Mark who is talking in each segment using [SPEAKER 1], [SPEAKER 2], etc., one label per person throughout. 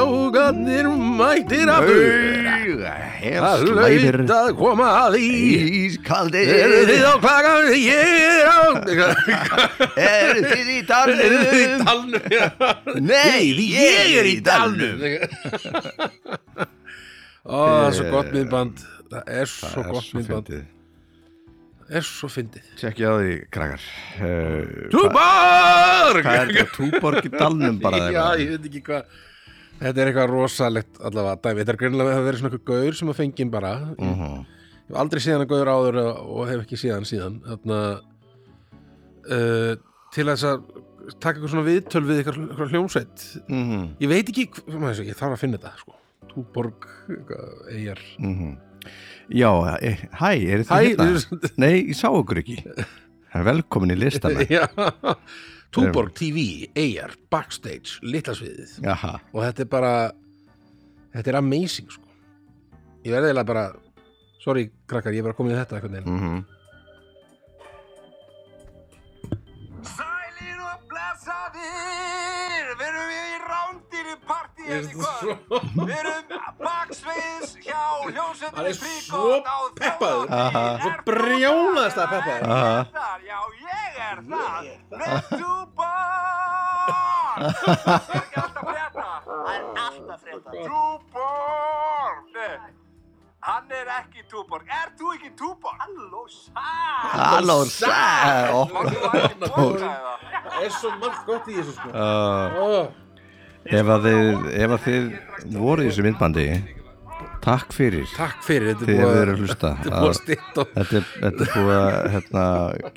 [SPEAKER 1] Bílarnir mættir aftur Það
[SPEAKER 2] Slæðir
[SPEAKER 1] hlaut að koma að því
[SPEAKER 2] Ískaldir
[SPEAKER 1] Eru þið á klagan? Ég er á
[SPEAKER 2] Eru þið í
[SPEAKER 1] Eru þið í
[SPEAKER 2] dalnum?
[SPEAKER 1] dalnum?
[SPEAKER 2] Nei,
[SPEAKER 1] Ég er í dalnum Ó, það er svo gott myndband Það er svo gott myndband Það er svo fyndið
[SPEAKER 2] Tjekkja á því, krakkar Eh,
[SPEAKER 1] Túborg!
[SPEAKER 2] Hvað er þetta? Túborg í dalnum bara
[SPEAKER 1] Já, ég veit ekki hvað Þetta er eitthvað rosalegt allavega dæmi Þetta er greinilega að það verið svona eitthvað gaur sem að fengið bara mm.
[SPEAKER 2] Mhm.
[SPEAKER 1] Ég hef aldrei séð hann að gaur áður og hef ekki séð hann síðan Þannig uh, til þess að taka eitthvað svona viðtöl við eitthvað, eitthvað hljómsveit
[SPEAKER 2] Mhm,
[SPEAKER 1] Ég veit ekki, hv- maður, þessi, ég þarf að finna þetta sko. Túborg, eitthvað, eigjar
[SPEAKER 2] mhm. Já, eh, hæ, er þetta
[SPEAKER 1] Hæ,
[SPEAKER 2] hérna?
[SPEAKER 1] þú-
[SPEAKER 2] Nei, ég sá okkur ekki Velkomin í listana
[SPEAKER 1] Já. Túborg TV, eigjar, backstage, litla sviðið
[SPEAKER 2] Jaha,
[SPEAKER 1] og þetta er bara þetta er amazing sko ég verði eiginlega bara sorry krakkar, ég er bara komið í þetta einhvern veginn
[SPEAKER 2] mhm
[SPEAKER 3] Sælir og blessaðir, verum við í rándýri partí hérna í kvöld. Verum baksvegis hjá
[SPEAKER 1] Hann er
[SPEAKER 3] hljómsveitinni
[SPEAKER 1] svo
[SPEAKER 3] Fríkot á
[SPEAKER 1] peppaður.
[SPEAKER 2] Aha.
[SPEAKER 1] Svo brjálaðislega peppaður.
[SPEAKER 2] Aha.
[SPEAKER 3] peppaður. Já, ég er það. Vettu bar! Það er ekki alltaf frétta. Það er alltaf frétta. Túborg! Hann er ekki túborg. Er þú ekki túborg? Halló, sæl!
[SPEAKER 2] Halló, sæ
[SPEAKER 3] Máttu það ekki borga eða?
[SPEAKER 1] það er svo margt gott í þessu sko
[SPEAKER 2] Uh,
[SPEAKER 1] oh.
[SPEAKER 2] ef, að þið, ef að þið voru í þessu myndbandi Takk fyrir
[SPEAKER 1] takk fyrir, þetta
[SPEAKER 2] Þið
[SPEAKER 1] er
[SPEAKER 2] hefur
[SPEAKER 1] búið að
[SPEAKER 2] verið að hlusta
[SPEAKER 1] þetta er
[SPEAKER 2] Það-
[SPEAKER 1] búið að stýtt og
[SPEAKER 2] Þetta er, þetta er búið að hérna,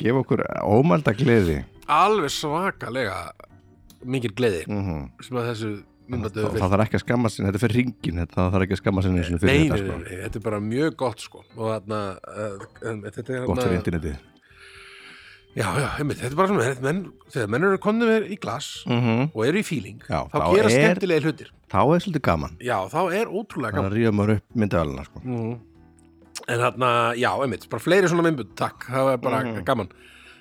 [SPEAKER 2] gefa okkur ómælda gleði
[SPEAKER 1] alveg svakalega mikil gleði
[SPEAKER 2] Mhm.
[SPEAKER 1] sem að þessu myndbættu
[SPEAKER 2] það, það þarf ekki að skamma sinni, þetta er fyrir ringin þetta, það þarf ekki að skamma sinni einu sinni fyrir
[SPEAKER 1] Nei,
[SPEAKER 2] þetta
[SPEAKER 1] nei,
[SPEAKER 2] sko.
[SPEAKER 1] nei, nei, þetta er bara mjög gott sko og þarna uh, um, þetta er
[SPEAKER 2] gott fyrir
[SPEAKER 1] þarna
[SPEAKER 2] internetið
[SPEAKER 1] já, já, einmitt, þetta er bara svona þetta menn, þegar menn eru komnir í glas
[SPEAKER 2] -hmm.
[SPEAKER 1] og eru í fíling
[SPEAKER 2] Já,
[SPEAKER 1] þá
[SPEAKER 2] þá
[SPEAKER 1] gera
[SPEAKER 2] er-
[SPEAKER 1] skemmtilega hlutir
[SPEAKER 2] þá er svolítið gaman
[SPEAKER 1] já, þá er ótrúlega
[SPEAKER 2] það
[SPEAKER 1] gaman Mm.
[SPEAKER 2] er að ríða maður upp myndavælina sko. Mm.
[SPEAKER 1] En þarna, já, einmitt, bara fleiri svona minnbund, takk, það var bara gaman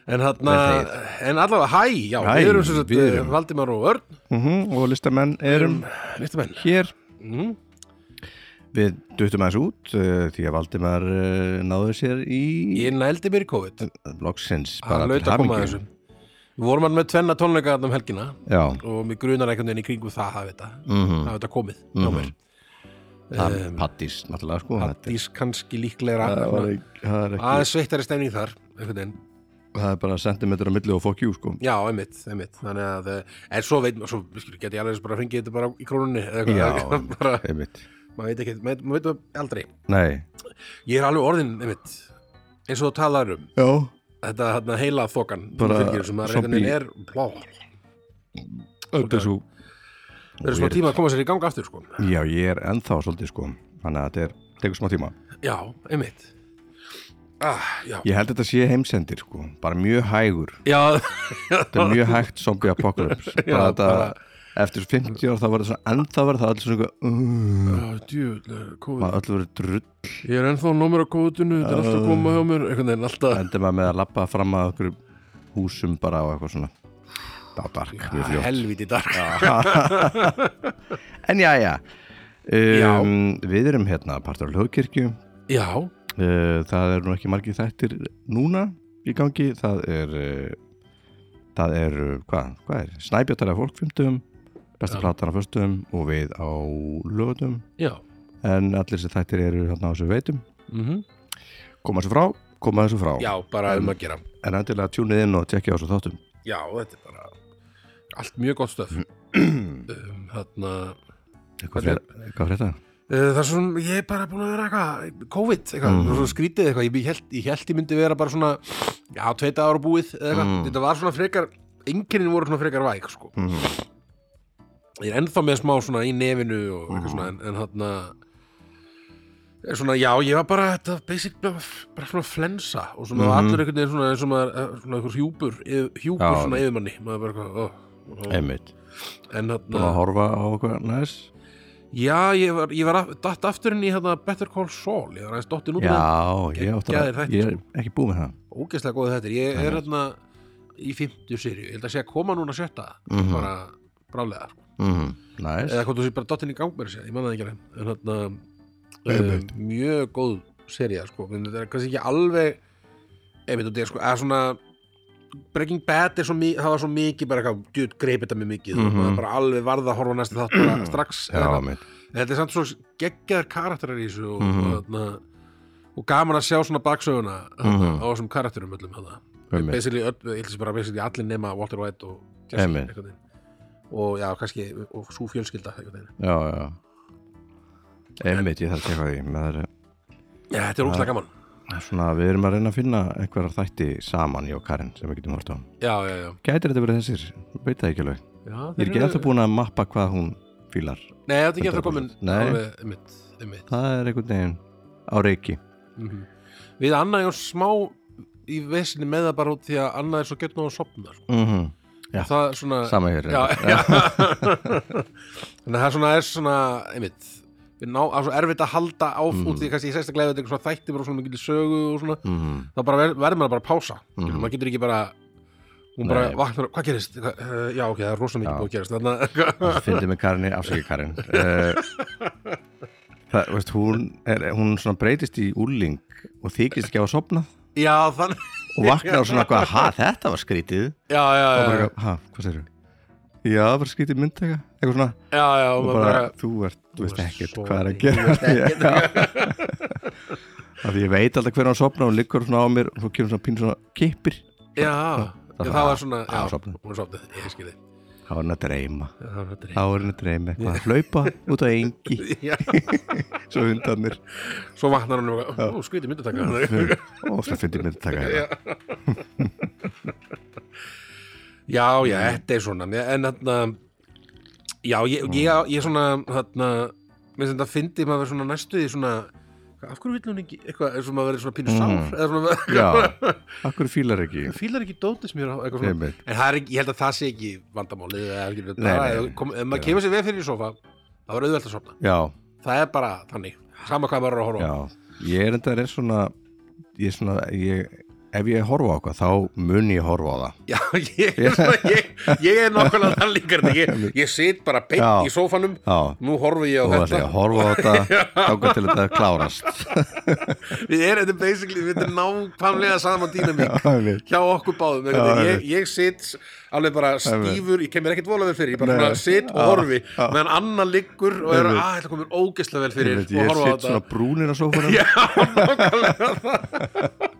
[SPEAKER 1] En þarna,
[SPEAKER 2] Mm. Vel
[SPEAKER 1] en allavega, hæ, já,
[SPEAKER 2] Hæ,
[SPEAKER 1] við erum sem sagt,
[SPEAKER 2] við erum.
[SPEAKER 1] eh, Valdimar og Örn,
[SPEAKER 2] mm og listamenn
[SPEAKER 1] Mm.
[SPEAKER 2] erum
[SPEAKER 1] listamenn
[SPEAKER 2] hér
[SPEAKER 1] mm.
[SPEAKER 2] við duttum aðeins út uh, því að Valdimar uh, náðu sér í
[SPEAKER 1] Ég nældi mér í COVID,
[SPEAKER 2] loksins
[SPEAKER 1] hann
[SPEAKER 2] bara
[SPEAKER 1] laut
[SPEAKER 2] til
[SPEAKER 1] að koma að
[SPEAKER 2] hamingju
[SPEAKER 1] þessu Við vorum hann með tvenna tónleika þarna um helgina
[SPEAKER 2] já,
[SPEAKER 1] og mér grunar einhvern veginn í kringu það hafi þetta,
[SPEAKER 2] mm
[SPEAKER 1] hafi þetta komið
[SPEAKER 2] Mhm.
[SPEAKER 1] mm -hmm.
[SPEAKER 2] það er pattís náttúrulega sko þetta er-
[SPEAKER 1] Hattís kannski líklegra
[SPEAKER 2] það var ekki- það er ekki
[SPEAKER 1] aðeins sveittari stemning þar, einhvern veginn
[SPEAKER 2] það er bara sentimeter á milli og fokk jú sko
[SPEAKER 1] Já, einmitt, einmitt Þannig að, eh, en svo veit, svo skilur, geti ég alveg eins bara að þetta bara í krónunni eða
[SPEAKER 2] Já,
[SPEAKER 1] eitthvað. bara,
[SPEAKER 2] einmitt
[SPEAKER 1] maður veit ekki, maður, maður veit það aldrei
[SPEAKER 2] nei,
[SPEAKER 1] Ég er alveg orðin, einmitt eins og þú talar um,
[SPEAKER 2] já
[SPEAKER 1] þetta hérna, heila þokan
[SPEAKER 2] Bara
[SPEAKER 1] sem maður
[SPEAKER 2] zombie.
[SPEAKER 1] einhvern veginn er blá,
[SPEAKER 2] Þetta er svo
[SPEAKER 1] það er smá tíma að koma sér í gang aftur sko.
[SPEAKER 2] Já, ég er ennþá svolítið sko Þannig að þetta er, tekur smá tíma
[SPEAKER 1] Já, einmitt ah, Já,
[SPEAKER 2] Ég held að þetta sé heimsendir sko Bara mjög hægur
[SPEAKER 1] já
[SPEAKER 2] Þetta er mjög hægt zombie apocalypse
[SPEAKER 1] Já,
[SPEAKER 2] Bara þetta
[SPEAKER 1] bara-
[SPEAKER 2] Eftir 50 ár þá var þetta svona Ennþá var það allir svona eitthvað,
[SPEAKER 1] Ah, djöfull,
[SPEAKER 2] uh,
[SPEAKER 1] COVID.
[SPEAKER 2] Öll verið drull
[SPEAKER 1] Ég er ennþá nómur á kóðutinu, þetta er alltaf að koma hjá mér einhvern veginn alltaf
[SPEAKER 2] Endur maður með að labba fram að okkur húsum bara og eitthvað svona Það var dark,
[SPEAKER 1] Ah,
[SPEAKER 2] mjög fljótt
[SPEAKER 1] Helviti dark
[SPEAKER 2] En já, já
[SPEAKER 1] Já.
[SPEAKER 2] Um, Við erum hérna partur á hljóðkirkju
[SPEAKER 1] Já,
[SPEAKER 2] Uh, það er nú ekki margir þættir núna í gangi það er uh, það er, uh, hvað, hvað er snæbjötar af fólk 50 besta
[SPEAKER 1] Já.
[SPEAKER 2] platan á föstum og við á lögutum
[SPEAKER 1] já
[SPEAKER 2] en allir þessi þættir eru hérna á þessu veitum
[SPEAKER 1] mm
[SPEAKER 2] koma þessu frá, koma þessu frá
[SPEAKER 1] Já, bara um að gera
[SPEAKER 2] en endilega tjúnið inn og tekja á þessu þáttum
[SPEAKER 1] Já, þetta er bara allt mjög gott stöf
[SPEAKER 2] Mm.
[SPEAKER 1] um, Þarna
[SPEAKER 2] hvað fyrir, hvað fyrir þetta?
[SPEAKER 1] Uh, Það er svona, ég er bara búin að vera eitthvað COVID, eitthvað,
[SPEAKER 2] Mhm.
[SPEAKER 1] mm. svona skrítið eitthvað ég held, ég held ég myndi vera bara svona já, tveita ára búið eða eitthvað
[SPEAKER 2] Mhm.
[SPEAKER 1] þetta var svona frekar, enginn voru svona frekar væk sko.
[SPEAKER 2] Mm.
[SPEAKER 1] ég er ennþá með smá svona í nefinu og
[SPEAKER 2] Mhm.
[SPEAKER 1] eitthvað svona, en, en hann er svona, já, ég var bara þetta basic, bara, bara svona flensa og svona
[SPEAKER 2] Mhm.
[SPEAKER 1] allur einhvern veginn svona, eins og maður, eh, svona einhver hjúpur, yfir- hjúpur
[SPEAKER 2] Já.
[SPEAKER 1] svona yfirmanni, maður bara eitthvað ó, ó.
[SPEAKER 2] einmitt,
[SPEAKER 1] en
[SPEAKER 2] búin að
[SPEAKER 1] hann
[SPEAKER 2] horfa á eitthvað næs
[SPEAKER 1] já, ég var, ég var af, datt afturinn í hérna Better Call Saul, ég var aðeins dottin út úr þeim.
[SPEAKER 2] já, ég, átti
[SPEAKER 1] Geggjaðir
[SPEAKER 2] að,
[SPEAKER 1] þættir,
[SPEAKER 2] ég er ekki búið með það
[SPEAKER 1] ógeðslega góðið þetta ég er hérna í 50 sirju, ég held að sé að koma núna sjötta,
[SPEAKER 2] Mhm.
[SPEAKER 1] bara brálega sko.
[SPEAKER 2] Mhm. Næs
[SPEAKER 1] eða hvort þú sé bara dottin í gang með þessi ég manna það ekki alveg en hérna um,
[SPEAKER 2] Einmitt.
[SPEAKER 1] mjög góð sería sko en þetta er kannski ekki alveg einmitt út í sko að svona Breaking Bad er svo mikið það var svo mikið bara eitthvað djútt greip þetta mjög mikið mm
[SPEAKER 2] Mhm.
[SPEAKER 1] -hmm. bara alveg varða að horfa á næsta þátt bara strax eða
[SPEAKER 2] Já,
[SPEAKER 1] eitthvað.
[SPEAKER 2] mitt
[SPEAKER 1] En þetta er samt svo geggjaðar karakterar í þessu og,
[SPEAKER 2] Mhm.
[SPEAKER 1] og, þarna, og gaman að sjá svona baksöguna þarna,
[SPEAKER 2] Mhm.
[SPEAKER 1] á þessum karakterum öllum þarna
[SPEAKER 2] Einmitt.
[SPEAKER 1] basically, öll, ég held sér bara basically allir nema Walter White og
[SPEAKER 2] Einmitt.
[SPEAKER 1] Jesse og já, kannski og svo fjölskylda einhvern veginn
[SPEAKER 2] Já, já Einmitt, ég þarf að teka á því með þeirra
[SPEAKER 1] Já, þetta er ógæslega gaman
[SPEAKER 2] Svona, við erum að reyna að finna einhverjar þætti saman ég og Karin sem við getum hort á
[SPEAKER 1] Já, já, já
[SPEAKER 2] Gætir þetta verið þessir? Veit það ekki alveg
[SPEAKER 1] Já,
[SPEAKER 2] Ég er ekki alltaf búin að mappa hvað hún fílar
[SPEAKER 1] Nei, þetta er ekki eftir að komin
[SPEAKER 2] 100%. Nei.
[SPEAKER 1] alveg, einmitt, einmitt.
[SPEAKER 2] Það er einhvern veginn á reiki
[SPEAKER 1] Mhm. Við Anna erum smá í vesinni með það bara út því að Anna er svo gett nóg að sopna sko.
[SPEAKER 2] mm -hmm. Já.
[SPEAKER 1] Það er svona
[SPEAKER 2] Sama hér
[SPEAKER 1] Já, já. Þannig að það er svona, er svona einmitt Við ná, það er svo erfitt að halda áf út því kannski ég segst að glæða þetta er svona þætti bara svona mikil sögu og svona
[SPEAKER 2] mm -hmm.
[SPEAKER 1] þá bara ver, verður maður bara að pása mm
[SPEAKER 2] Mhm.
[SPEAKER 1] maður getur ekki bara hún bara
[SPEAKER 2] Nei.
[SPEAKER 1] vaknar, hvað gerist? Hva, eh, já, ok, það er rosa mikið
[SPEAKER 2] Já.
[SPEAKER 1] búið að gerast þannig að
[SPEAKER 2] Fyndi með Karinni, afsakið Karin uh, Það, veist, hún er, hún svona breytist í úrling og þykist ekki á að sopna
[SPEAKER 1] Já, þannig
[SPEAKER 2] og vaknar svona hvað, ha, þetta var skrítið
[SPEAKER 1] Já, já,
[SPEAKER 2] og
[SPEAKER 1] já,
[SPEAKER 2] bara,
[SPEAKER 1] já,
[SPEAKER 2] eitthvað, ha, hvað segirðu? Já, bara skrítið myndtaka, eitthvað svona
[SPEAKER 1] já, já og
[SPEAKER 2] og
[SPEAKER 1] maður
[SPEAKER 2] bara,
[SPEAKER 1] bara,
[SPEAKER 2] þú ert, þú veist
[SPEAKER 1] ert
[SPEAKER 2] ekkert
[SPEAKER 1] svo
[SPEAKER 2] hvað er að
[SPEAKER 1] mikið,
[SPEAKER 2] gera Já. af því ég veit alltaf hvernig hann sopna og liggur svona á mér og svo kemur svona pínu svona kippir
[SPEAKER 1] Já, það,
[SPEAKER 2] Það var-
[SPEAKER 1] það var svona
[SPEAKER 2] það var
[SPEAKER 1] já,
[SPEAKER 2] sofnuð.
[SPEAKER 1] Hún var sopnið, ég skilði
[SPEAKER 2] þá er hann að dreyma
[SPEAKER 1] Það var þetta
[SPEAKER 2] þá er hann að dreyma eitthvað að hlaupa út á engi
[SPEAKER 1] reynd
[SPEAKER 2] svo hundarnir
[SPEAKER 1] Svo vaknar hann og bara, ó, skrítið myndataka
[SPEAKER 2] og svo fyndi myndtaka
[SPEAKER 1] Já.
[SPEAKER 2] hérna
[SPEAKER 1] Já, já,
[SPEAKER 2] Mm.
[SPEAKER 1] þetta er svona En þarna Já, ég,
[SPEAKER 2] Mm.
[SPEAKER 1] ég, ég svona þarna, Mér sem þetta fyndi maður verið svona næstu því svona Af hverju vill hún ekki eitthvað eins og maður verið svona pínu sár
[SPEAKER 2] Mm.
[SPEAKER 1] eða svona,
[SPEAKER 2] já, akkur fílar ekki
[SPEAKER 1] fílar ekki dótis mér á eitthvað svona
[SPEAKER 2] Einmitt.
[SPEAKER 1] En það er ekki, ég held að það sé ekki vandamálið eða er ekki-
[SPEAKER 2] Nei, nei,
[SPEAKER 1] bara-
[SPEAKER 2] nei.
[SPEAKER 1] kom- Ef maður kemur sér við fyrir í sofa Það var auðvelt að sofna
[SPEAKER 2] já,
[SPEAKER 1] það er bara þannig sama hvað maður er að horfa
[SPEAKER 2] já
[SPEAKER 1] á.
[SPEAKER 2] ég er enda er svona ég er svona, ég ef ég horfa á eitthvað, þá mun ég horfa á það
[SPEAKER 1] já, ég, ég, ég er nákvæmlega þann líka er þetta ekki? ég, ég sit bara beint
[SPEAKER 2] Já.
[SPEAKER 1] í sófanum
[SPEAKER 2] Já.
[SPEAKER 1] nú horfi ég á
[SPEAKER 2] og það er
[SPEAKER 1] þetta
[SPEAKER 2] að horfa á þetta þáka til þetta klárast
[SPEAKER 1] við erum þetta basically, við erum nákvæmlega saman dýnamík
[SPEAKER 2] Einmitt.
[SPEAKER 1] hjá okkur báðum já,
[SPEAKER 2] Já,
[SPEAKER 1] ég, ég sit alveg bara stífur, ég kemur ekkert volaður fyrir ég bara svona sit og horfi meðan annar liggur og er að
[SPEAKER 2] Einmitt.
[SPEAKER 1] ah, þetta komur ógeðslega vel fyrir
[SPEAKER 2] Einmitt,
[SPEAKER 1] og
[SPEAKER 2] ég
[SPEAKER 1] horfa á
[SPEAKER 2] sitt svona
[SPEAKER 1] þetta
[SPEAKER 2] brúnir á sófanum
[SPEAKER 1] já, nákvæmlega það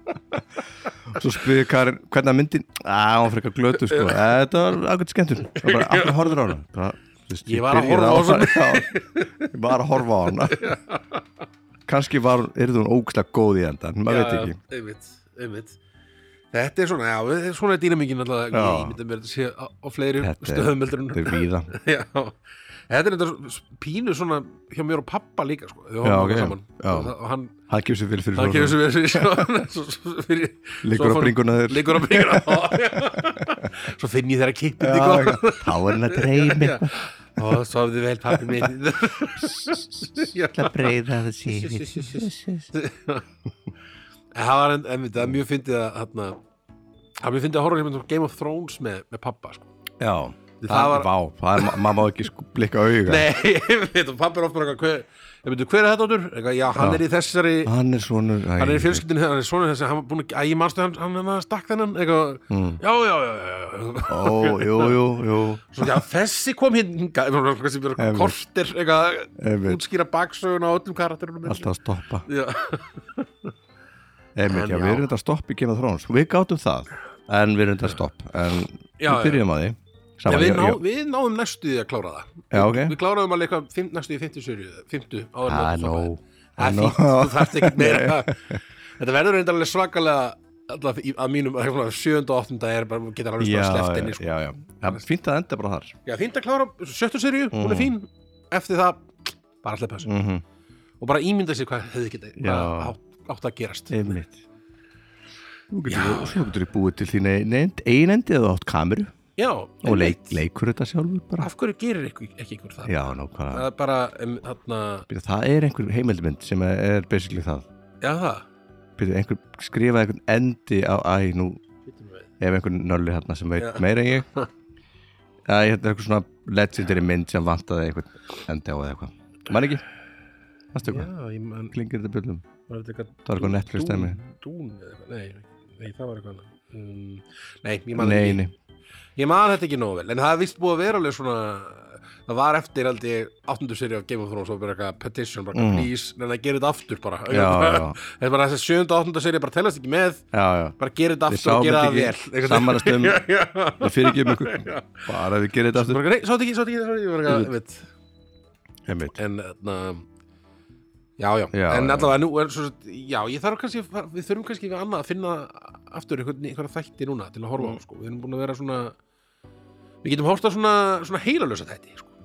[SPEAKER 2] Svo spyrir Karin, hvernig að myndin Á, hún frekar glötu sko Eh, Þetta var ákveðt skemmtun Og bara, af hverju horfður á hana? Bara, þú veist,
[SPEAKER 1] Ég var að
[SPEAKER 2] byrjaði
[SPEAKER 1] horfa á
[SPEAKER 2] hana Já, Ég var að horfa á hana Kanski var, er hún ógæslega góð í endan Maður veit
[SPEAKER 1] Já,
[SPEAKER 2] ekki
[SPEAKER 1] já, einmitt, einmitt. Þetta er svona, já, við- svona er dýnamíkin alltaf,
[SPEAKER 2] Já.
[SPEAKER 1] ég myndi mér að sé á, á fleiri
[SPEAKER 2] Þetta er-
[SPEAKER 1] stöðum heldur en
[SPEAKER 2] Þetta er víða
[SPEAKER 1] Já, þetta er þetta pínu svona hjá mér og pappa líka, sko Við
[SPEAKER 2] Já,
[SPEAKER 1] horfum
[SPEAKER 2] ok,
[SPEAKER 1] okkur saman
[SPEAKER 2] já.
[SPEAKER 1] og, það- og hann,
[SPEAKER 2] Hann gefur sér vel fyrir
[SPEAKER 1] hann
[SPEAKER 2] svona.
[SPEAKER 1] kemur sem við svo- svo- svo- fyrir
[SPEAKER 2] Liggur
[SPEAKER 1] svo
[SPEAKER 2] á
[SPEAKER 1] fór-
[SPEAKER 2] bringuna þér.
[SPEAKER 1] Liggur á bringuna Svo finn ég þeirra kippið í
[SPEAKER 2] Já,
[SPEAKER 1] góð
[SPEAKER 2] já. Þá er hann að dreymi
[SPEAKER 1] Og svo hafði vel pappi minn Já
[SPEAKER 2] Það breyða það sífi
[SPEAKER 1] en það var en, en það er mjög fyndið að hérna, það er mjög fyndið að horfa hérna á Game of Thrones með, með pappa sko.
[SPEAKER 2] Já,
[SPEAKER 1] Það
[SPEAKER 2] það
[SPEAKER 1] var-
[SPEAKER 2] var Vá, það er, ma- maður má ekki sko blikka auga
[SPEAKER 1] nei, ég veit, og pappa er ofta eitthvað hver, ég myndi, hver er þetta áttur? Eitthvað, já, hann
[SPEAKER 2] Já.
[SPEAKER 1] er í þessari
[SPEAKER 2] Hann er svona
[SPEAKER 1] hann er í fjölskyldinu, hann er svona þessi hann er búin að, æ, ég manstu hann, hann, hann stakk þennan eitthvað,
[SPEAKER 2] Mm.
[SPEAKER 1] já, já, já, já, já.
[SPEAKER 2] Ó, jú, jú, jú
[SPEAKER 1] Svo, já, þessi kom hinga
[SPEAKER 2] Einmitt.
[SPEAKER 1] kortir, eitthvað,
[SPEAKER 2] Einmitt.
[SPEAKER 1] útskýra baksögun á öllum karakterunum
[SPEAKER 2] Alltaf að stoppa
[SPEAKER 1] já,
[SPEAKER 2] Einmitt,
[SPEAKER 1] En
[SPEAKER 2] já,
[SPEAKER 1] já.
[SPEAKER 2] við erum þetta að stoppa í Game of Thrones Við gátum það, en við erum þetta að stoppa En
[SPEAKER 1] Já,
[SPEAKER 2] við byrjum að því
[SPEAKER 1] Nei,
[SPEAKER 2] Saman,
[SPEAKER 1] við, ná,
[SPEAKER 2] já,
[SPEAKER 1] við náðum næstu í að klára það
[SPEAKER 2] já, ok
[SPEAKER 1] Við kláraðum alveg eitthvað fimm- næstu í 50 sérju 50 áður en
[SPEAKER 2] Ah,
[SPEAKER 1] þetta stoppaði.
[SPEAKER 2] no.
[SPEAKER 1] Það er
[SPEAKER 2] Ah, no.
[SPEAKER 1] fínt, þú þarft ekkert meira Þetta verður reyndar alveg svakalega alltaf í- að mínum að svona sjönda og áttunda er bara, getur alveg
[SPEAKER 2] Já,
[SPEAKER 1] svona sleppt inn í sko.
[SPEAKER 2] já, já Það er fínt að enda bara þar
[SPEAKER 1] Já, fínt að klára sjöttu sérju, hún er fín Eftir það, bara alltaf pæs
[SPEAKER 2] mm -hmm.
[SPEAKER 1] Og bara ímynda sér hvað hefði getið
[SPEAKER 2] Já. Eh,
[SPEAKER 1] hvað átt, átt að gerast
[SPEAKER 2] Einmitt Nú getur þú getur við búið til þín einend Einend eða átt kameru
[SPEAKER 1] Já,
[SPEAKER 2] Og
[SPEAKER 1] einmitt.
[SPEAKER 2] leik, leikur þetta sjálfur bara
[SPEAKER 1] Af hverju gerir ekki, ekki ykkur það?
[SPEAKER 2] Já, ná, hvað
[SPEAKER 1] Það er bara, um, þarna,
[SPEAKER 2] Býta, Það er einhver heimildmynd sem er basically það
[SPEAKER 1] já það
[SPEAKER 2] Býta, einhver skrifa einhvern endi á Æ, nú
[SPEAKER 1] Bíddu nú við.
[SPEAKER 2] ef einhvern nöllu hérna sem veit
[SPEAKER 1] Já.
[SPEAKER 2] meira en ég að ég hérna eitthvað svona legendary mynd sem vantaði eitthvað endi á eða eitthvað mann ekki, varstu eitthvað,
[SPEAKER 1] Já, ég man
[SPEAKER 2] klingir þetta bjöllum
[SPEAKER 1] Var þetta eitthvað
[SPEAKER 2] Það var eitthvað Netflix dæmi.
[SPEAKER 1] Dún eða eitthvað, nei, nei, það var eitthvað annað. um, Nei, ég man
[SPEAKER 2] nei,
[SPEAKER 1] ekki
[SPEAKER 2] nei,
[SPEAKER 1] Ég man þetta ekki nógu vel, en það er vist búið að vera alveg svona Það var eftir held ég 8. seri af Game of Thrones og bara eitthvað petition, bara
[SPEAKER 2] Mm.
[SPEAKER 1] mm. please, en það gerir þetta aftur bara
[SPEAKER 2] Já, já.
[SPEAKER 1] Það er bara þessi 7. og 8. seri bara telast ekki með
[SPEAKER 2] já, já
[SPEAKER 1] bara gerir þetta aftur og
[SPEAKER 2] Við sáum
[SPEAKER 1] gera
[SPEAKER 2] þetta
[SPEAKER 1] það vel
[SPEAKER 2] ekki,
[SPEAKER 1] Einhvern
[SPEAKER 2] sammælast um-
[SPEAKER 1] veginn. Já, já.
[SPEAKER 2] það fyrir ekki um ykkur, bara við gerum þetta aftur
[SPEAKER 1] Bara, Nei, svo þetta ekki, svo þetta ekki, svo þetta ekki bara eitthvað, veit.
[SPEAKER 2] einmitt,
[SPEAKER 1] En, þarna Já, já,
[SPEAKER 2] Já,
[SPEAKER 1] en
[SPEAKER 2] já.
[SPEAKER 1] allavega nú er svo Já, ég þarf kannski, að fara- við þurfum kannski við annað að finna aftur einhvern, einhverja þætti núna til að horfa á, sko, við erum búin að vera svona Við getum horft á svona, svona heilalösa þætti, sko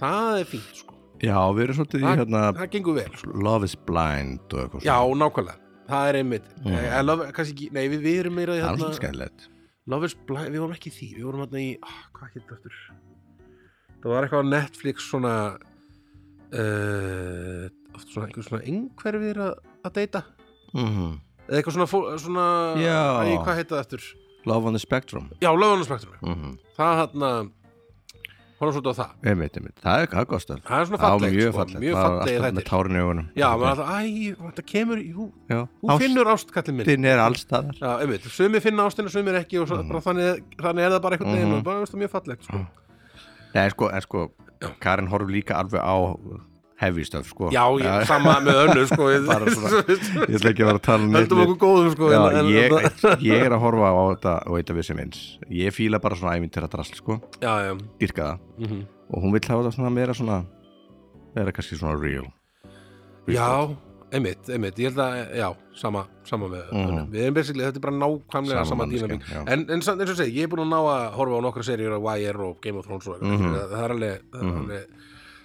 [SPEAKER 1] Það er fínt, sko,
[SPEAKER 2] já, við erum svolítið í
[SPEAKER 1] það,
[SPEAKER 2] hérna
[SPEAKER 1] það gengur vel, sko
[SPEAKER 2] Love is Blind og eitthvað
[SPEAKER 1] Já,
[SPEAKER 2] svona.
[SPEAKER 1] nákvæmlega, það er einmitt mm. love, kannski, ekki- Nei, við, hérna- við erum meira í
[SPEAKER 2] það er
[SPEAKER 1] þarna-
[SPEAKER 2] svolítið skæðilegt
[SPEAKER 1] Love is Blind, við vorum ekki í því Við vorum hérna í, ah, hvað hétt eftir Það var eitthvað á Netflix svona uh, oft svona einhver svona einhverfir að, að deyta
[SPEAKER 2] Mhm.
[SPEAKER 1] eða eitthvað svona, fó- svona
[SPEAKER 2] Já.
[SPEAKER 1] æ, hvað heita það eftir
[SPEAKER 2] Love on the Spectrum
[SPEAKER 1] Já, lögunarspektrum
[SPEAKER 2] mm
[SPEAKER 1] Það hérna, horfum svolítið á það
[SPEAKER 2] einmitt, einmitt, það er kakostöf
[SPEAKER 1] Það er svona
[SPEAKER 2] Já,
[SPEAKER 1] fallegt, sko,
[SPEAKER 2] mjög fallegt,
[SPEAKER 1] mjög
[SPEAKER 2] maður var
[SPEAKER 1] fallegt
[SPEAKER 2] alltaf með
[SPEAKER 1] þetta
[SPEAKER 2] tárin í augunum
[SPEAKER 1] Já, maður alltaf, æ, þetta kemur, jú
[SPEAKER 2] Já,
[SPEAKER 1] Hún finnur ástkallin minn
[SPEAKER 2] ástin er allstaðar
[SPEAKER 1] Já, einmitt, sumir finna ástina, sumir ekki og svo, bara, þannig, þannig er það bara einhvern veginn
[SPEAKER 2] Mm. Mhm.
[SPEAKER 1] og bara, veist það, mjög fallegt, sko
[SPEAKER 2] Nei, sko, en sko, Karin horfum líka alveg á heavy stuff, sko
[SPEAKER 1] Já, ég, sama með önnu sko við-
[SPEAKER 2] Bara svona- Ég ætla ekki að vera að tala um neitt
[SPEAKER 1] Höldum
[SPEAKER 2] við-
[SPEAKER 1] okkur góðum sko en-
[SPEAKER 2] Já,
[SPEAKER 1] en-
[SPEAKER 2] ég, ég er að horfa á þetta og eitthvað við sem eins Ég fíla bara svona æminn til að drasl, sko
[SPEAKER 1] Já, já
[SPEAKER 2] Dyrka það
[SPEAKER 1] Mhm.
[SPEAKER 2] Og hún vill hafa þetta svona meira svona Meira kannski svona real
[SPEAKER 1] Já, einmitt, einmitt Ég held að, já, sama, sama með
[SPEAKER 2] Mhm.
[SPEAKER 1] önnu Við erum basically, þetta er bara nákvæmlega
[SPEAKER 2] Sama
[SPEAKER 1] sama
[SPEAKER 2] manneskjan,
[SPEAKER 1] dýnamík
[SPEAKER 2] já.
[SPEAKER 1] En, en samt eins og ég segi, ég er búin að ná að horfa á nokkra seríur af YR og Game of Thrones og eitthvað
[SPEAKER 2] Mhm.
[SPEAKER 1] það, það er alveg, það er alveg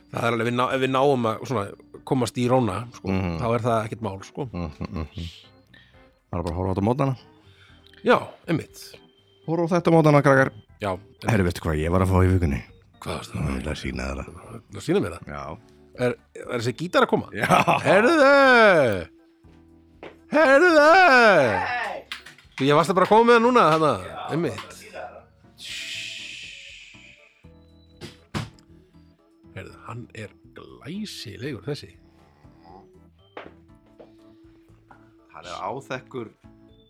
[SPEAKER 1] Það er alveg, við ná, ef við náum að svona, komast í róna, sko,
[SPEAKER 2] Mhm.
[SPEAKER 1] þá er það ekkert mál, sko.
[SPEAKER 2] mm -hmm. Bara bara að horfa á þetta á mótana
[SPEAKER 1] Já, einmitt.
[SPEAKER 2] Horfa á þetta á mótana, krakkar
[SPEAKER 1] Já, einmitt.
[SPEAKER 2] Herri, veistu hvað ég var að fá í vikunni?
[SPEAKER 1] hvað varst
[SPEAKER 2] Ég
[SPEAKER 1] það?
[SPEAKER 2] vil að sína þér það
[SPEAKER 1] Það sýna mér það.
[SPEAKER 2] Já
[SPEAKER 1] Er, er þessi gítar að koma?
[SPEAKER 2] Já
[SPEAKER 1] Herðu Herðu Ég varst að bara koma með það núna hana, einmitt Herðu, hann er glæsilegur þessi
[SPEAKER 2] Hann er áþekkur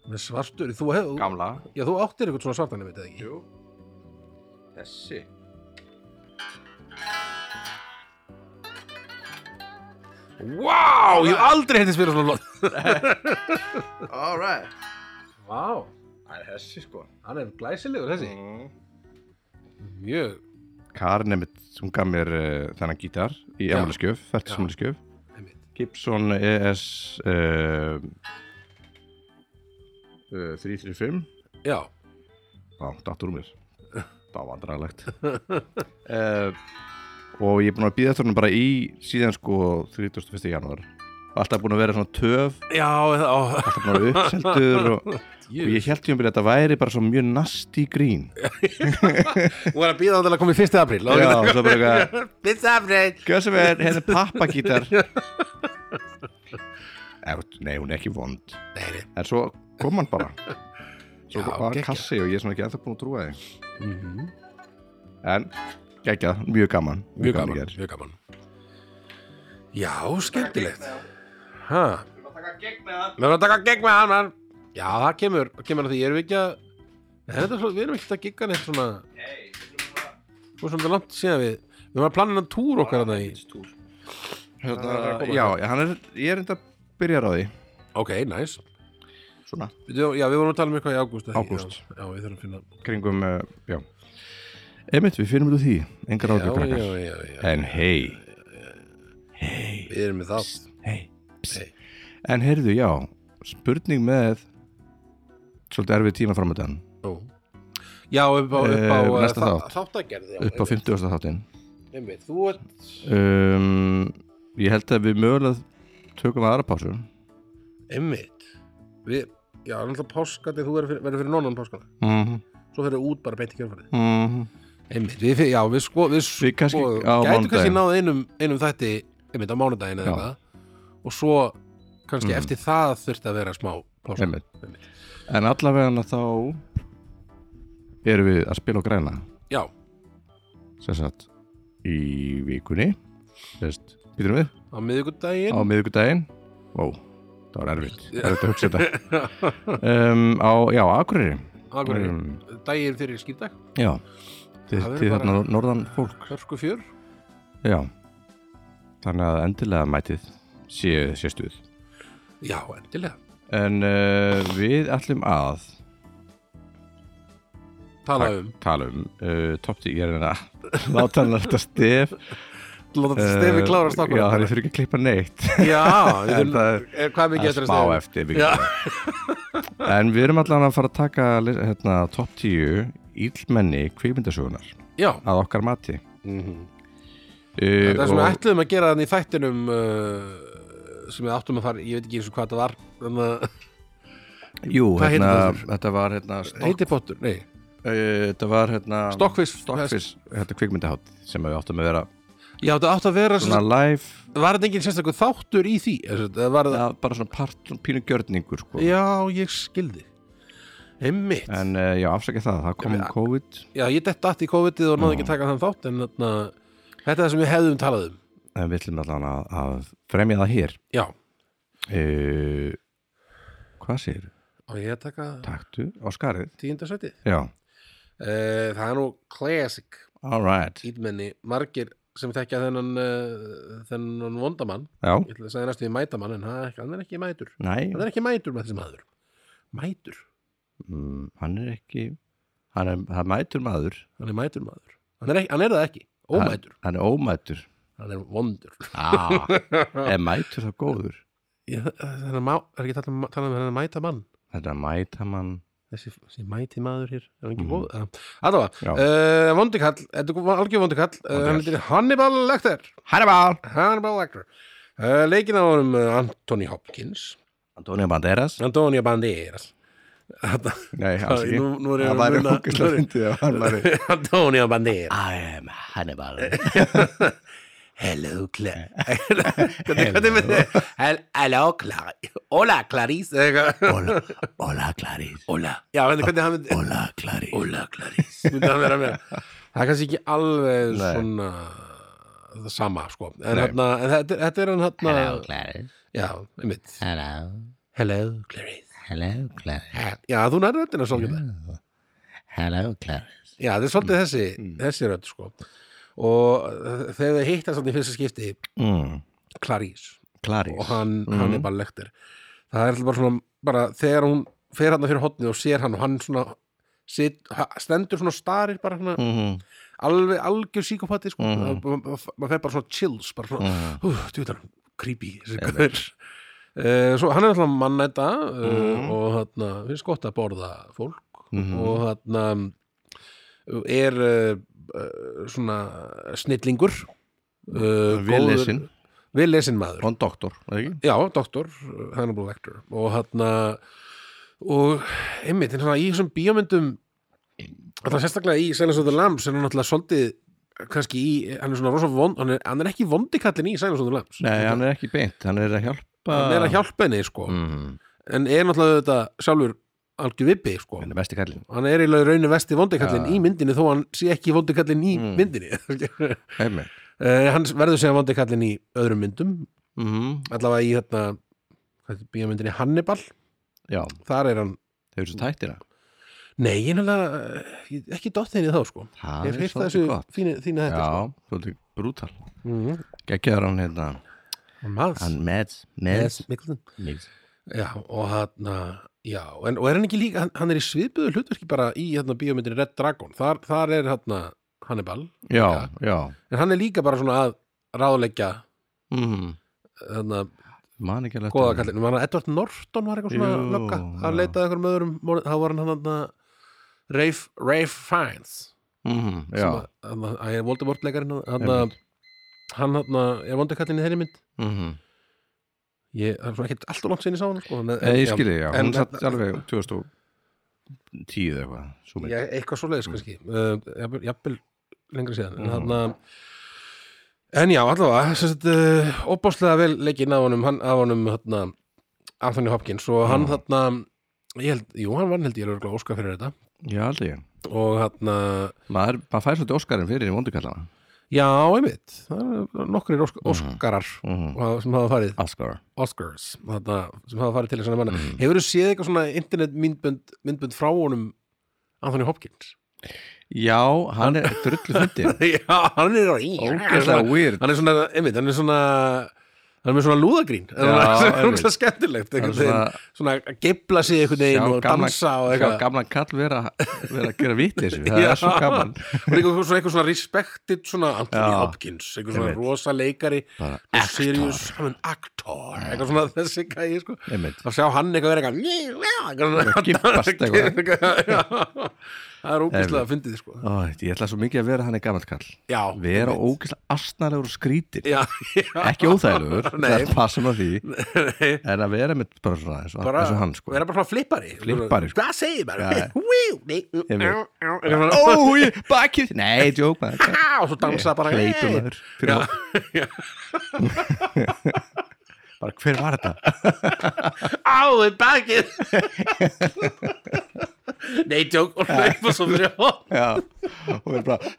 [SPEAKER 1] Með svartur, þú hef
[SPEAKER 2] gamla
[SPEAKER 1] Já, þú áttir eitthvað svona svartan, ég veit það ekki
[SPEAKER 2] Jú Þessi
[SPEAKER 1] Vá, ég hef aldrei heitist fyrir svona lóð
[SPEAKER 2] Alright
[SPEAKER 1] Vá,
[SPEAKER 2] Það er þessi sko
[SPEAKER 1] hann er glæsilegur þessi Mjög,
[SPEAKER 2] Karin Mm. er mitt, hún gaf mér uh, þennan gítar í
[SPEAKER 1] Já.
[SPEAKER 2] Emiliskjöf, fært
[SPEAKER 1] Já.
[SPEAKER 2] Emiliskjöf
[SPEAKER 1] einmitt
[SPEAKER 2] Gibson E ES uh, uh, 335
[SPEAKER 1] Já,
[SPEAKER 2] Já, dattur úr mér Það var vandrarlegt uh, Og ég er búin að býða þarna bara í síðan sko 31. janúar Alltaf búin að vera svona töf
[SPEAKER 1] já, það á
[SPEAKER 2] Alltaf búin að vera uppseldur og, og ég held ég um að þetta væri bara svona mjög nasty grín
[SPEAKER 1] Hún var að býða þannig að koma í 1. apríl
[SPEAKER 2] Já, og svo bara eitthvað
[SPEAKER 1] Fyrsta afreit
[SPEAKER 2] Gjöð sem er, hérna er pappagítar Eft, Nei, hún er ekki vond
[SPEAKER 1] Nei, nei
[SPEAKER 2] En svo kom hann bara
[SPEAKER 1] Já,
[SPEAKER 2] Svo var hann
[SPEAKER 1] geggjað.
[SPEAKER 2] kassi og ég er svona ekki ennþá búin að trúa því
[SPEAKER 1] Mhm.
[SPEAKER 2] En, geggjað, mjög gaman
[SPEAKER 1] Mjög gaman,
[SPEAKER 2] í gær.
[SPEAKER 1] mjög gaman Já, skemmtilegt Hæ? Við erum að taka gegn með hann man. Já, það kemur, kemur að því Erum við ekki að Nei, þetta er svo, Við erum ekki að gigga neitt svona Nei Nú er svolítið langt síðan við Við erum að plana hann túr okkar þarna í
[SPEAKER 2] Hérna, Já, hann er, ég er enda að byrja á því
[SPEAKER 1] Ok, næs nice.
[SPEAKER 2] Svona
[SPEAKER 1] Já, við vorum að tala um eitthvað í ágúst eða ekki?
[SPEAKER 2] Ágúst.
[SPEAKER 1] Já, já, við þurfum að finna
[SPEAKER 2] Kringum, uh, já Einmitt, við finnum út úr því Engar
[SPEAKER 1] Já,
[SPEAKER 2] ágjör
[SPEAKER 1] já,
[SPEAKER 2] krakkar
[SPEAKER 1] já, já,
[SPEAKER 2] En hei,
[SPEAKER 1] við erum með það
[SPEAKER 2] hei psst.
[SPEAKER 1] Hey.
[SPEAKER 2] En heyrðu, já Spurning með Svolítið erfið tíma framöndan
[SPEAKER 1] Nú. Já, upp á, upp á
[SPEAKER 2] Eh,
[SPEAKER 1] uh,
[SPEAKER 2] næsta
[SPEAKER 1] þa-
[SPEAKER 2] þátt.
[SPEAKER 1] þáttagerð já,
[SPEAKER 2] Upp á 50. þáttinn
[SPEAKER 1] einmitt, Þú ert,
[SPEAKER 2] um, Ég held að við mögulega Tökum aðra pásu
[SPEAKER 1] einmitt Við, já, náttúrulega páskandi Þú verður fyrir, verður fyrir nonnan páskana
[SPEAKER 2] Mhm,
[SPEAKER 1] Svo fyrir út bara beint í kjörfarið
[SPEAKER 2] mhm.
[SPEAKER 1] Einmitt, við, já, við sko Við,
[SPEAKER 2] Við kannski
[SPEAKER 1] sko,
[SPEAKER 2] á
[SPEAKER 1] gætu kannski
[SPEAKER 2] mánudaginn.
[SPEAKER 1] náð einum, einum þætti Einmitt á mánudaginn eða
[SPEAKER 2] Já. Mm.
[SPEAKER 1] eitthvað Og svo kannski eftir það þurfti að vera smá páska
[SPEAKER 2] Einmitt. En allavega þá Erum við að spila og græna
[SPEAKER 1] Já,
[SPEAKER 2] sem sagt í vikunni sérst, býtum við,
[SPEAKER 1] á
[SPEAKER 2] á
[SPEAKER 1] miðvikudaginn
[SPEAKER 2] miðvikudaginn Ó, það var erfitt, erfitt að hugsa þetta um, á, Já, á Akureyri
[SPEAKER 1] Akureyri.
[SPEAKER 2] Um,
[SPEAKER 1] daginn fyrir skýrdag
[SPEAKER 2] Já, til,
[SPEAKER 1] Það er
[SPEAKER 2] til
[SPEAKER 1] bara-
[SPEAKER 2] þarna norðan fólk
[SPEAKER 1] hörku fjör
[SPEAKER 2] Já, þannig að endilega mætið séu sé stuð
[SPEAKER 1] já, endilega
[SPEAKER 2] En uh, við ætlum að
[SPEAKER 1] tala um
[SPEAKER 2] tala um uh, top 10 er hérna láta hann alltaf stef uh,
[SPEAKER 1] Láta stefi klára
[SPEAKER 2] Eh, Já,
[SPEAKER 1] stakkur
[SPEAKER 2] þannig þurfi ekki að klippa neitt
[SPEAKER 1] Já, við
[SPEAKER 2] En
[SPEAKER 1] þurfum-
[SPEAKER 2] það er-
[SPEAKER 1] er, hvað
[SPEAKER 2] að
[SPEAKER 1] mikið eftir að stefi?
[SPEAKER 2] spá eftir
[SPEAKER 1] Já.
[SPEAKER 2] mikið. En við erum allan að fara að taka li- hérna, top 10 íllmenni kvikmyndasögunar
[SPEAKER 1] Já,
[SPEAKER 2] að okkar mati Mhm. uh,
[SPEAKER 1] það er sem við
[SPEAKER 2] og-
[SPEAKER 1] ætluðum að gera þannig í þættinum uh, sem við áttum að fara, ég veit ekki eins og hvað það var þannig að
[SPEAKER 2] Jú,
[SPEAKER 1] Hvað heitir
[SPEAKER 2] hérna,
[SPEAKER 1] það aftur?
[SPEAKER 2] þetta var hérna, stokk,
[SPEAKER 1] heiti pottur, nei,
[SPEAKER 2] uh, þetta var hérna,
[SPEAKER 1] stokkfisk
[SPEAKER 2] Stokkfis, hérna kvikmyndahátt sem við áttum að vera
[SPEAKER 1] Já, það átt að vera,
[SPEAKER 2] svona
[SPEAKER 1] svona,
[SPEAKER 2] live,
[SPEAKER 1] var þetta enginn sérstakur þáttur í því? Eða sem sagt, Það var það,
[SPEAKER 2] ja, bara svona part, pínu gjörningur sko.
[SPEAKER 1] já, ég skildi Einmitt
[SPEAKER 2] En uh, já, afsakið það, það kom um
[SPEAKER 1] Ég veit-
[SPEAKER 2] COVID
[SPEAKER 1] Já, ég dett aðt í COVID-ið og náði ekki að taka þann þátt en þarna, þetta er það sem við hefðum talað um
[SPEAKER 2] en við ætlum allan að, að fremja það hér
[SPEAKER 1] Já,
[SPEAKER 2] uh, Hvað segir?
[SPEAKER 1] og ég að taka
[SPEAKER 2] Taktu á skarið?
[SPEAKER 1] tíundasæti
[SPEAKER 2] Já,
[SPEAKER 1] uh, Það er nú classic
[SPEAKER 2] all right
[SPEAKER 1] ítmenni, margir sem þekkja þennan, uh, þennan vondamann
[SPEAKER 2] Já,
[SPEAKER 1] ég ætla að segja næstu í mætamann en hann er ekki- hann er ekki mætur
[SPEAKER 2] nei,
[SPEAKER 1] hann er ekki mætur með þessi maður mætur,
[SPEAKER 2] mm, hann er ekki Hann er, hann mætur maður
[SPEAKER 1] hann er mætur maður hann er, ekki, hann er það ekki, ómætur
[SPEAKER 2] Hann, hann er ómætur
[SPEAKER 1] hann er vondur
[SPEAKER 2] ah, Er mætur þá góður?
[SPEAKER 1] Ég- þannig að má, er ekki talað um- talað um þennan mæta mann
[SPEAKER 2] Þetta er mætamann
[SPEAKER 1] þessi, þessi mæti maður hér er hann ekki
[SPEAKER 2] Mhm.
[SPEAKER 1] góð mm. allavega,
[SPEAKER 2] Já.
[SPEAKER 1] uh, vondikall algjör vondikall, uh, hann
[SPEAKER 2] Vondikall.
[SPEAKER 1] heitir Hannibal Lecter
[SPEAKER 2] Hannibal
[SPEAKER 1] Hannibal Lecter uh, leikin á honum uh, Anthony Hopkins
[SPEAKER 2] Antonio Banderas
[SPEAKER 1] Antonio Banderas
[SPEAKER 2] Nei, alls
[SPEAKER 1] Æ,
[SPEAKER 2] ekki
[SPEAKER 1] nú- nú er ég
[SPEAKER 2] Það
[SPEAKER 1] að
[SPEAKER 2] væri
[SPEAKER 1] muna-
[SPEAKER 2] hókislega fyndið ef hann væri-
[SPEAKER 1] Antonio Banderas
[SPEAKER 2] I am Hannibal
[SPEAKER 1] Hello Clarice Hvernig- hvernig myndi- Hel- Hello Clarice Hola Clarice eða eitthvað.
[SPEAKER 2] Hola, hola Clarice Hola,
[SPEAKER 1] Já, hvernig hvernig hann myndi
[SPEAKER 2] hola Clarice
[SPEAKER 1] Hola Clarice myndi hann vera með Það er kannski ekki alveg
[SPEAKER 2] Nei.
[SPEAKER 1] svona það sama sko en,
[SPEAKER 2] Nei.
[SPEAKER 1] hana, en þetta, þetta er hann
[SPEAKER 4] Hello,
[SPEAKER 1] hann
[SPEAKER 4] Clarice.
[SPEAKER 1] Já, einmitt
[SPEAKER 4] Hello.
[SPEAKER 1] Hello Clarice
[SPEAKER 4] Hello, Clarice.
[SPEAKER 1] Já, þú nærðu röddina svolítið
[SPEAKER 4] Hello, Clarice.
[SPEAKER 1] Já, þetta er svolítið þessi, þessi rödd sko og uh, þegar þau hitta svolítið í fyrsta skipti
[SPEAKER 2] mm,
[SPEAKER 1] Clarice
[SPEAKER 2] Clarice
[SPEAKER 1] og hann, hann
[SPEAKER 2] Mhm.
[SPEAKER 1] er bara lektir það er alltaf bara svona bara, þegar hún fer hann fyrir hotnið og sér hann og hann svona sit, ha- stendur svona og starir bara svona,
[SPEAKER 2] Mhm,
[SPEAKER 1] alveg algjör síkopati sko.
[SPEAKER 2] Mhm.
[SPEAKER 1] mm maður fer bara svona chills bara svona,
[SPEAKER 2] mhm.
[SPEAKER 1] mm. uh, djúðan, creepy þessi gaur Uh, svo hann er alltaf mannæta uh,
[SPEAKER 2] Mhm.
[SPEAKER 1] og þarna, finnst gott að borða fólk
[SPEAKER 2] Mhm.
[SPEAKER 1] og þarna uh, er uh, uh, svona snillingur uh,
[SPEAKER 2] Vel
[SPEAKER 1] góður-
[SPEAKER 2] lesinn.
[SPEAKER 1] vel lesin maður
[SPEAKER 2] og hann doktor, eða ekki?
[SPEAKER 1] Já, doktor, Hannibal Lecter og hann og einmitt, en svona í þessum bíómyndum alltaf sérstaklega í Silence of the Lambs er hann alltaf svolítið kannski í, hann er svona rosa vond hann er, hann er ekki vondikallin í Silence of the Lambs
[SPEAKER 2] Nei, hann er ekki beint, hann er að hjálpa
[SPEAKER 1] Hann er að hjálpa henni sko
[SPEAKER 2] mm,
[SPEAKER 1] en er náttúrulega þetta sjálfur algjör vippi sko
[SPEAKER 2] Hann er besti kallin
[SPEAKER 1] hann er eiginlega raunum vesti vondikallin
[SPEAKER 2] Ja.
[SPEAKER 1] í myndinni þó hann sé ekki vondikallin í
[SPEAKER 2] Mm.
[SPEAKER 1] myndinni
[SPEAKER 2] Heimir
[SPEAKER 1] Eh, hann verður segja vondikallin í öðrum myndum
[SPEAKER 2] mm,
[SPEAKER 1] allavega í þetta hvað er bíómyndinni Hannibal
[SPEAKER 2] Já,
[SPEAKER 1] þar er hann
[SPEAKER 2] þau eru svo tættina
[SPEAKER 1] Nei, ég nefnilega, eh, ekki dott henni þá sko
[SPEAKER 2] Það
[SPEAKER 1] Ég
[SPEAKER 2] er
[SPEAKER 1] hef heyrt
[SPEAKER 2] svolítið
[SPEAKER 1] þessu
[SPEAKER 2] gott
[SPEAKER 1] þínu- þínu þetta sko.
[SPEAKER 2] Já, svolítið brútal
[SPEAKER 1] Mhm.
[SPEAKER 2] Gekkjaður hann hérna
[SPEAKER 1] Hann Mads
[SPEAKER 2] Hann Mads Mads
[SPEAKER 1] Mads Mikkelsen
[SPEAKER 2] Mads
[SPEAKER 1] Já, og hann Já, en, og er hann ekki líka, hann, hann er í svipuðu hlutverki bara í hérna bíómyndinni Red Dragon þar, þar er hérna Hannibal
[SPEAKER 2] Já, já
[SPEAKER 1] en hann er líka bara svona að ráðleggja
[SPEAKER 2] mm,
[SPEAKER 1] hérna,
[SPEAKER 2] Man ekki alveg
[SPEAKER 1] góða kallinu, hann Edward Norton var eitthvað svona
[SPEAKER 2] Jú,
[SPEAKER 1] lögga, hann
[SPEAKER 2] já.
[SPEAKER 1] leitaði einhverjum öðrum morð- þá var hann hann Rafe, Rafe Fiennes
[SPEAKER 2] mm, Já
[SPEAKER 1] sem að, hann að, Voldemort leikarinn hann að,
[SPEAKER 2] Einmitt.
[SPEAKER 1] hann að, er vondikallin í þeirri mynd
[SPEAKER 2] mhm.
[SPEAKER 1] Ég, það er svona ekkert alltaf langt sinni sá hann sko, en,
[SPEAKER 2] Nei, ég skilji, já,
[SPEAKER 1] en- hérna-
[SPEAKER 2] hún satt alveg 2010 eða eitthvað svo mynd.
[SPEAKER 1] já, eitthvað svoleiðis
[SPEAKER 2] Mm.
[SPEAKER 1] kannski uh, jafnvel, jafnvel lengra síðan en, þarna, en já, allavega sem sagt, uh, opbáslega vel leikinn af honum, hann, af honum þarna,
[SPEAKER 2] Mm.
[SPEAKER 1] Anthony Hopkins og hann þarna ég held, jú, hann vann held ég er örgulega óska fyrir þetta
[SPEAKER 2] Já, aldrei ég
[SPEAKER 1] mitt og hérna
[SPEAKER 2] maður, maður fær svolítið Óskarinn fyrir í vondukallana
[SPEAKER 1] já, einmitt, það eru nokkrir ósk óskarar
[SPEAKER 2] Mhm.
[SPEAKER 1] og- sem hafa farið
[SPEAKER 2] Óskar
[SPEAKER 1] Oscars, þarna, sem hafa farið til þessana manna
[SPEAKER 2] Mm.
[SPEAKER 1] hefur þú séð eitthvað svona internet myndbönd, myndbönd frá honum Anthony Hopkins
[SPEAKER 2] Já, hann er drullu fyndið
[SPEAKER 1] já, hann er í
[SPEAKER 2] Ógeðslega weird
[SPEAKER 1] hann er svona, einmitt, hann er svona hann er með svona lúðagrín
[SPEAKER 2] Já,
[SPEAKER 1] það er
[SPEAKER 2] einmitt.
[SPEAKER 1] svona skemmtilegt
[SPEAKER 2] Hann er
[SPEAKER 1] einhvern
[SPEAKER 2] svona-
[SPEAKER 1] veginn, svona að geifla sig einhvern veginn og dansa og
[SPEAKER 2] sjá
[SPEAKER 1] eitthvað
[SPEAKER 2] gamlan kall vera, vera að gera viti þessu það
[SPEAKER 1] Já.
[SPEAKER 2] er svo gaman
[SPEAKER 1] og eitthvað svona, eitthvað svona respektið svona Anthony
[SPEAKER 2] Já.
[SPEAKER 1] Hopkins eitthvað svona
[SPEAKER 2] Einmitt.
[SPEAKER 1] rosa leikari
[SPEAKER 2] Bara
[SPEAKER 1] og serious, hann er aktor eitthvað svona þessi gæði sko
[SPEAKER 2] Einmitt.
[SPEAKER 1] að sjá hann eitthvað vera eitthvað "Njá, njá", eitthvað
[SPEAKER 2] Gibbast eitthvað.
[SPEAKER 1] eitthvað já. það er ógæslega að fyndið sko
[SPEAKER 2] Ó, Ég ætla svo mikið að vera þannig gamall kall
[SPEAKER 1] já,
[SPEAKER 2] vera ógeðslega astnalegur og skrítir
[SPEAKER 1] já, já,
[SPEAKER 2] ekki óþægilegur,
[SPEAKER 1] Nei.
[SPEAKER 2] það er passum að því en að vera með bara svona eins og,
[SPEAKER 1] bara,
[SPEAKER 2] eins og hann sko
[SPEAKER 1] vera bara svona flippari
[SPEAKER 2] Flippari, sko.
[SPEAKER 1] hvað segir maður
[SPEAKER 2] Já.
[SPEAKER 1] Wíu, nei, ú,
[SPEAKER 2] Einmitt.
[SPEAKER 1] ú, ú, eitthvað svona,
[SPEAKER 2] Ó, ég, bakið, nei, djók maður
[SPEAKER 1] á, og svo dansa bara
[SPEAKER 2] hleypum
[SPEAKER 1] hey.
[SPEAKER 2] maður fyrir
[SPEAKER 1] Já,
[SPEAKER 2] hó- bara hver var þetta?
[SPEAKER 1] á, í bakið nei, tjók og hlaupa svo fyrir hótt
[SPEAKER 2] Já, og verður bara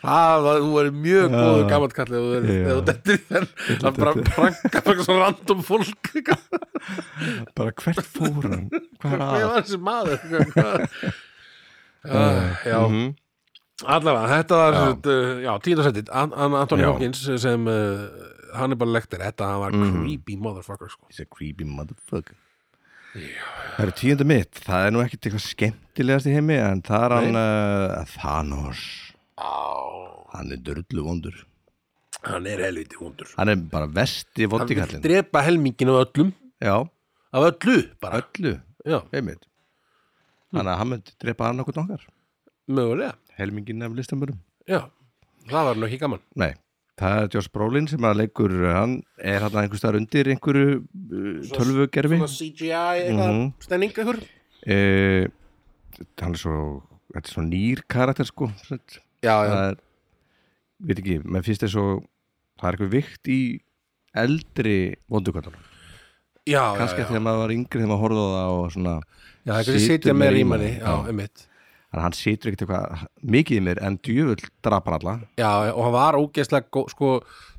[SPEAKER 1] Það var, þú verið mjög
[SPEAKER 2] Já.
[SPEAKER 1] góður gammalt kallið og
[SPEAKER 2] Já.
[SPEAKER 1] þú dettir í þenn það bara pranka bara svona random fólk hvað
[SPEAKER 2] bara hvert fór hann hvað er að
[SPEAKER 1] var þessi maður Hvað- hvað- Ah, já, allavega þetta var
[SPEAKER 2] mhm. Já.
[SPEAKER 1] já, já tíðarsættið Antoni
[SPEAKER 2] Já.
[SPEAKER 1] Hawkins sem uh, hann er bara lektir, þetta hann var
[SPEAKER 2] Mhm.
[SPEAKER 1] creepy motherfucker sko.
[SPEAKER 2] he's a creepy motherfucker það eru tíundu mitt það er nú ekkert eitthvað skemmtilegast í heimi en það er hann uh, Thanos hann er drullu vondur
[SPEAKER 1] hann er helviti hundur
[SPEAKER 2] hann er bara
[SPEAKER 1] hann
[SPEAKER 2] vesti
[SPEAKER 1] vil
[SPEAKER 2] vondikallin
[SPEAKER 1] drepa helmingin af öllum
[SPEAKER 2] já,
[SPEAKER 1] af öllu bara,
[SPEAKER 2] öllu,
[SPEAKER 1] já,
[SPEAKER 2] einmitt þannig að hann myndi drepa hann okkur nokkar
[SPEAKER 1] mögulega
[SPEAKER 2] helmingin af listamörum
[SPEAKER 1] já, það var nú ekki gaman
[SPEAKER 2] nei, það er Josh Brolin sem að leikur eh, hann er hann einhver staðar undir einhverju uh, tölvugerfi
[SPEAKER 1] CGI eitthvað,
[SPEAKER 2] Mhm.
[SPEAKER 1] stemning ykkur
[SPEAKER 2] eh, hann er svo þetta er svo nýr karakter sko svona
[SPEAKER 1] já, já,
[SPEAKER 2] það er, veit ekki, menn finnst þess og það er eitthvað vikt í eldri vondukvöldunum
[SPEAKER 1] já, já,
[SPEAKER 2] kannski
[SPEAKER 1] já.
[SPEAKER 2] þegar maður var yngri þegar maður horfði á það og svona
[SPEAKER 1] Já, það er kannski
[SPEAKER 2] situr
[SPEAKER 1] sitja með
[SPEAKER 2] meira í
[SPEAKER 1] rýmanni
[SPEAKER 2] manni,
[SPEAKER 1] Já,
[SPEAKER 2] já.
[SPEAKER 1] einmitt
[SPEAKER 2] þannig að hann situr ekkert eitthvað mikið í mér en djöfull drapar alla
[SPEAKER 1] Já, og hann var ógeðslega gó, sko,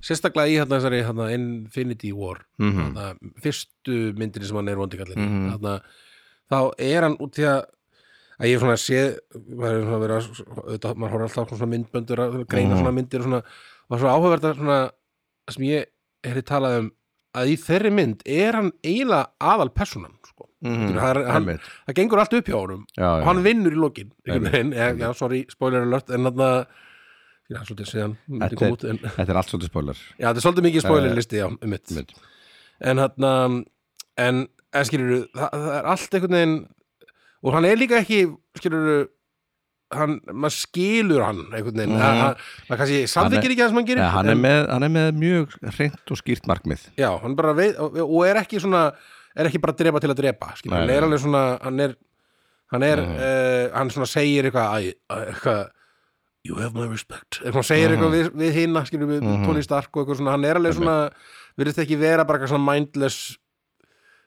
[SPEAKER 1] sérstaklega í hérna þessari hérna, Infinity War
[SPEAKER 2] mm
[SPEAKER 1] hérna, fyrstu myndinni sem hann er vondikallin mm
[SPEAKER 2] Mhm.
[SPEAKER 1] hérna, þá er hann út í að að ég hef svona séð maður er svona verið að auðvitað, maður horfði alltaf á svona myndböndur að greina
[SPEAKER 2] Mhm.
[SPEAKER 1] svona myndir og svona var svona áhugavert að svona sem ég hefði talað um að í þeirri mynd er hann eiginlega aðal personan sko.
[SPEAKER 2] Mhm.
[SPEAKER 1] það, er- hann,
[SPEAKER 2] Einmitt.
[SPEAKER 1] það gengur allt upp hjá honum
[SPEAKER 2] já,
[SPEAKER 1] og
[SPEAKER 2] já,
[SPEAKER 1] hann vinnur í lokin
[SPEAKER 2] Einmitt,
[SPEAKER 1] en, já, sorry, spoiler alert en þarna já, svolítið síðan myndi
[SPEAKER 2] Þetta
[SPEAKER 1] koma
[SPEAKER 2] er-
[SPEAKER 1] út, en,
[SPEAKER 2] þetta er allt svolítið spoiler
[SPEAKER 1] já, þetta er svolítið mikið spoiler listi já, um mitt
[SPEAKER 2] Einmitt.
[SPEAKER 1] en þarna, en, en skilur það, það er allt einhvern veginn og hann er líka ekki, skilur hann, maður skilur hann einhvern veginn,
[SPEAKER 2] Mhm.
[SPEAKER 1] mm. hann, maður kannski samþykir ekki það sem hann gerir
[SPEAKER 2] ja, Eh, hann, er
[SPEAKER 1] en,
[SPEAKER 2] með, hann er með mjög reynd og skýrt markmið
[SPEAKER 1] já, hann bara veit, og, og er ekki svona er ekki bara að drepa til að drepa skilur,
[SPEAKER 2] Nei,
[SPEAKER 1] hann
[SPEAKER 2] nei. Mhm.
[SPEAKER 1] er alveg svona, hann er hann er, uh, hann svona segir eitthvað æ, æ, eitthvað you have my respect eitthvað hann segir
[SPEAKER 2] Mhm.
[SPEAKER 1] eitthvað við, við hinna skilur við mm Tony Stark og eitthvað svona hann er alveg svona, virðist ekki vera bara eitthvað svona mindless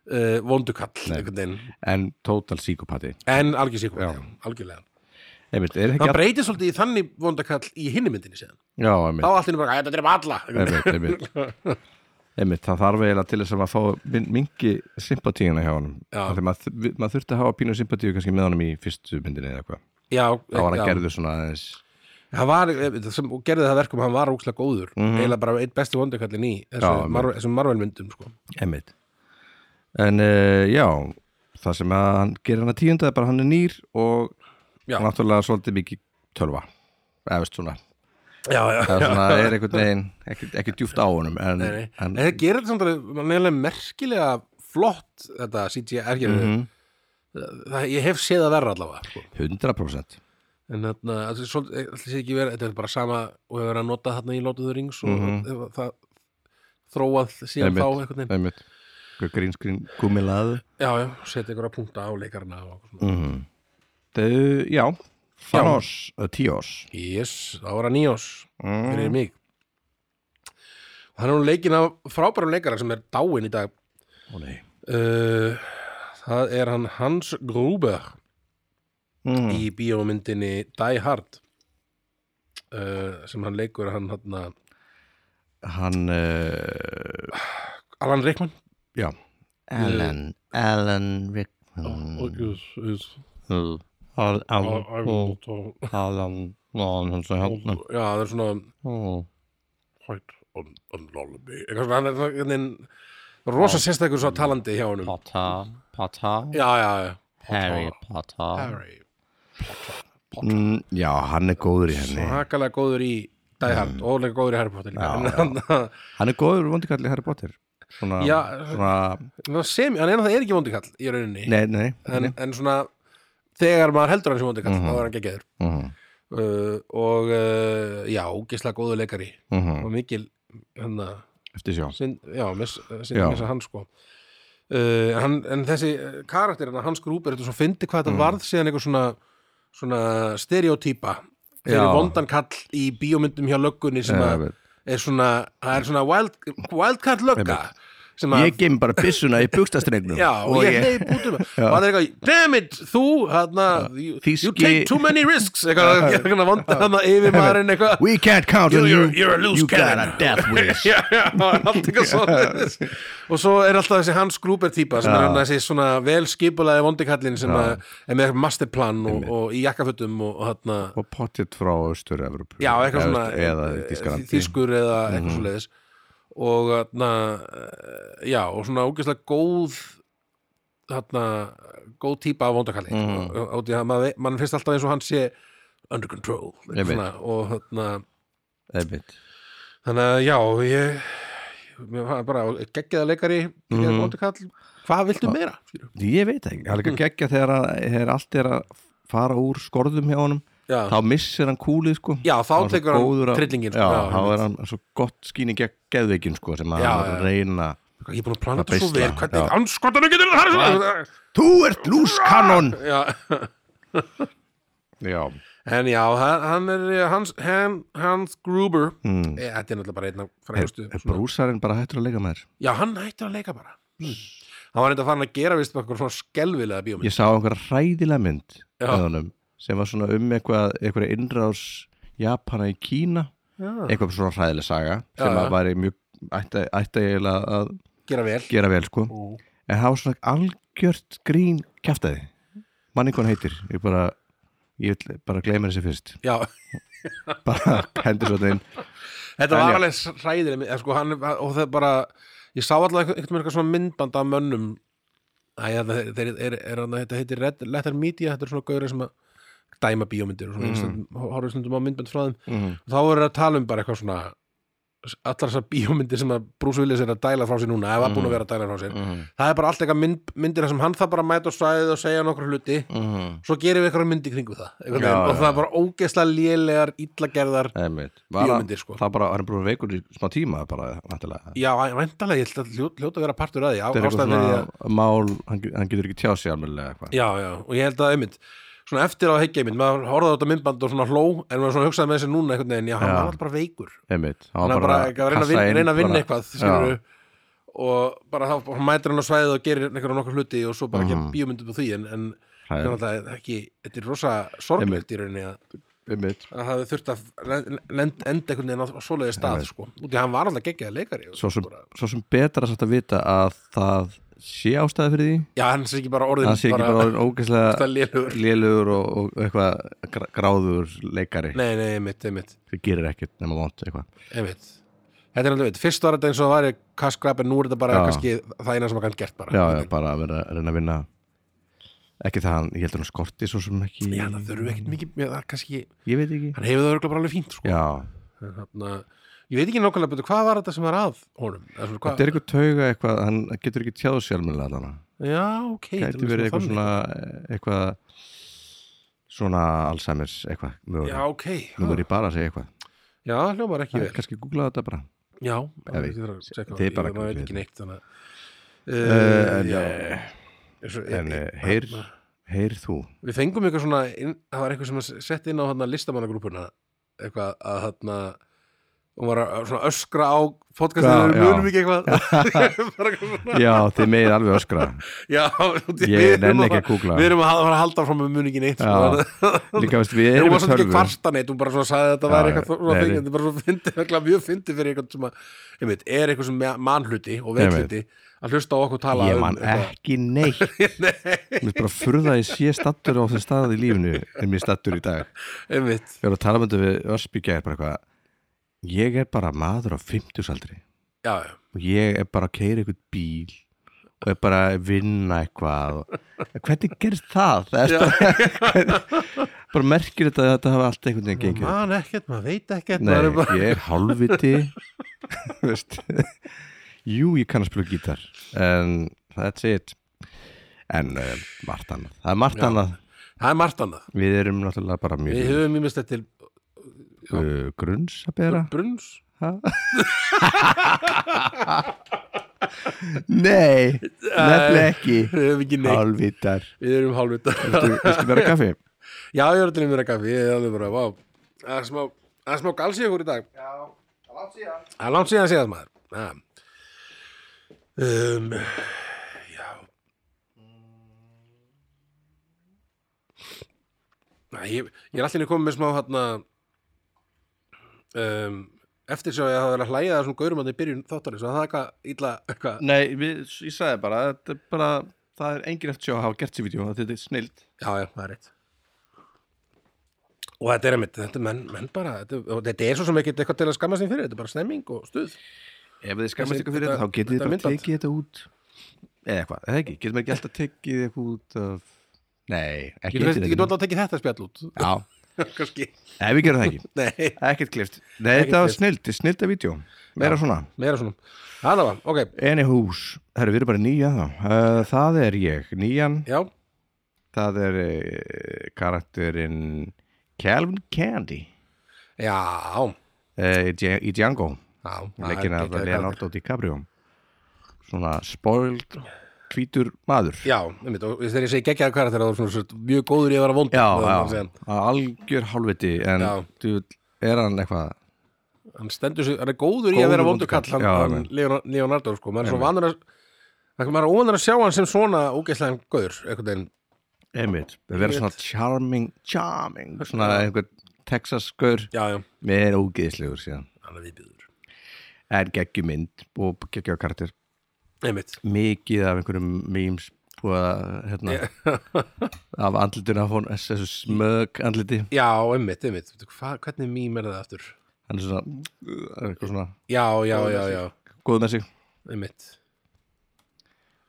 [SPEAKER 1] uh, vondukall einhvern veginn,
[SPEAKER 2] en total psychopati
[SPEAKER 1] en algjör síkum algjörlega,
[SPEAKER 2] einmitt, er ekki
[SPEAKER 1] hann
[SPEAKER 2] all...
[SPEAKER 1] breytir svolítið í þannig vondakall í hinni myndinni séðan
[SPEAKER 2] já,
[SPEAKER 1] þá
[SPEAKER 2] einmitt,
[SPEAKER 1] allt henni bara, "Æ, þetta drepa alla einhvern veginn.
[SPEAKER 2] einmitt, einmitt. einmitt, það þarf eiginlega til þess að maður fá mingi sympatíuna hjá honum
[SPEAKER 1] Já.
[SPEAKER 2] Af því maður, þ- maður þurfti að hafa pínu sympatíu kannski með honum í fyrstu myndinni eða eitthvað
[SPEAKER 1] já,
[SPEAKER 2] þá var hann
[SPEAKER 1] já.
[SPEAKER 2] gerður svona aðeins
[SPEAKER 1] hann var, eh, sem og gerði það verkum hann var ókslega góður, eiginlega bara einn besti vondakallin í
[SPEAKER 2] Mhm. Já,
[SPEAKER 1] þessu
[SPEAKER 2] einmitt.
[SPEAKER 1] Marvel- þessum Marvel myndum sko.
[SPEAKER 2] Emmitt En uh, já, það sem að hann gerir hann að tíunda er bara hann er nýr og
[SPEAKER 1] Já.
[SPEAKER 2] náttúrulega svolítið mikið tölva eða veist svona,
[SPEAKER 1] já, já,
[SPEAKER 2] það er svona er einhvern veginn ekki, ekki djúft á honum en,
[SPEAKER 1] nei, nei. En
[SPEAKER 2] en
[SPEAKER 1] það gerir þetta samt alveg mann er alveg merkilega flott þetta CGI er mm
[SPEAKER 2] Mhm.
[SPEAKER 1] það, ég hef séð það verra allavega sko.
[SPEAKER 2] 100%
[SPEAKER 1] en þarna, þetta er svolítið- eh, ætli sé ekki verið þetta er bara sama og hefur verið að nota þarna í Lótuður Rings og
[SPEAKER 2] Mhm.
[SPEAKER 1] það, það þróað síðan þá einhvern veginn
[SPEAKER 2] Emmitt grínskrín gúmilaðu
[SPEAKER 1] já, já, setja einhverja punkta á leikarna og svona.
[SPEAKER 2] mm -hmm. Já, Thanos uh, Tíos
[SPEAKER 1] yes, það var að nýjós fyrir
[SPEAKER 2] Mm.
[SPEAKER 1] mig og hann er hún leikin af frábærum leikara sem er dáin í dag
[SPEAKER 2] Ó, nei.
[SPEAKER 1] uh, það er hann Hans Gruber
[SPEAKER 2] mm.
[SPEAKER 1] í bíómyndinni Die Hard uh, sem hann leikur hann hann
[SPEAKER 2] Hann uh,
[SPEAKER 1] Alan Rickman
[SPEAKER 2] Já,
[SPEAKER 4] Alan, Alan
[SPEAKER 2] Mm.
[SPEAKER 4] Rickman.
[SPEAKER 1] og
[SPEAKER 2] Al- Mm. al- al-
[SPEAKER 1] já,
[SPEAKER 2] Alan Oh, Alan, hann sagði hann
[SPEAKER 1] það er svona
[SPEAKER 2] Ó.
[SPEAKER 1] hætt on, on lolliby eitthvað svona, hann er svona einhvern veginn rosa
[SPEAKER 2] Oh.
[SPEAKER 1] sérstakur svo talandi hjá honum
[SPEAKER 2] Pata, pata,
[SPEAKER 1] já, já, já
[SPEAKER 2] Harry Pata
[SPEAKER 1] Harry
[SPEAKER 2] mm, Já, hann er góður í henni
[SPEAKER 1] svakalega góður í Die Hard
[SPEAKER 2] Mm.
[SPEAKER 1] og líka góður í Harry Potter líka. En hann-
[SPEAKER 2] Hann er góður vondikall í Harry Potter Svona,
[SPEAKER 1] Já.
[SPEAKER 2] svona
[SPEAKER 1] hann sem, hann er, það er ekki vondikall í rauninni
[SPEAKER 2] Nei, nei,
[SPEAKER 1] eh, en,
[SPEAKER 2] nei.
[SPEAKER 1] en svona þegar maður heldur hann sem vondikall þá er hann geggjæður
[SPEAKER 2] Mhm,
[SPEAKER 1] uh, og uh, já, ógislega góður leikari
[SPEAKER 2] mhm.
[SPEAKER 1] og mikil hérna,
[SPEAKER 2] Eftir sjá
[SPEAKER 1] sind, já, með
[SPEAKER 2] Já.
[SPEAKER 1] sindingins að hann sko uh, hann, en þessi eh, karakter hann, hans grúpir, þetta er svo fyndi hvað
[SPEAKER 2] Mm.
[SPEAKER 1] þetta varð síðan einhver svona, svona stereotýpa þegar
[SPEAKER 2] Já.
[SPEAKER 1] vondan kall í bíómyndum hjá löggunni sem að
[SPEAKER 2] Eh,
[SPEAKER 1] er svona, það er svona wild, wildcat lögga sem að
[SPEAKER 2] Ég gem bara byssuna í bukstastrengnum
[SPEAKER 1] Já, og ég hleyp út um það og það er eitthvað, damn it, þú hana, you, you
[SPEAKER 2] Þýski-
[SPEAKER 1] take too many risks eitthvað, ég er eitthvað vanda hana yfir maðurinn eitthvað
[SPEAKER 2] We can't count on you
[SPEAKER 1] You're- you're a loose
[SPEAKER 2] You got
[SPEAKER 1] cannon.
[SPEAKER 2] a death wish
[SPEAKER 1] Já, já, allt eitthvað svoleiðis. og svo er alltaf þessi Hans Gruber típa sem er hann þessi svona vel skipulaði vondikallin sem að, er með masterplan og, og í jakkafötum og, og hann
[SPEAKER 2] Og pottitt frá Östur-Evropu
[SPEAKER 1] já, eitthvað svona
[SPEAKER 2] Eða
[SPEAKER 1] eh,
[SPEAKER 2] Þískalandi
[SPEAKER 1] þýskur eða eitthvað mm. svoleiðis og þarna eh, já, og svona ógeðslega góð þarna góð típa af vondakalli mm. og því að maður mann finnst alltaf eins og hann sé under control
[SPEAKER 2] Ég veit.
[SPEAKER 1] svona, og þarna
[SPEAKER 2] Einmitt.
[SPEAKER 1] þannig að já, ég mér var bara geggjaða leikari
[SPEAKER 2] Mhm.
[SPEAKER 1] geggjaða vondakall, hvað viltu meira? skilurðu?
[SPEAKER 2] Ég veit það ekki, það
[SPEAKER 1] Mm.
[SPEAKER 2] er líka geggja þegar, að, þegar allt er að fara úr skorðum hjá honum
[SPEAKER 1] Já.
[SPEAKER 2] þá missir hann kúlið sko
[SPEAKER 1] Já, þá
[SPEAKER 2] Hann er svo
[SPEAKER 1] tekur hann
[SPEAKER 2] góður að-
[SPEAKER 1] tryllinginn, sko.
[SPEAKER 2] Já,
[SPEAKER 1] Já,
[SPEAKER 2] þá
[SPEAKER 1] einmitt.
[SPEAKER 2] er hann svo gott skýni gegn geðveikin sko sem að
[SPEAKER 1] Já,
[SPEAKER 2] hann er að
[SPEAKER 1] já.
[SPEAKER 2] reyna
[SPEAKER 1] ég er búin að plana
[SPEAKER 2] Það
[SPEAKER 1] þetta svo vel
[SPEAKER 2] beisla, já.
[SPEAKER 1] hvernig anskotanum getur það er svo-
[SPEAKER 2] Þú ert lúskannon
[SPEAKER 1] já
[SPEAKER 2] Já,
[SPEAKER 1] En já, hann- hann er hans, hann, hans Gruber mm. e, Þetta er náttúrulega bara einn af frægustu
[SPEAKER 2] er
[SPEAKER 1] svona-
[SPEAKER 2] brúsarinn bara hættur að leika með þér
[SPEAKER 1] Já, hann hættur að leika bara Hmm. Hann var enda farin að gera vist okkur svona skelvilega bíómynd
[SPEAKER 2] Ég sá einhverja hræðilega mynd
[SPEAKER 1] Já.
[SPEAKER 2] með honum sem var svona um eitthvað, einhverja innrás Japana í Kína eitthvað svona hræðileg saga sem
[SPEAKER 1] Já, já.
[SPEAKER 2] að væri mjög ætti, ætti eiginlega að
[SPEAKER 1] Gera vel
[SPEAKER 2] gera vel sko en það var svona algjört grín kjaftaði manni hvað hann heitir ég bara, ég vil bara gleyma þessi fyrst
[SPEAKER 1] Já,
[SPEAKER 2] bara hendur svo inn
[SPEAKER 1] þetta
[SPEAKER 2] En
[SPEAKER 1] var
[SPEAKER 2] já.
[SPEAKER 1] alveg hræðileg mynd, eða sko, hann, og það bara Ég sá alltaf einhvern veginn eitthvað svona myndband af mönnum Æ, þarna, þeir, er, er, er, þetta heitir Red Letter Media, þetta er svona gauður sem að dæma bíómyndir og svona mm. stundum, horfum stundum á myndband frá þeim
[SPEAKER 2] mm.
[SPEAKER 1] og þá voru að tala um bara eitthvað svona allar þessar bíómyndir sem að Bruce Willis er að dæla frá sér núna, ef
[SPEAKER 2] Mm.
[SPEAKER 1] að búin að vera að dæla frá sér
[SPEAKER 2] mhm,
[SPEAKER 1] það er bara allt eitthvað mynd, myndir þar sem hann það bara að mæta á svæðið og segja nokkru hluti
[SPEAKER 2] Mm.
[SPEAKER 1] svo gerum við eitthvað myndi kringu það já,
[SPEAKER 2] Já,
[SPEAKER 1] og
[SPEAKER 2] já.
[SPEAKER 1] það er bara ógeðslega lélegar illagerðar,
[SPEAKER 2] einmitt Var hann-
[SPEAKER 1] Bíómyndir, sko.
[SPEAKER 2] það bara, hann er bara veikur í smá tíma bara, vantilega
[SPEAKER 1] já, væntalega ég held að hljó- hljóta að vera partur að því, á,
[SPEAKER 2] þetta er eitthvað
[SPEAKER 1] ástæðan fyrir því
[SPEAKER 2] svona
[SPEAKER 1] að
[SPEAKER 2] mál hann, ge- hann getur ekki tjá sig alveg eitthvað
[SPEAKER 1] já, já, og ég held að einmitt svona eftir á heikja minn, maður horfði á þetta myndband og svona hló, en maður svona hugsaði með þessi núna einhvern veginn, já, hann
[SPEAKER 2] Já.
[SPEAKER 1] var alltaf bara veikur
[SPEAKER 2] einmitt
[SPEAKER 1] hann er bara ekki að reyna að
[SPEAKER 2] kassa
[SPEAKER 1] vinna,
[SPEAKER 2] inn
[SPEAKER 1] reyna að vinna
[SPEAKER 2] bara-
[SPEAKER 1] eitthvað
[SPEAKER 2] Já.
[SPEAKER 1] skilur og bara þá bara mætir hann á svæðið og gerir einhverjum nokkur hluti og svo
[SPEAKER 2] Mhm.
[SPEAKER 1] bara gerir bíómyndum á því en, en
[SPEAKER 2] Hræðilegt.
[SPEAKER 1] þetta er náttúrulega ekki, þetta er rosa sorglegt í rauninni að
[SPEAKER 2] einmitt
[SPEAKER 1] að það hafi þurft að len- lend- enda einhvern veginn á svoleiði stað sko, út í að hann var alltaf geggjað leikari sko. og
[SPEAKER 2] svo sem,
[SPEAKER 1] bara-
[SPEAKER 2] svo sem betra satt að vita að það sé ástæði fyrir því
[SPEAKER 1] já, hann sé ekki bara orðin
[SPEAKER 2] hann sé ekki bara orðinn ógeðslega
[SPEAKER 1] lélugur
[SPEAKER 2] lélugur og, og eitthvað gra- gráður leikari
[SPEAKER 1] nei, nei, einmitt, einmitt,
[SPEAKER 2] það gerir ekkert nema vond eitthvað
[SPEAKER 1] einmitt þetta er alltaf veit, fyrst var þetta eins og það var kaskrap en nú er þetta bara
[SPEAKER 2] Já.
[SPEAKER 1] kannski það eina sem hann gert bara
[SPEAKER 2] já, já, bara að vera að reyna að vinna ekki það, hann, ég heldur hann skorti svo sem ekki
[SPEAKER 1] Já, það þurfum ekkert mikið, það er kannski,
[SPEAKER 2] ég veit ekki
[SPEAKER 1] hann hefur það örugglega bara alveg fínt sko.
[SPEAKER 2] já,
[SPEAKER 1] Þarna, ég veit ekki nákvæmlega betur hvað var þetta sem var að honum Eða svona, hvað-
[SPEAKER 2] þetta er eitthvað tauga eitthvað hann getur ekki tjáðu sjálfmjölega allan
[SPEAKER 1] já, ok þetta
[SPEAKER 2] gæti
[SPEAKER 1] er
[SPEAKER 2] verið
[SPEAKER 1] svona
[SPEAKER 2] eitthvað
[SPEAKER 1] þannig.
[SPEAKER 2] svona eh, eitthvað svona Alzheimer's eitthvað
[SPEAKER 1] já,
[SPEAKER 2] mögulega,
[SPEAKER 1] ok,
[SPEAKER 2] nú er ég bara að segja eitthvað
[SPEAKER 1] já, hljómar ekki vel
[SPEAKER 2] kannski googla þetta bara
[SPEAKER 1] já,
[SPEAKER 2] Ef ég-
[SPEAKER 1] þið
[SPEAKER 2] þið bara
[SPEAKER 1] ég maður veit
[SPEAKER 2] kannski-
[SPEAKER 1] ekki neitt þannig
[SPEAKER 2] Eh,
[SPEAKER 1] að-
[SPEAKER 2] en,
[SPEAKER 1] Eh, já.
[SPEAKER 2] eh,
[SPEAKER 1] Eins og-
[SPEAKER 2] en
[SPEAKER 1] eh,
[SPEAKER 2] eh, heyr heyr þú
[SPEAKER 1] við fengum eitthvað svona inn, það var eitthvað sem að setja inn á hana listamannagrúpuna eitthvað að hana og var að svona öskra á
[SPEAKER 2] Já,
[SPEAKER 1] podcastinu, við munum
[SPEAKER 2] já.
[SPEAKER 1] ekki eitthvað bara eitthvað svona
[SPEAKER 2] Já, þið megið alveg öskra
[SPEAKER 1] Já,
[SPEAKER 2] Ég
[SPEAKER 1] við erum að
[SPEAKER 2] nenni ekki að
[SPEAKER 1] fara-
[SPEAKER 2] kúkla
[SPEAKER 1] við erum að fara að halda frá með muni ekki neitt
[SPEAKER 2] Já.
[SPEAKER 1] sko.
[SPEAKER 2] Líka veist, við
[SPEAKER 1] Hún
[SPEAKER 2] erum
[SPEAKER 1] var
[SPEAKER 2] með
[SPEAKER 1] svolítið ekki
[SPEAKER 2] tölvu
[SPEAKER 1] kvarta neitt, hún bara svona sagði að þetta
[SPEAKER 2] Já,
[SPEAKER 1] væri
[SPEAKER 2] já,
[SPEAKER 1] eitthvað svona
[SPEAKER 2] nei,
[SPEAKER 1] fyndið,
[SPEAKER 2] nei.
[SPEAKER 1] þetta er bara svona fyndið, eitthvað mjög fyndið fyrir eitthvað sem að, ég veit, er eitthvað sem me- manhluti og veitluti að hlusta á okkur tala
[SPEAKER 2] Ég
[SPEAKER 1] um
[SPEAKER 2] man
[SPEAKER 1] eitthvað.
[SPEAKER 2] ekki neitt Mér er bara að furða að ég sé stattur á þeim staðið í lífinu en mér stattur í dag
[SPEAKER 1] einmitt,
[SPEAKER 2] Ég var að tala með þetta við Ösbyggja er bara eitthvað Ég er bara maður á 50 aldri
[SPEAKER 1] já, já,
[SPEAKER 2] og ég er bara að keira eitthvað bíl og er bara að vinna eitthvað og- hvernig gerst það? það er bara, bara merkir þetta að þetta hafa allt einhvern veginn gengið
[SPEAKER 1] man ekkert, maður veit ekkert
[SPEAKER 2] Nei,
[SPEAKER 1] maður er bara,
[SPEAKER 2] ég er hálfviti veist Jú, ég kann að spila gítar en that's it en uh, margt annað það er margt
[SPEAKER 1] Já.
[SPEAKER 2] annað
[SPEAKER 1] það er margt annað
[SPEAKER 2] við erum náttúrulega bara
[SPEAKER 1] við
[SPEAKER 2] mjög
[SPEAKER 1] höfum ímest þetta til
[SPEAKER 2] uh, grunns að bera
[SPEAKER 1] brunns
[SPEAKER 2] Nei, nefnilega ekki
[SPEAKER 1] við höfum ekki neitt,
[SPEAKER 2] hálfvitar
[SPEAKER 1] við erum hálfvita
[SPEAKER 2] Þú viltu vera kaffi?
[SPEAKER 1] já, ég er til mér eitthvað, við erum alveg bara, vá það er smá, það er smá galsi ykkur í dag já, það er langt síðan það er langt síðan síðan maður um, já Næ, ég, ég er allir komið með smá hérna um, eftir svo að ég hafa verið að hlæja þessum gaurum að þið byrjun þáttarins og það er eitthvað illa eitthvað,
[SPEAKER 2] Nei, við, ég sagði bara, þetta er bara það er engin eftir sjá að hafa gert sér vídeo þetta er snilt
[SPEAKER 1] já, já, það er rétt og þetta er einmitt, þetta er menn, menn bara þetta, og þetta er svo sem ekki eitthvað til að skamma sín fyrir þetta er bara stemming og stuð
[SPEAKER 2] Ef þið skammast
[SPEAKER 1] Þessi-
[SPEAKER 2] ykkur fyrir
[SPEAKER 1] þetta-
[SPEAKER 2] þetta, þá getið þið
[SPEAKER 1] þetta
[SPEAKER 2] bara
[SPEAKER 1] myndband.
[SPEAKER 2] tekið þetta út eða eitthvað, eða ekki, getum ekki alltaf tekið eitthvað út af Nei, ekki
[SPEAKER 1] Getur
[SPEAKER 2] tekið
[SPEAKER 1] þetta ekki alltaf að tekið þetta spjall út?
[SPEAKER 2] Já,
[SPEAKER 1] Kanski.
[SPEAKER 2] ef við gerum það ekki
[SPEAKER 1] Nei.
[SPEAKER 2] Ekkert klift Nei, þetta var
[SPEAKER 1] klift.
[SPEAKER 2] snilt, þetta er snilt að vídeo Meira svona
[SPEAKER 1] Meira svona. Hanna var, ok.
[SPEAKER 2] Anyhús, herru, við erum bara nýja þá uh, Það er ég, nýjan
[SPEAKER 1] Já.
[SPEAKER 2] Það er uh, karakterinn Calvin Candy
[SPEAKER 1] Já.
[SPEAKER 2] uh, í Dja- í Django
[SPEAKER 1] Já.
[SPEAKER 2] leggin
[SPEAKER 1] það er
[SPEAKER 2] af
[SPEAKER 1] geggjaður
[SPEAKER 2] Leonardo DiCaprio svona spoiled hvítur maður
[SPEAKER 1] karakter. Já, einmitt. Og þegar ég segi geggjaður karakter, þá er svona svona mjög góður í að vera vond.
[SPEAKER 2] já, já algjör hálfviti en
[SPEAKER 1] Já.
[SPEAKER 2] þú, er hann eitthvað
[SPEAKER 1] Hann stendur sig, hann er góður í að
[SPEAKER 2] Góður
[SPEAKER 1] vera
[SPEAKER 2] vondur
[SPEAKER 1] vondur kall, hann,
[SPEAKER 2] kall. Já,
[SPEAKER 1] hann
[SPEAKER 2] einmitt.
[SPEAKER 1] Leon- Leonardo, sko. Maður er svo vanur að, maður er óvanur að sjá hann sem svona ógeðslega góður, einhvern veginn.
[SPEAKER 2] einmitt, það verður svona charming charming, svona einhver Texas skur,
[SPEAKER 1] Já, já.
[SPEAKER 2] með er ógeðslegur síðan,
[SPEAKER 1] Hann er viðbjöður.
[SPEAKER 2] er geggjumynd og geggjumkartir,
[SPEAKER 1] Einmitt.
[SPEAKER 2] mikið af einhverjum memes búið að, hérna af andlituna af hún, þessu smög andliti,
[SPEAKER 1] Já, einmitt, einmitt. Hva, hvernig mím er það aftur?
[SPEAKER 2] hann er svona er eitthvað svona,
[SPEAKER 1] Já, já, já, já.
[SPEAKER 2] góð með sig
[SPEAKER 1] Einmitt.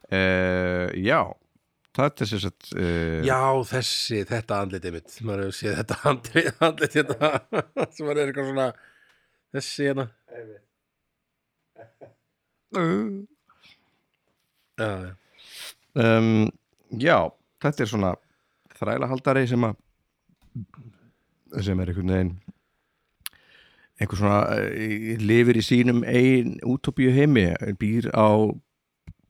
[SPEAKER 2] Uh, já, þetta er sér satt uh,
[SPEAKER 1] Já, þessi, þetta andlitið mitt maður hefur séð þetta andlit, andlit hérna, sem maður er eitthvað svona þessi hérna
[SPEAKER 2] um,
[SPEAKER 1] já, já.
[SPEAKER 2] já, þetta er svona þrælahaldari sem að sem er einhvern veginn einhver svona uh, lifir í sínum ein útopíu heimi býr á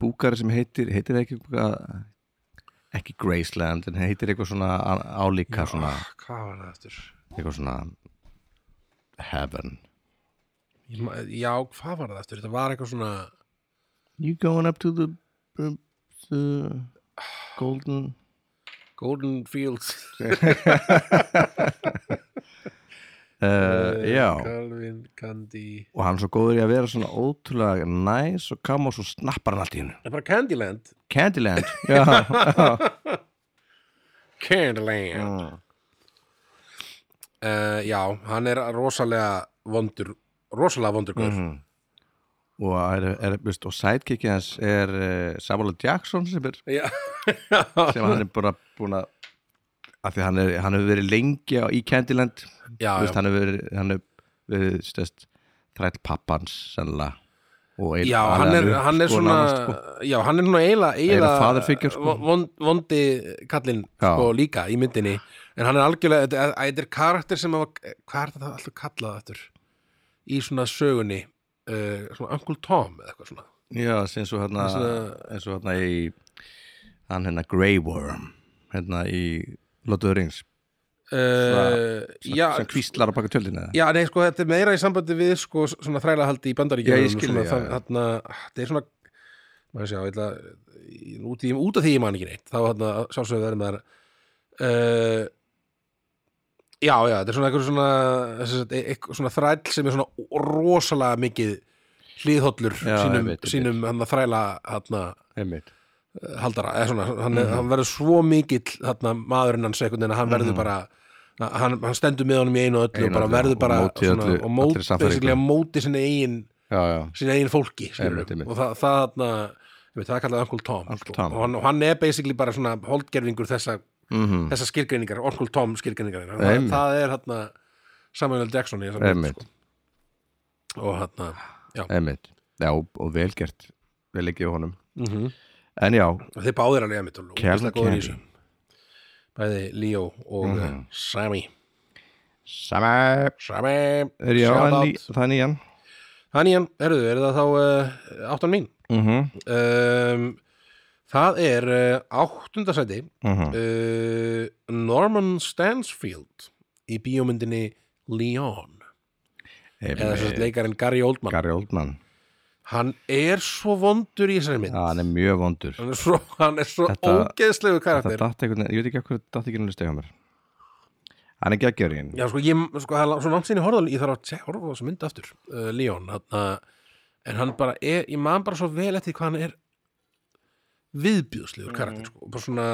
[SPEAKER 2] búkari sem heitir heitir það ekki eitthvað- ekki Graceland en heitir eitthvað svona á- álíka svona,
[SPEAKER 1] Ah, hvað var það eftir
[SPEAKER 2] eitthvað svona heaven
[SPEAKER 1] Ég ma- já, hvað var það eftir, þetta var eitthvað svona
[SPEAKER 2] You going up to the, the, the golden
[SPEAKER 1] Golden Fields
[SPEAKER 2] uh, Já,
[SPEAKER 1] eh, Calvin, Candy
[SPEAKER 2] og hann er svo góður í að vera svona ótrúlega næs og kam og svo snappar hann allt í hennu
[SPEAKER 1] það er bara Candyland
[SPEAKER 2] Candyland Já,
[SPEAKER 1] Candyland
[SPEAKER 2] Mhm.
[SPEAKER 1] uh, já, hann er rosalega vondur rosalega vondur
[SPEAKER 2] Mhm.
[SPEAKER 1] gaur
[SPEAKER 2] og, er, er, veist, og sidekickið hans er uh, Samuel L. Jackson sem, er,
[SPEAKER 1] já,
[SPEAKER 2] sem hann er bara búin að af því hann, er, hann hefur verið lengi á, í Candyland
[SPEAKER 1] já,
[SPEAKER 2] veist,
[SPEAKER 1] já.
[SPEAKER 2] hann hefur verið, hann hefur verið stest, þræll pappans sennilega og ein-
[SPEAKER 1] Já,
[SPEAKER 2] alveg
[SPEAKER 1] hann er,
[SPEAKER 2] upp,
[SPEAKER 1] hann er
[SPEAKER 2] sko,
[SPEAKER 1] svona
[SPEAKER 2] nánast, sko.
[SPEAKER 1] Já, hann er svona eiginlega eiginlega
[SPEAKER 2] Eiginlega father figure, sko.
[SPEAKER 1] von- Vondi kallinn
[SPEAKER 2] Já.
[SPEAKER 1] sko, líka í myndinni En hann er algjörlega, þetta er- þetta er karakter sem var, Hvað er þetta alltaf kallað aftur? Í svona sögunni uh, Svona Uncle Tom eða eitthvað svona
[SPEAKER 2] Já, sem svo hérna
[SPEAKER 1] Þessu-
[SPEAKER 2] eins og hérna í hann hérna Grey Worm hérna í Lord of the Rings
[SPEAKER 1] uh,
[SPEAKER 2] sem,
[SPEAKER 1] já,
[SPEAKER 2] sem kvíslar að baka tjöldin eða
[SPEAKER 1] já, nei, sko, þetta er meira í sambandi við sko, svona þrælahaldi í bandaríkjum
[SPEAKER 2] Já, ég skil
[SPEAKER 1] svona,
[SPEAKER 2] þig, já,
[SPEAKER 1] það,
[SPEAKER 2] já.
[SPEAKER 1] þarna, það er svona maður sjá, ég ætla ég- út, í, út af því ég man ekki neitt þá þarna, sjálfsögðu verður maður uh, já, já, þetta er svona eitthvað svona, sem sagt, e- eitthvað svona þræll sem er svona rosalega mikið hliðhollur
[SPEAKER 2] Já,
[SPEAKER 1] sínum,
[SPEAKER 2] einmitt, einmitt.
[SPEAKER 1] sínum hann þræla hann
[SPEAKER 2] einmitt
[SPEAKER 1] haldara eða svona, hann, mm hann verður svo mikill þarna, maðurinn hans einhvern veginn að hann verður bara hann, hann stendur með honum í einu og öllu
[SPEAKER 2] Mhm.
[SPEAKER 1] og
[SPEAKER 2] Einu
[SPEAKER 1] bara
[SPEAKER 2] öllu
[SPEAKER 1] verður
[SPEAKER 2] og
[SPEAKER 1] bara
[SPEAKER 2] móti öllu,
[SPEAKER 1] og
[SPEAKER 2] allri
[SPEAKER 1] móti,
[SPEAKER 2] sannfæringu.
[SPEAKER 1] basically, hann móti sinni eigin,
[SPEAKER 2] já, já,
[SPEAKER 1] sinni eigin fólki skilurðu.
[SPEAKER 2] Einmitt, einmitt.
[SPEAKER 1] og það, það þarna einmitt, það er kallað Uncle Tom, sko.
[SPEAKER 2] Uncle Tom.
[SPEAKER 1] Og, hann, og hann er basically bara svona holdgerfingur þessa,
[SPEAKER 2] mm
[SPEAKER 1] þessa skilgreiningar Uncle Tom skilgreiningar það,
[SPEAKER 2] Einmitt.
[SPEAKER 1] það er þarna Samuel L. Jackson í þessari mynd,
[SPEAKER 2] Einmitt.
[SPEAKER 1] sko. og þarna já,
[SPEAKER 2] einmitt já, og velgert, vel ekki á honum
[SPEAKER 1] mm
[SPEAKER 2] en já,
[SPEAKER 1] og þeir báðir alveg emitt og
[SPEAKER 2] Kjarl
[SPEAKER 1] ógeðslega góðir í
[SPEAKER 2] Kenny.
[SPEAKER 1] þessu. bæði Leo og
[SPEAKER 2] Mhm.
[SPEAKER 1] mm Sammy
[SPEAKER 2] sama
[SPEAKER 1] Sammy
[SPEAKER 2] er já,
[SPEAKER 1] shout
[SPEAKER 2] en
[SPEAKER 1] out.
[SPEAKER 2] ný- það er nýjan
[SPEAKER 1] hann í hann, herruðu, er það þá uh, áttan mín
[SPEAKER 2] mhm,
[SPEAKER 1] um, það er uh, áttundasæti
[SPEAKER 2] mhm
[SPEAKER 1] uh, Norman Stansfield í bíómyndinni Leon eða svo
[SPEAKER 2] Einmitt.
[SPEAKER 1] leikarinn Gary Oldman
[SPEAKER 2] Gary Oldman,
[SPEAKER 1] hann er svo vondur í þessari mynd
[SPEAKER 2] Já, hann er mjög vondur
[SPEAKER 1] hann er svo, hann er svo
[SPEAKER 2] Þetta-
[SPEAKER 1] ógeðslegu
[SPEAKER 2] það
[SPEAKER 1] karakter
[SPEAKER 2] datt einhvern veginn, ég veit ekki af hverju datt ekki náttúrulega stegi á mér hann er geggjörinn
[SPEAKER 1] Já, sko, ég, sko, það er svo langt sinni horfðal, ég þarf að tjá, horfa á þessu mynd aftur, uh, Leon, hann, en hann bara er, ég man bara svo vel eftir hvað hann er viðbjöðslegur karakter, sko, og bara svona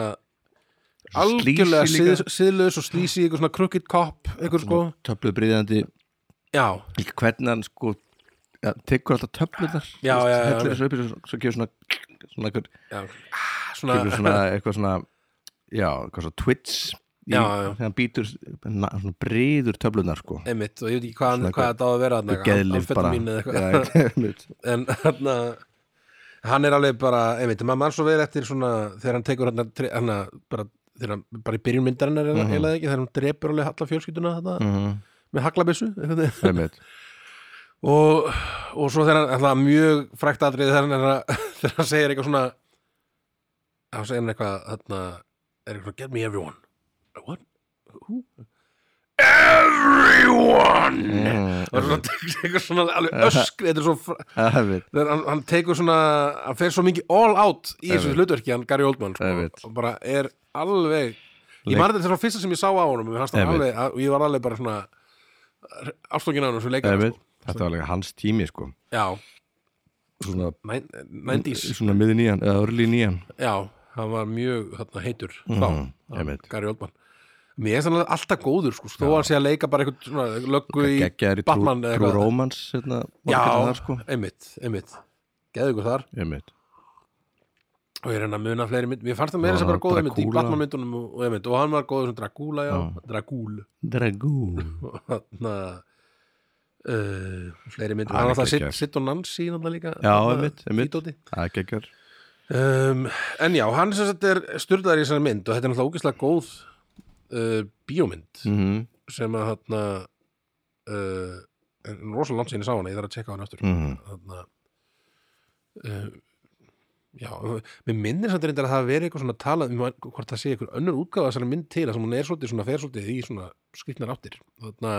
[SPEAKER 1] algjörlega
[SPEAKER 2] Sleazy Mhm. líka.
[SPEAKER 1] síð, síðlaus og slísi, eitthvað svona crooked cop, eitthvað, sko,
[SPEAKER 2] töflu bríðandi,
[SPEAKER 1] já,
[SPEAKER 2] líka hvernig hann sko ja, tekur alltaf töflunar
[SPEAKER 1] Já, já, já.
[SPEAKER 2] hellir þessu upp í svo- svo gefur svona svona, einhver-
[SPEAKER 1] já, ah, svona,
[SPEAKER 2] gefur svona eitthvað svona já, eitthvað svona twits í-
[SPEAKER 1] Já, já.
[SPEAKER 2] þegar hann býtur na, svona bríður töflunar sko
[SPEAKER 1] einmitt, og ég veit ekki hvað, hann,
[SPEAKER 2] Svona
[SPEAKER 1] hvað þetta á að vera, hann,
[SPEAKER 2] geðlif bara
[SPEAKER 1] mín eða eitthvað,
[SPEAKER 2] Já, einmitt.
[SPEAKER 1] en hann hann er alveg bara, einmitt, maður mann svo vel eftir svona, þegar hann tekur hann, hann bara, þegar hann, bara í byrjun myndarinnar mm -hmm. eða ekki, þegar hann drepur alveg alla fjölskylduna þetta,
[SPEAKER 2] Mhm,
[SPEAKER 1] með haglabissu einhvern veginn.
[SPEAKER 2] einmitt.
[SPEAKER 1] og, og svo þegar hann, alltaf mjög frækt atriði þegar hann, er að- þegar hann segir eitthvað svona þá segir hann eitthvað, þarna er eitthvað, get me everyone what? who? everyone
[SPEAKER 2] Mhm,
[SPEAKER 1] og svo tekur eitthvað svona alveg öskri, þetta er svo fr-
[SPEAKER 2] einmitt.
[SPEAKER 1] þegar hann, hann tekur svona hann fer svo mikið all out í þessu
[SPEAKER 2] Einmitt.
[SPEAKER 1] hlutverki hann Gary Oldman sko,
[SPEAKER 2] Einmitt.
[SPEAKER 1] og bara er alveg ég
[SPEAKER 2] Leik-
[SPEAKER 1] marði þetta er svona fyrsta sem ég sá á honum mér fannst hann
[SPEAKER 2] Einmitt.
[SPEAKER 1] alveg, að- og ég var alveg bara svona afslökin á honum sem leikar
[SPEAKER 2] Einmitt.
[SPEAKER 1] sko.
[SPEAKER 2] þetta var alveg hans tími sko
[SPEAKER 1] já,
[SPEAKER 2] svona,
[SPEAKER 1] 90s
[SPEAKER 2] svona miði nýjan, eða örli nýjan
[SPEAKER 1] já, hann var mjög þarna, heitur
[SPEAKER 2] Mhm,
[SPEAKER 1] þá,
[SPEAKER 2] einmitt.
[SPEAKER 1] Gary Oldman mér er þannig alltaf góður sko, þó hann sé að leika bara eitthvað svona löggu í
[SPEAKER 2] geggjæri
[SPEAKER 1] Batman eða
[SPEAKER 2] Trú
[SPEAKER 1] eitthvað.
[SPEAKER 2] Rómans
[SPEAKER 1] já,
[SPEAKER 2] hérna, borgarinn þar, sko.
[SPEAKER 1] einmitt, einmitt geðu ykkur þar
[SPEAKER 2] Einmitt.
[SPEAKER 1] og ég reyna að muna fleiri mynd mér fannst það meira
[SPEAKER 2] Já,
[SPEAKER 1] sem bara góða mynd í
[SPEAKER 2] Dracula.
[SPEAKER 1] Batman myndunum og, og, einmitt, og hann var góður sem Dracula já, Dragúl
[SPEAKER 2] Dragún
[SPEAKER 1] og hann uh, fleiri myndur
[SPEAKER 2] Hann
[SPEAKER 1] hann
[SPEAKER 2] er
[SPEAKER 1] alltaf sitt,
[SPEAKER 2] geggjaður.
[SPEAKER 1] sitt og Nancy náttúrulega líka
[SPEAKER 2] Já,
[SPEAKER 1] þarna,
[SPEAKER 2] einmitt, einmitt
[SPEAKER 1] í dóti.
[SPEAKER 2] Það er geggjör
[SPEAKER 1] um, en já, hann sem sagt er styrlaður í þessari mynd og þetta er náttúrulega ógeðslega góð uh, bíómynd
[SPEAKER 2] Mhm,
[SPEAKER 1] sem að hann uh, en rosalega langt sinni sá hana ég þarf að tjekka á hana aftur
[SPEAKER 2] mhm.
[SPEAKER 1] þarna uh, já, mér minnir samt reyndar að það hafi verið eitthvað svona talað um hvort það sé eitthvað önnur útgáfa þessari mynd til að hún er svolítið svona fer svolítið í svona skrittnar áttir þarna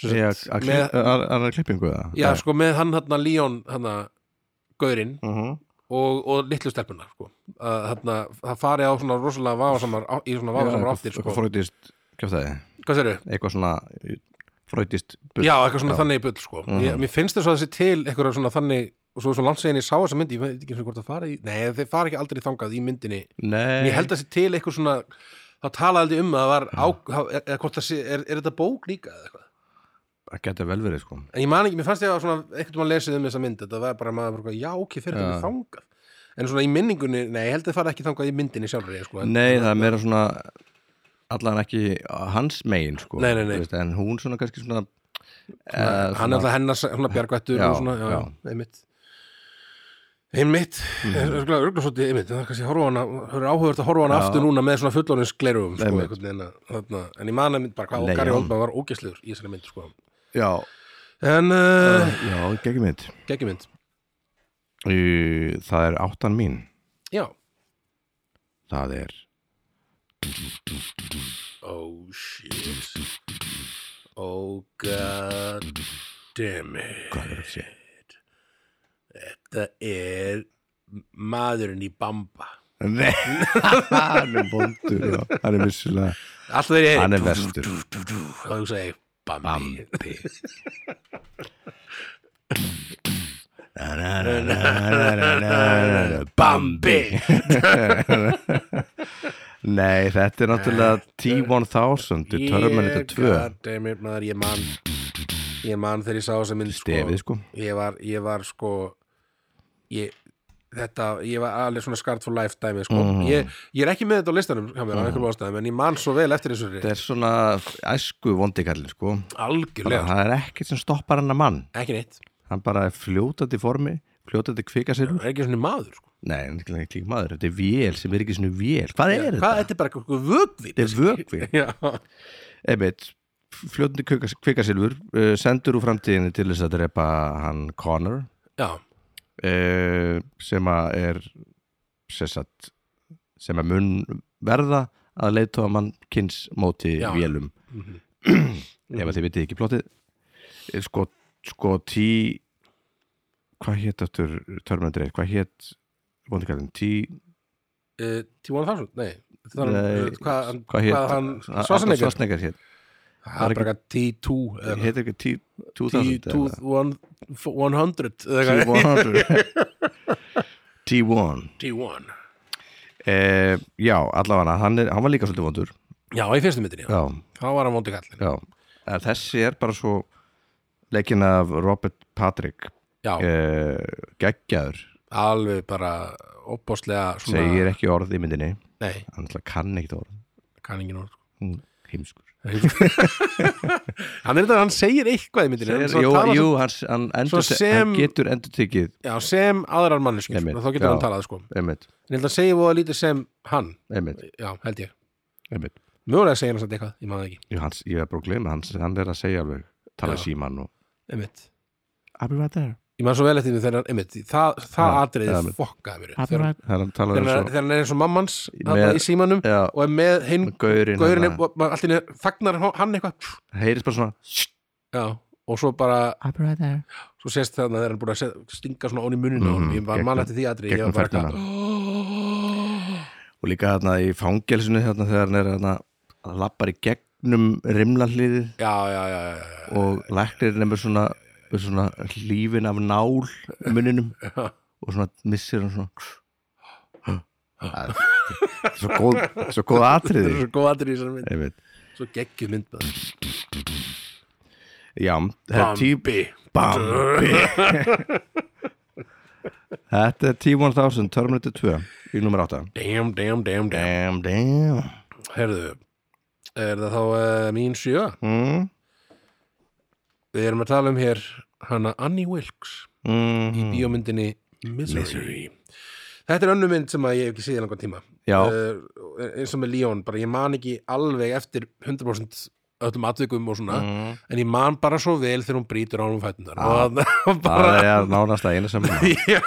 [SPEAKER 1] sem
[SPEAKER 2] Ég-
[SPEAKER 1] sagt,
[SPEAKER 2] að
[SPEAKER 1] með,
[SPEAKER 2] klip- að- aðra klippingu það
[SPEAKER 1] já, sko, með hann þarna Líón þarna gaurinn og, og litlu stelpuna sko. að þarna, það fari á svona rosalega vafasamar á- í svona vafasamar áttir sko.
[SPEAKER 2] Fröydist, kjöftaði
[SPEAKER 1] hvað serðu?
[SPEAKER 2] Eitthvað svona Fröydist
[SPEAKER 1] Já, eitthvað svona þannig í bull sko.
[SPEAKER 2] Mhm.
[SPEAKER 1] ég, Mér finnst þess að þessi til eitthvað svona þannig og svo, svo langt segin ég sá þessa myndi ég veit ekki einu sinni hvort það fara í Nei, þeir fara ekki aldrei þangað í myndinni
[SPEAKER 2] Nei
[SPEAKER 1] En ég held að þessi til eitthvað svona þá talaði aldrei um að það var á,
[SPEAKER 2] Mhm.
[SPEAKER 1] þá- eða hvort það sé, er, er þetta bók líka eða eitthvað
[SPEAKER 2] Það geti vel verið sko
[SPEAKER 1] En ég man ekki, mér fannst ég að svona eitthvað maður lesið um þessa mynd þetta var bara maður bara, já, ok, fyrir þetta
[SPEAKER 2] Já.
[SPEAKER 1] þangað En svona í minningunni, nei, ég held að það fara ekki þangað í myndinni sjálfri sko, en,
[SPEAKER 2] Nei, það er meira svona Allan ekki hans megin sko
[SPEAKER 1] Nei, nei, nei.
[SPEAKER 2] Þú veist, En hún svona kannski svona
[SPEAKER 1] svona, hann er alltaf hennar svona bjargvættur
[SPEAKER 2] Eh, Já,
[SPEAKER 1] og svona, já,
[SPEAKER 2] já. Mhm.
[SPEAKER 1] einmitt einmitt mm. örgulega, örgulega svolítið, einmitt, það er kannski horfa á hana það er áhugavert að horfa á hana
[SPEAKER 2] Já.
[SPEAKER 1] aftur núna með svona fullorins glerum sko,
[SPEAKER 2] Einmitt.
[SPEAKER 1] einhvern veginn að- þarna, en ég man að mynd bara hvað
[SPEAKER 2] Leon.
[SPEAKER 1] Gary Oldman var ógæslegur í þessari mynd sko.
[SPEAKER 2] Já,
[SPEAKER 1] en uh,
[SPEAKER 2] já, geggjum mitt
[SPEAKER 1] geggjum mynd,
[SPEAKER 2] Það er áttan mín
[SPEAKER 1] já
[SPEAKER 2] Það er
[SPEAKER 1] Ó, Oh shit Oh god damn it
[SPEAKER 2] Hvað er að sé?
[SPEAKER 1] Þetta er maðurinn í Bamba
[SPEAKER 2] Nei, hann er bondur já. Hann er vissulega
[SPEAKER 1] Alltaf er ég
[SPEAKER 2] Hann er vestur.
[SPEAKER 1] Og þú segi Bambi
[SPEAKER 2] Bambi Na, na, na, na, na, na, na, na,
[SPEAKER 1] Bambi
[SPEAKER 2] Nei, þetta er náttúrulega T-1000 Terminator 2
[SPEAKER 1] God damn it, maður, Ég man Ég man þegar ég sá þessa mynd sko,
[SPEAKER 2] Stefið sko
[SPEAKER 1] ég, var, ég var sko Ég Þetta, ég var alveg svona skart for life dæmi sko. ég, ég er ekki með þetta á listanum kamera, mm ástæðum, en ég man svo vel eftir þessu
[SPEAKER 2] Þetta er svona æsku vondikallin sko Bara,
[SPEAKER 1] algjörlega,
[SPEAKER 2] Það er ekkert sem stoppar hann að mann
[SPEAKER 1] ekki neitt
[SPEAKER 2] Hann bara er fljótandi í formi Fljótandi kvika sér
[SPEAKER 1] Það er ekki svona maður sko.
[SPEAKER 2] Nei, hann er ekki líka maður Þetta er vél sem er ekki svona vél Hvað er þetta?
[SPEAKER 1] hvað, þetta er bara eitthvað vögvít
[SPEAKER 2] Þetta er vökvi
[SPEAKER 1] Já,
[SPEAKER 2] einmitt fljótandi kvika- kvikasilfur uh, sendur úr framtíðinni til þess að drepa hann Connor
[SPEAKER 1] já,
[SPEAKER 2] uh, sem að er sem, sagt, sem að mun verða að leiðtóa mann kynns móti
[SPEAKER 1] Já. Mhm.
[SPEAKER 2] vélum ef að þið vitið ekki plotið Eh, sko, sko tí hvað hétt aftur törmöndir eitt, hvað hétt vondikallin, tí
[SPEAKER 1] uh, T-1000, nei Það var
[SPEAKER 2] Nei,
[SPEAKER 1] hann, hvað hann,
[SPEAKER 2] hvað hét-
[SPEAKER 1] hvað hann
[SPEAKER 2] Arnold
[SPEAKER 1] Svarsenegger,
[SPEAKER 2] Schwarzenegger hétt,
[SPEAKER 1] það er bara eitthvað T2 eða eitthvað.
[SPEAKER 2] hétt ekki tí 2000 eða?
[SPEAKER 1] T100 eða eitthvað.
[SPEAKER 2] T1 T1
[SPEAKER 1] T1
[SPEAKER 2] eh, Já, allavega hann, er, hann var líka svolítið vondur
[SPEAKER 1] Já, í fyrstu myndinni, já.
[SPEAKER 2] Já,
[SPEAKER 1] þá var hann vondi kallin
[SPEAKER 2] já en Eh, Þessi er bara svo leikinn af Robert Patrick
[SPEAKER 1] Já,
[SPEAKER 2] eh, geggjaður,
[SPEAKER 1] alveg bara opbóstlega svona
[SPEAKER 2] segir ekki orð í myndinni
[SPEAKER 1] Nei,
[SPEAKER 2] hann alltaf kann ekkert orð
[SPEAKER 1] kann engin orð sko.
[SPEAKER 2] Hún heimskur
[SPEAKER 1] Hann er þetta, hann segir eitthvað í myndinni
[SPEAKER 2] segir,
[SPEAKER 1] segir,
[SPEAKER 2] Jú,
[SPEAKER 1] tala,
[SPEAKER 2] jú
[SPEAKER 1] jú.
[SPEAKER 2] hann, hann,
[SPEAKER 1] Svo
[SPEAKER 2] endur,
[SPEAKER 1] sem-
[SPEAKER 2] hann getur endur tekið
[SPEAKER 1] Já, sem aðrar manneskjur,
[SPEAKER 2] Einmitt,
[SPEAKER 1] sko, þá getur
[SPEAKER 2] já.
[SPEAKER 1] hann talað sko.
[SPEAKER 2] einmitt,
[SPEAKER 1] En ég held að segja voða lítið sem hann
[SPEAKER 2] einmitt,
[SPEAKER 1] Já, held ég
[SPEAKER 2] einmitt.
[SPEAKER 1] Mögulega segir hann samt eitthvað, ég maður það ekki
[SPEAKER 2] Jú, hans, ég er bara að gleyma, hann, hann er að segja alveg tala
[SPEAKER 1] Já.
[SPEAKER 2] síman og
[SPEAKER 1] Einmitt.
[SPEAKER 2] I'll be right there
[SPEAKER 1] Ég maður svo vel eftir því þegar hann einmitt, það, það
[SPEAKER 2] Já,
[SPEAKER 1] atriðið
[SPEAKER 2] já, einmitt.
[SPEAKER 1] fokkaði mér upp. þegar,
[SPEAKER 2] Þegar hann
[SPEAKER 1] þegar,
[SPEAKER 2] talaði
[SPEAKER 1] hann er-
[SPEAKER 2] svo
[SPEAKER 1] þegar hann er eins og mammans
[SPEAKER 2] Með-
[SPEAKER 1] í símanum
[SPEAKER 2] Já,
[SPEAKER 1] og er með hinn
[SPEAKER 2] gaurinn hérna.
[SPEAKER 1] gaurinn
[SPEAKER 2] hann-
[SPEAKER 1] og maður allt í henni þagnar hó- hann eitthvað pff,
[SPEAKER 2] heyrist bara svona "Shh,
[SPEAKER 1] já, og svo bara
[SPEAKER 4] I'll be right there.
[SPEAKER 1] svo sést þarna þegar hann búin að set- stinga svona ón í muninu mm,
[SPEAKER 2] Mhm,
[SPEAKER 1] ég var mann
[SPEAKER 2] gegnum-
[SPEAKER 1] eftir því atrið ég
[SPEAKER 2] gegnum
[SPEAKER 1] var bara
[SPEAKER 2] þagnina.
[SPEAKER 1] eitthvað,
[SPEAKER 2] og líka þarna í fangelsinu þarna þegar hann er þarna að lappar í gegnum rimlalliði
[SPEAKER 1] já, já, já, já, já,
[SPEAKER 2] og læknir nefnir svona, með svona lífin af nál í munninum
[SPEAKER 1] já.
[SPEAKER 2] og svona missir hann svona Það er- þetta er svo góð, svo góð
[SPEAKER 1] þetta
[SPEAKER 2] atriði
[SPEAKER 1] er svo góð atrið í þessari mynd
[SPEAKER 2] Einmitt.
[SPEAKER 1] svo geggjuð mynd maður.
[SPEAKER 2] já, þetta er tí- Bambi þetta er T-1000 Terminator 2 í nummer 8
[SPEAKER 1] damn, damn, damn, damn
[SPEAKER 2] damn, damn
[SPEAKER 1] herðu, er það þá uh, mín sjö?
[SPEAKER 2] mm,
[SPEAKER 1] Við erum að tala um hér hana Annie Wilkes
[SPEAKER 2] mm,
[SPEAKER 1] bíómyndinni Misery. Þetta er önnu mynd sem að ég hef ekki séð í langan tíma
[SPEAKER 2] já,
[SPEAKER 1] uh, eins og með Leon, bara ég man ekki alveg eftir 100% öllum atvikum og svona,
[SPEAKER 2] Mm.
[SPEAKER 1] en ég man bara svo vel þegar hún brýtur á hún fætundar
[SPEAKER 2] Ah.
[SPEAKER 1] og það bara
[SPEAKER 2] það er nánast að eina sem
[SPEAKER 1] Já,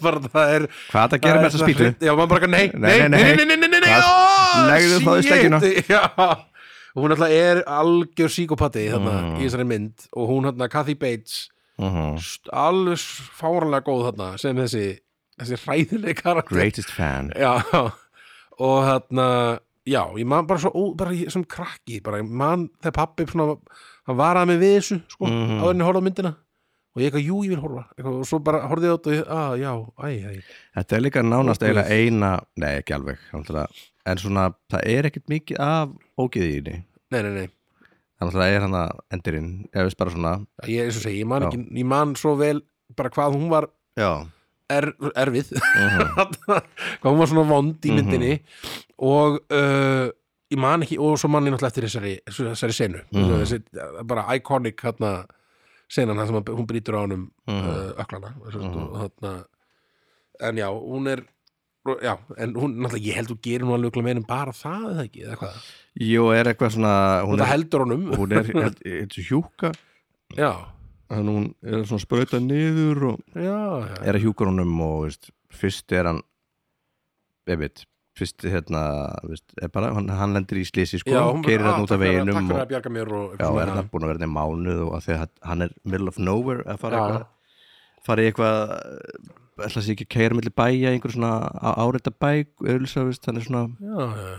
[SPEAKER 1] bara það er
[SPEAKER 2] Hvað það gerir með þessa spýtu?
[SPEAKER 1] Já, maður bara, nei, nei, nei, nei, nei, nei, nei, nei, nei
[SPEAKER 2] Hvað?
[SPEAKER 1] ó,
[SPEAKER 2] Legðu þá í
[SPEAKER 1] shit,
[SPEAKER 2] sleggjuna.
[SPEAKER 1] Já, og hún alltaf er algjör síkopati þarna
[SPEAKER 2] Mm.
[SPEAKER 1] í þessari mynd og hún hérna, Kathy Bates st- alveg s- fáránlega góð þarna sem þessi, þessi hræðileg karakter
[SPEAKER 2] Greatest fan
[SPEAKER 1] já, og þarna já, ég man bara svo, ó, bara ég- sem krakki bara ég man þegar pappi svona, hann varaði mig við þessu, sko, mm -hmm. áður en ég horfði á myndina og ég eitthvað, jú, ég vil horfa eitthvað, og svo bara horfði ég á þetta og ég, að, já, æ, æ
[SPEAKER 2] Þetta er líka nánast
[SPEAKER 1] Ó, guð.
[SPEAKER 2] eiginlega eina Nei, ekki alveg náttúrulega. En svona, það er ekkert mikið af ógeði í henni
[SPEAKER 1] nei, nei, nei,
[SPEAKER 2] Þannig að það er hann að endurinn Ég veist bara svona
[SPEAKER 1] ég, eins og segi, ég man
[SPEAKER 2] Já.
[SPEAKER 1] ekki ég man svo vel bara hvað hún var
[SPEAKER 2] Já,
[SPEAKER 1] er, erfið hvað hún var svona vond í myndinni og uh, ég man ekki og svo man ég náttúrulega eftir þessari, þessari senu þessi, bara iconic hérna, senan þar sem að hún brýtur á honum
[SPEAKER 2] Mhm.
[SPEAKER 1] uh, öklana og, þarna, en já, hún er já, en hún, náttúrulega ég held hún gerir nú alveg örugglega meira en bara það eða ekki, eða hvað
[SPEAKER 2] Jú, er eitthvað svona
[SPEAKER 1] og
[SPEAKER 2] Hún
[SPEAKER 1] það
[SPEAKER 2] er,
[SPEAKER 1] heldur honum
[SPEAKER 2] hún er, er, er hjúka
[SPEAKER 1] já,
[SPEAKER 2] Þannig að hún er svona sprauta niður og
[SPEAKER 1] já, já,
[SPEAKER 2] er að hjúka honum og veist, fyrst er hann einmitt, fyrst hérna fyrst, er bara, hann, hann lendir í slisi sko,
[SPEAKER 1] Já, hún bara,
[SPEAKER 2] keirir
[SPEAKER 1] "Ah,
[SPEAKER 2] hann út af
[SPEAKER 1] takk fyrir að- Takk
[SPEAKER 2] veginum
[SPEAKER 1] fyrir að
[SPEAKER 2] og
[SPEAKER 1] bjarga mér og
[SPEAKER 2] já, hérna.
[SPEAKER 1] eitthvað
[SPEAKER 2] er
[SPEAKER 1] svona.
[SPEAKER 2] hann búin að vera nefn mánuð og að því að hann er middle of nowhere að fara
[SPEAKER 1] Já.
[SPEAKER 2] eitthvað fara í eitthvað ætla sér ekki að keira milli bæja einhver svona áreita bæk ölsa, veist, hann er svona
[SPEAKER 1] Já, já,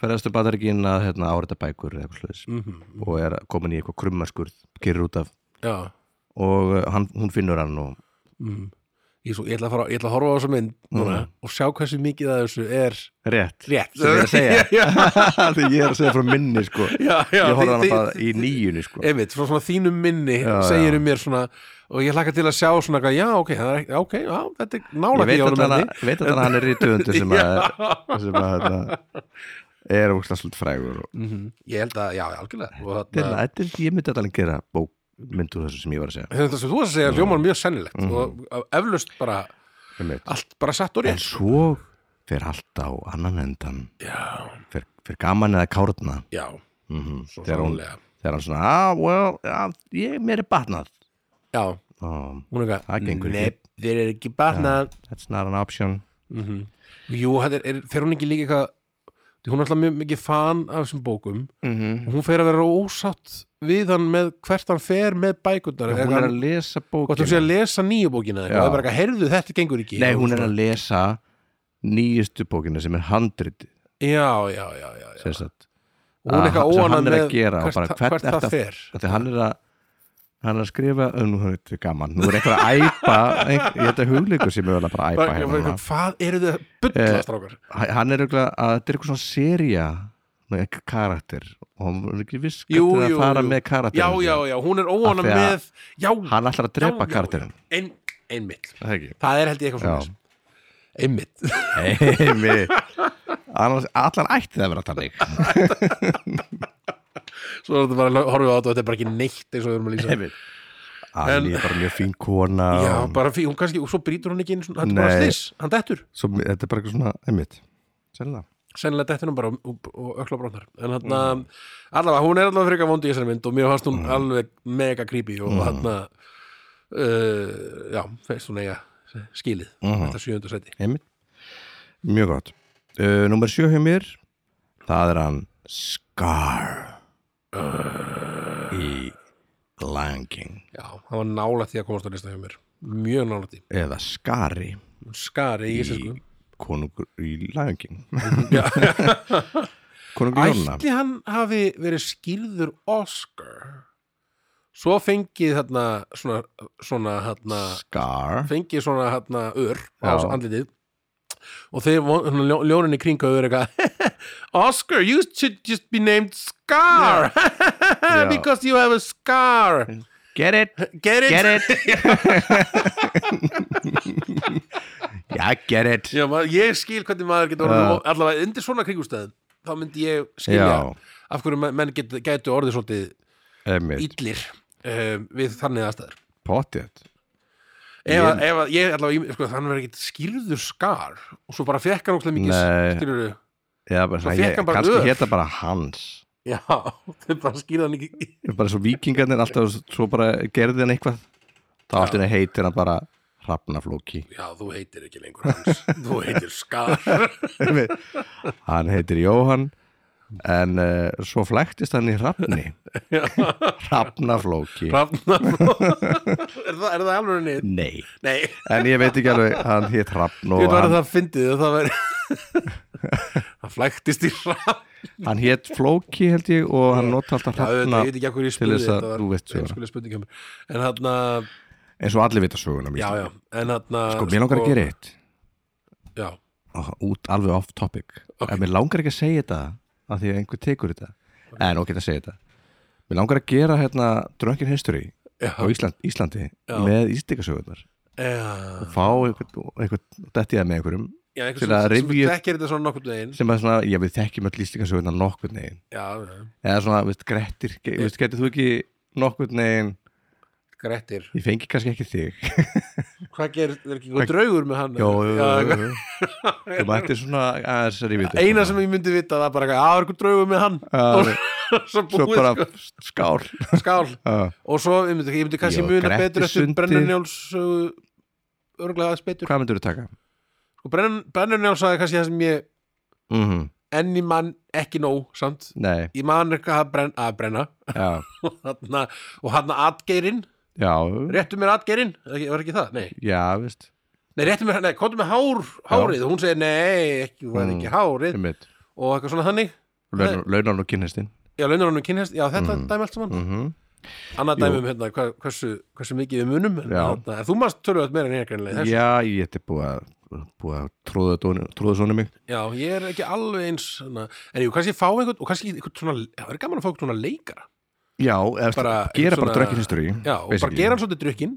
[SPEAKER 2] ferðastu bandaríkin að hérna, áreita bækur eða eitthvað slags
[SPEAKER 1] mhm,
[SPEAKER 2] og er komin í eitthvað krummaskurð keirir út af
[SPEAKER 1] já
[SPEAKER 2] og uh, hann, hún finnur hann og
[SPEAKER 1] mhm. ég, er svo, ég, ætla að fara, ég ætla að horfa á þessa mynd núna
[SPEAKER 2] Mhm.
[SPEAKER 1] og sjá hversu mikið að þessu er
[SPEAKER 2] rétt
[SPEAKER 1] rétt
[SPEAKER 2] sem ég er að segja
[SPEAKER 1] já,
[SPEAKER 2] því ég er að segja frá minni sko
[SPEAKER 1] já, já,
[SPEAKER 2] ég horfði
[SPEAKER 1] þi-
[SPEAKER 2] hann
[SPEAKER 1] þi-
[SPEAKER 2] bara í nýjunni sko
[SPEAKER 1] einmitt, frá svona þínum minni segir um mér svona og ég hlakka til að sjá svona eitthvað, já, ok, það er ekki, ok, já, þetta er
[SPEAKER 2] ég
[SPEAKER 1] nálægt
[SPEAKER 2] veit
[SPEAKER 1] í
[SPEAKER 2] að,
[SPEAKER 1] honum hérna.
[SPEAKER 2] hana,
[SPEAKER 1] henni
[SPEAKER 2] veit að hann er rítuðundur sem að,
[SPEAKER 1] Já.
[SPEAKER 2] sem að hérna, er ógstlega svolítið frægur og
[SPEAKER 1] Mhm. ég held að, já, algjörlega og
[SPEAKER 2] til að
[SPEAKER 1] þarna,
[SPEAKER 2] þetta er, ég myndi að alveg gera bókmynd úr þessu sem ég var að segja
[SPEAKER 1] hérna, þetta sem þú varst að segja hljómar mjög sennilegt
[SPEAKER 2] Mhm.
[SPEAKER 1] og eflaust bara
[SPEAKER 2] Einmitt.
[SPEAKER 1] allt bara satt og
[SPEAKER 2] en
[SPEAKER 1] rétt
[SPEAKER 2] svo fer allt á annan endan
[SPEAKER 1] já,
[SPEAKER 2] fer, fer gaman eða kárna
[SPEAKER 1] já,
[SPEAKER 2] mm
[SPEAKER 1] svo
[SPEAKER 2] þegar, hún,
[SPEAKER 1] sannlega
[SPEAKER 2] þegar hann svona ah, well, ah, ég, mér er batnað
[SPEAKER 1] já,
[SPEAKER 2] oh,
[SPEAKER 1] hún er eitthvað,
[SPEAKER 2] Það gengur ekki.
[SPEAKER 1] nepp, þeir eru ekki batnað Mhm.
[SPEAKER 2] that's not an option
[SPEAKER 1] Jú, þetta er, er, fer hún ekki líka eitthvað því hún er alltaf mjög mikið fan af þessum bókum
[SPEAKER 2] mm -hmm.
[SPEAKER 1] og hún fer að vera ósátt við hann með hvert hann fer með bækurnar
[SPEAKER 2] hún er að lesa
[SPEAKER 1] hvort hún sé
[SPEAKER 2] bókina
[SPEAKER 1] að lesa nýju bókina
[SPEAKER 2] Já.
[SPEAKER 1] eitthvað, það er bara eitthvað, heyrðu þetta gengur ekki
[SPEAKER 2] nei, hún er að lesa nýjustu bókina sem er handriti
[SPEAKER 1] já, já, já, já, já.
[SPEAKER 2] sem sagt
[SPEAKER 1] og hún er
[SPEAKER 2] að
[SPEAKER 1] eitthvað
[SPEAKER 2] hann- sem
[SPEAKER 1] óanað
[SPEAKER 2] hann er
[SPEAKER 1] með
[SPEAKER 2] að gera og
[SPEAKER 1] hvert,
[SPEAKER 2] bara,
[SPEAKER 1] hvert,
[SPEAKER 2] hvert
[SPEAKER 1] hvert það
[SPEAKER 2] þetta-
[SPEAKER 1] fer
[SPEAKER 2] Þegar hann er að hann er að skrifa, "Ö, nú er þetta gaman nú er eitthvað að æpa ein- ég þetta hugleikur sem er alveg bara að æpa
[SPEAKER 1] Bara-
[SPEAKER 2] hérna
[SPEAKER 1] bara-
[SPEAKER 2] núna.
[SPEAKER 1] hvað eru þið að bulla
[SPEAKER 2] Eh,
[SPEAKER 1] strákar
[SPEAKER 2] H- hann er eitthvað að þetta er eitthvað svona seria með eitthvað karakter og hann er ekki viss
[SPEAKER 1] Jú,
[SPEAKER 2] Eh, hvernig
[SPEAKER 1] jú,
[SPEAKER 2] að fara
[SPEAKER 1] jú.
[SPEAKER 2] með karakter
[SPEAKER 1] já, já, já, hún er óanað
[SPEAKER 2] Af því að
[SPEAKER 1] með já,
[SPEAKER 2] hann ætlar að drepa
[SPEAKER 1] já, já, já.
[SPEAKER 2] karakterin
[SPEAKER 1] ein, einmitt,
[SPEAKER 2] það er ekki
[SPEAKER 1] það er held ég eitthvað
[SPEAKER 2] Já.
[SPEAKER 1] svona einmitt,
[SPEAKER 2] Einmitt. Annars, allan ætti það að vera þannig
[SPEAKER 1] svo er þetta bara horfum við á þetta og þetta er bara ekki neitt eins og við erum að lýsa
[SPEAKER 2] Einmitt. hann er bara mjög fín kona
[SPEAKER 1] já,
[SPEAKER 2] og
[SPEAKER 1] bara fyrir, hún kannski, og svo brýtur hún ekki einu svona- hann er bara
[SPEAKER 2] Nei.
[SPEAKER 1] slis, hann dettur
[SPEAKER 2] svo, þetta er bara eitthvað svona, einmitt sennilega
[SPEAKER 1] sennilega dettur hún bara og, og, og ökla brotnar en hann, allavega, hún er allavega frekar vondi í þessari mynd og mér fannst hún alveg mega creepy og mm. hann uh, já, feist hún eiga skilið, þetta sjöundu seti
[SPEAKER 2] Einmitt. Mjög gott. Uh, númer sjö hjá mér, það er hann Scar í Lion King
[SPEAKER 1] já, hann var nálægt því að komast á lista hjá mér mjög nálægt því,
[SPEAKER 2] eða Skari
[SPEAKER 1] skari í
[SPEAKER 2] í,
[SPEAKER 1] íslensku
[SPEAKER 2] konungur í Lion King.
[SPEAKER 1] Já.
[SPEAKER 2] konungur Jónna.
[SPEAKER 1] ætli hann hafi verið skilður Oscar svo fengið þarna svona, svona þarna
[SPEAKER 2] Scar.
[SPEAKER 1] fengið svona hérna ör á
[SPEAKER 2] Já.
[SPEAKER 1] andlitið og þeir von- svona ljó- ljónin í kringa ör eitthvað Oscar, you should just be named Scar
[SPEAKER 2] Já.
[SPEAKER 1] because you have a scar
[SPEAKER 2] Get it,
[SPEAKER 1] get it?
[SPEAKER 2] get it. Já, get it.
[SPEAKER 1] Já, maður, ég skil hvernig maður getur
[SPEAKER 2] Já.
[SPEAKER 1] orðið, allavega undir svona kringustæðum þá myndi ég skilja
[SPEAKER 2] Já.
[SPEAKER 1] af hverju men- menn get, gætu orðið svolítið
[SPEAKER 2] Einmitt,
[SPEAKER 1] illir um, við þannig aðstæður
[SPEAKER 2] potið.
[SPEAKER 1] Ef, ég, ef, að- ég allavega, ég- sko, hann verið ekkert skýrður skar og svo bara fekk hann ókslega
[SPEAKER 2] Nei.
[SPEAKER 1] mikið skilurðu
[SPEAKER 2] Já, bara, svona,
[SPEAKER 1] fékk
[SPEAKER 2] ég,
[SPEAKER 1] hann bara
[SPEAKER 2] kannski
[SPEAKER 1] ör.
[SPEAKER 2] hétta bara hans.
[SPEAKER 1] Já, þau bara skýrðu hann ekki
[SPEAKER 2] bara svo vikingarnir alltaf svo bara gerði hann eitthvað þá átti hann heitir hann bara Hrafnaflóki
[SPEAKER 1] Já, þú heitir ekki lengur Hans Þú heitir Skar
[SPEAKER 2] hann heitir Jóhann en uh, svo flæktist hann í Hrafni Hrafnaflóki
[SPEAKER 1] Hrafnafló Er það, er það alveg nýtt?
[SPEAKER 2] nei,
[SPEAKER 1] Nei,
[SPEAKER 2] en ég veit ekki alveg hann hétt Hrafn
[SPEAKER 1] ég veit
[SPEAKER 2] og
[SPEAKER 1] bara
[SPEAKER 2] hann,
[SPEAKER 1] það fyndið og það væri Það flæktist í hrafn
[SPEAKER 2] hann hétt Flóki held ég og hann nota alltaf
[SPEAKER 1] Já, auðvitað,
[SPEAKER 2] Hrafna
[SPEAKER 1] Ég veit ekki að hverju ég
[SPEAKER 2] til
[SPEAKER 1] spurði
[SPEAKER 2] þess að
[SPEAKER 1] þetta var
[SPEAKER 2] þú veist söguna.
[SPEAKER 1] heimskuleg spurning hjá mér. En þarna,
[SPEAKER 2] eins og allir vita söguna
[SPEAKER 1] já,
[SPEAKER 2] mér
[SPEAKER 1] já En þarna
[SPEAKER 2] sko, mér langar að gera eitt
[SPEAKER 1] Já,
[SPEAKER 2] og út alveg off topic
[SPEAKER 1] Ok.
[SPEAKER 2] en mér langar ekki að segja þetta af því að einhver tekur þetta en ok, það segja þetta mér langar að gera hérna Drunken History
[SPEAKER 1] Já.
[SPEAKER 2] á Ísland, Íslandi
[SPEAKER 1] Já.
[SPEAKER 2] með ístikasögurnar
[SPEAKER 1] já
[SPEAKER 2] fá einhvern, einhvern dettiða með einhverjum
[SPEAKER 1] Já, einhvers
[SPEAKER 2] til að
[SPEAKER 1] sem- sem
[SPEAKER 2] rifja-
[SPEAKER 1] Þekkir þetta svona nokkurn veginn
[SPEAKER 2] sem að svona, já við þekkjum öll ístikasögurnar nokkurn veginn
[SPEAKER 1] Já, já.
[SPEAKER 2] eða svona, veist, Grettir, ge- veist, getur þú ekki nokkurn veginn,
[SPEAKER 1] Grettir
[SPEAKER 2] ég fengi kannski ekki þig
[SPEAKER 1] Hvað gerir, er ekki eitthvað draugur með hann?
[SPEAKER 2] Jó, jú,
[SPEAKER 1] já
[SPEAKER 2] jú, jú. þú mættir svona aðeins að rífið
[SPEAKER 1] Eina sem ég myndi vita það er bara eitthvað, að er eitthvað draugur með hann og svo
[SPEAKER 2] svo
[SPEAKER 1] búið
[SPEAKER 2] bara skál
[SPEAKER 1] sko, skál
[SPEAKER 2] Já.
[SPEAKER 1] og svo, ég myndi, ég myndi kannski
[SPEAKER 2] Jó,
[SPEAKER 1] muna
[SPEAKER 2] Gretti
[SPEAKER 1] betur eftir
[SPEAKER 2] Sundi.
[SPEAKER 1] Brennunjáls örgulega aðeins betur
[SPEAKER 2] hvað myndur þú taka?
[SPEAKER 1] Brenn, Brennunjáls sagði kannski það sem ég
[SPEAKER 2] mm
[SPEAKER 1] en ég man ekki nóg samt
[SPEAKER 2] Nei,
[SPEAKER 1] ég man eitthvað að brenna, að brenna.
[SPEAKER 2] já,
[SPEAKER 1] og þarna, og hann atgeirinn
[SPEAKER 2] já,
[SPEAKER 1] réttu mér atgeirinn, var ekki- var ekki það? Nei,
[SPEAKER 2] já, veist
[SPEAKER 1] nei réttu mér, nei, komdu með hár, hárið og hún segir, nei, ekki, hún er
[SPEAKER 2] Mm.
[SPEAKER 1] ekki hárið
[SPEAKER 2] einmitt.
[SPEAKER 1] og eitthvað svona þannig
[SPEAKER 2] Launar- Launar og kynnistinn
[SPEAKER 1] já, launar hann um kynhest, já, þetta dæmi allt saman
[SPEAKER 2] mm
[SPEAKER 1] annað
[SPEAKER 2] Jú.
[SPEAKER 1] dæmi um hérna, hva, hversu, hversu mikið við munum en,
[SPEAKER 2] Já.
[SPEAKER 1] þarna, en þú maður tölvöld meira en ég greinlega já.
[SPEAKER 2] Já, ég ætti búið að búið að tróða, dóni- tróða svona mig
[SPEAKER 1] já, ég er ekki alveg eins hana. en jú, kannski ég fá einhvern og kannski einhvern svona, það er gaman að fá einhvern svona leikara
[SPEAKER 2] Mm, Já, eða bara,
[SPEAKER 1] Bara
[SPEAKER 2] gera bara
[SPEAKER 1] svona-
[SPEAKER 2] drökkinhistori
[SPEAKER 1] já, og bara gera hann svolítið drukkin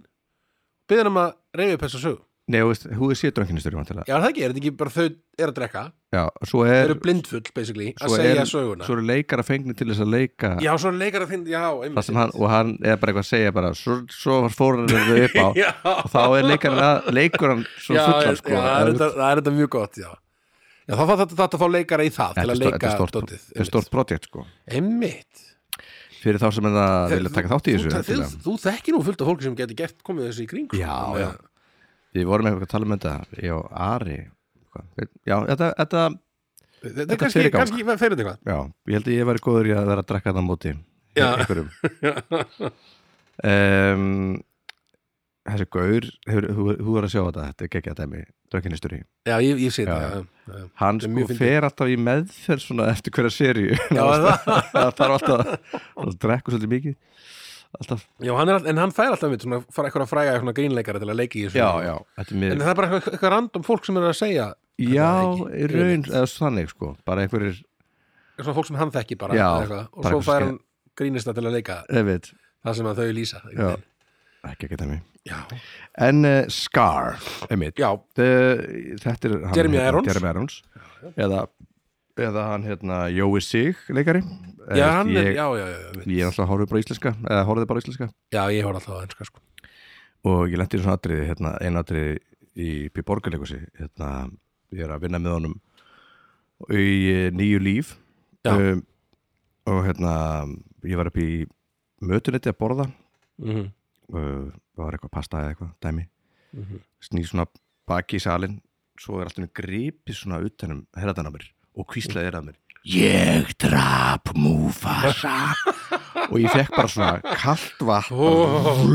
[SPEAKER 1] byggðan um að reyfi upp þessa sög
[SPEAKER 2] Nei, þú veist, hún er sér drökkinhistori vantilega
[SPEAKER 1] já, er það ekki, er þetta ekki bara þau er að drekka
[SPEAKER 2] Já, svo
[SPEAKER 1] þau
[SPEAKER 2] er,
[SPEAKER 1] eru blindfull, basically, að
[SPEAKER 2] svo
[SPEAKER 1] segja
[SPEAKER 2] er-
[SPEAKER 1] söguna
[SPEAKER 2] svo er leikar að fengni til þess að leika
[SPEAKER 1] já, svo er leikara þinn, já,
[SPEAKER 2] það
[SPEAKER 1] einmitt
[SPEAKER 2] sem hann, og hann er bara eitthvað að segja bara, svo, svo fóran þau upp á
[SPEAKER 1] já,
[SPEAKER 2] og þá er leikarinn að, leikur hann svo
[SPEAKER 1] já,
[SPEAKER 2] fullan
[SPEAKER 1] já,
[SPEAKER 2] sko
[SPEAKER 1] það er þetta- það er þetta mjög gott, já já, þá þarf þetta að fá leikara í það til
[SPEAKER 2] Þetta
[SPEAKER 1] að
[SPEAKER 2] er
[SPEAKER 1] leika
[SPEAKER 2] stórt-
[SPEAKER 1] dótið,
[SPEAKER 2] þetta er stórt projekt sko
[SPEAKER 1] einmitt. einmitt
[SPEAKER 2] fyrir þá sem það vilja taka þátt í
[SPEAKER 1] Þú-
[SPEAKER 2] þessu
[SPEAKER 1] þú-
[SPEAKER 2] endilega.
[SPEAKER 1] þú, þú þekkir nú fullt af fólki sem getur gert komið þessu í kring sko.
[SPEAKER 2] Já,
[SPEAKER 1] Þannig
[SPEAKER 2] já.
[SPEAKER 1] að-
[SPEAKER 2] eh, Við vorum eitthvað að tala um þetta Ég og Ari eitthvað. Já, þetta, þetta
[SPEAKER 1] þetta
[SPEAKER 2] Þetta
[SPEAKER 1] er kannski,
[SPEAKER 2] fer í gang. sko.
[SPEAKER 1] kannski fer þetta eitthvað
[SPEAKER 2] já, ég held að ég væri góður í að vera að drekka þetta á móti
[SPEAKER 1] Já.
[SPEAKER 2] einhverjum um, Þessi gaur hefur- þú þú verður að sjá þetta, þetta er geggjað dæmi Drökkinisturi
[SPEAKER 1] já, ég, ég sé
[SPEAKER 2] Já.
[SPEAKER 1] þetta já, já. Þetta
[SPEAKER 2] Hann
[SPEAKER 1] er
[SPEAKER 2] sko
[SPEAKER 1] mjög fyndið.
[SPEAKER 2] fer alltaf í meðferð svona eftir hverja seríu
[SPEAKER 1] Já, er það?
[SPEAKER 2] Það þarf alltaf að drekku svolítið mikið Alltaf
[SPEAKER 1] já, hann er, all- en hann fær alltaf mitt svona, fara eitthvað að fræga svona grínleikara til að leika í þessu
[SPEAKER 2] Þetta er mér
[SPEAKER 1] en það er bara eitthvað, eitthvað random fólk sem er að segja
[SPEAKER 2] Já,
[SPEAKER 1] Þetta
[SPEAKER 2] í
[SPEAKER 1] er ekki
[SPEAKER 2] raun,
[SPEAKER 1] yfirleitt.
[SPEAKER 2] eða þannig sko bara einhverjir,
[SPEAKER 1] svona fólk sem hann þekki bara
[SPEAKER 2] Já,
[SPEAKER 1] eða eitthvað, og
[SPEAKER 2] bara
[SPEAKER 1] svo
[SPEAKER 2] eitthvað
[SPEAKER 1] fær
[SPEAKER 2] ske-
[SPEAKER 1] hann grínista til að leika
[SPEAKER 2] eða veit
[SPEAKER 1] það sem að þau lýsa
[SPEAKER 2] Já,
[SPEAKER 1] einhvern veginn.
[SPEAKER 2] ekki ekki dæmi
[SPEAKER 1] já,
[SPEAKER 2] En uh, Scar, einmitt
[SPEAKER 1] já,
[SPEAKER 2] The, Þetta er hann,
[SPEAKER 1] Jeremy
[SPEAKER 2] hérna,
[SPEAKER 1] Irons.
[SPEAKER 2] Jeremy Irons. Eða, eða hann hérna Jói Sig leikari
[SPEAKER 1] já,
[SPEAKER 2] Eða,
[SPEAKER 1] hann er,
[SPEAKER 2] ég,
[SPEAKER 1] já, já, já, já,
[SPEAKER 2] Ég er alltaf horfði bara á íslenska eða horfði bara á íslenska
[SPEAKER 1] já, ég horf alltaf að enska sko.
[SPEAKER 2] og ég lenti í svona atriði hérna, einu atriði í P-Borgarleikusi hérna, ég er að vinna með honum í eh, nýju líf Eh,
[SPEAKER 1] Já.
[SPEAKER 2] og hérna ég var upp í mötunetti að borða
[SPEAKER 1] mm -hmm.
[SPEAKER 2] uh, var eitthvað pasta eða eitthvað, dæmi
[SPEAKER 1] Mhm.
[SPEAKER 2] snýr svona baki í salin svo er alltaf með gripi svona utanum herðan á mér og hvíslaði er að mér ég drap Mufasa og ég fekk bara svona kalt vatn oh.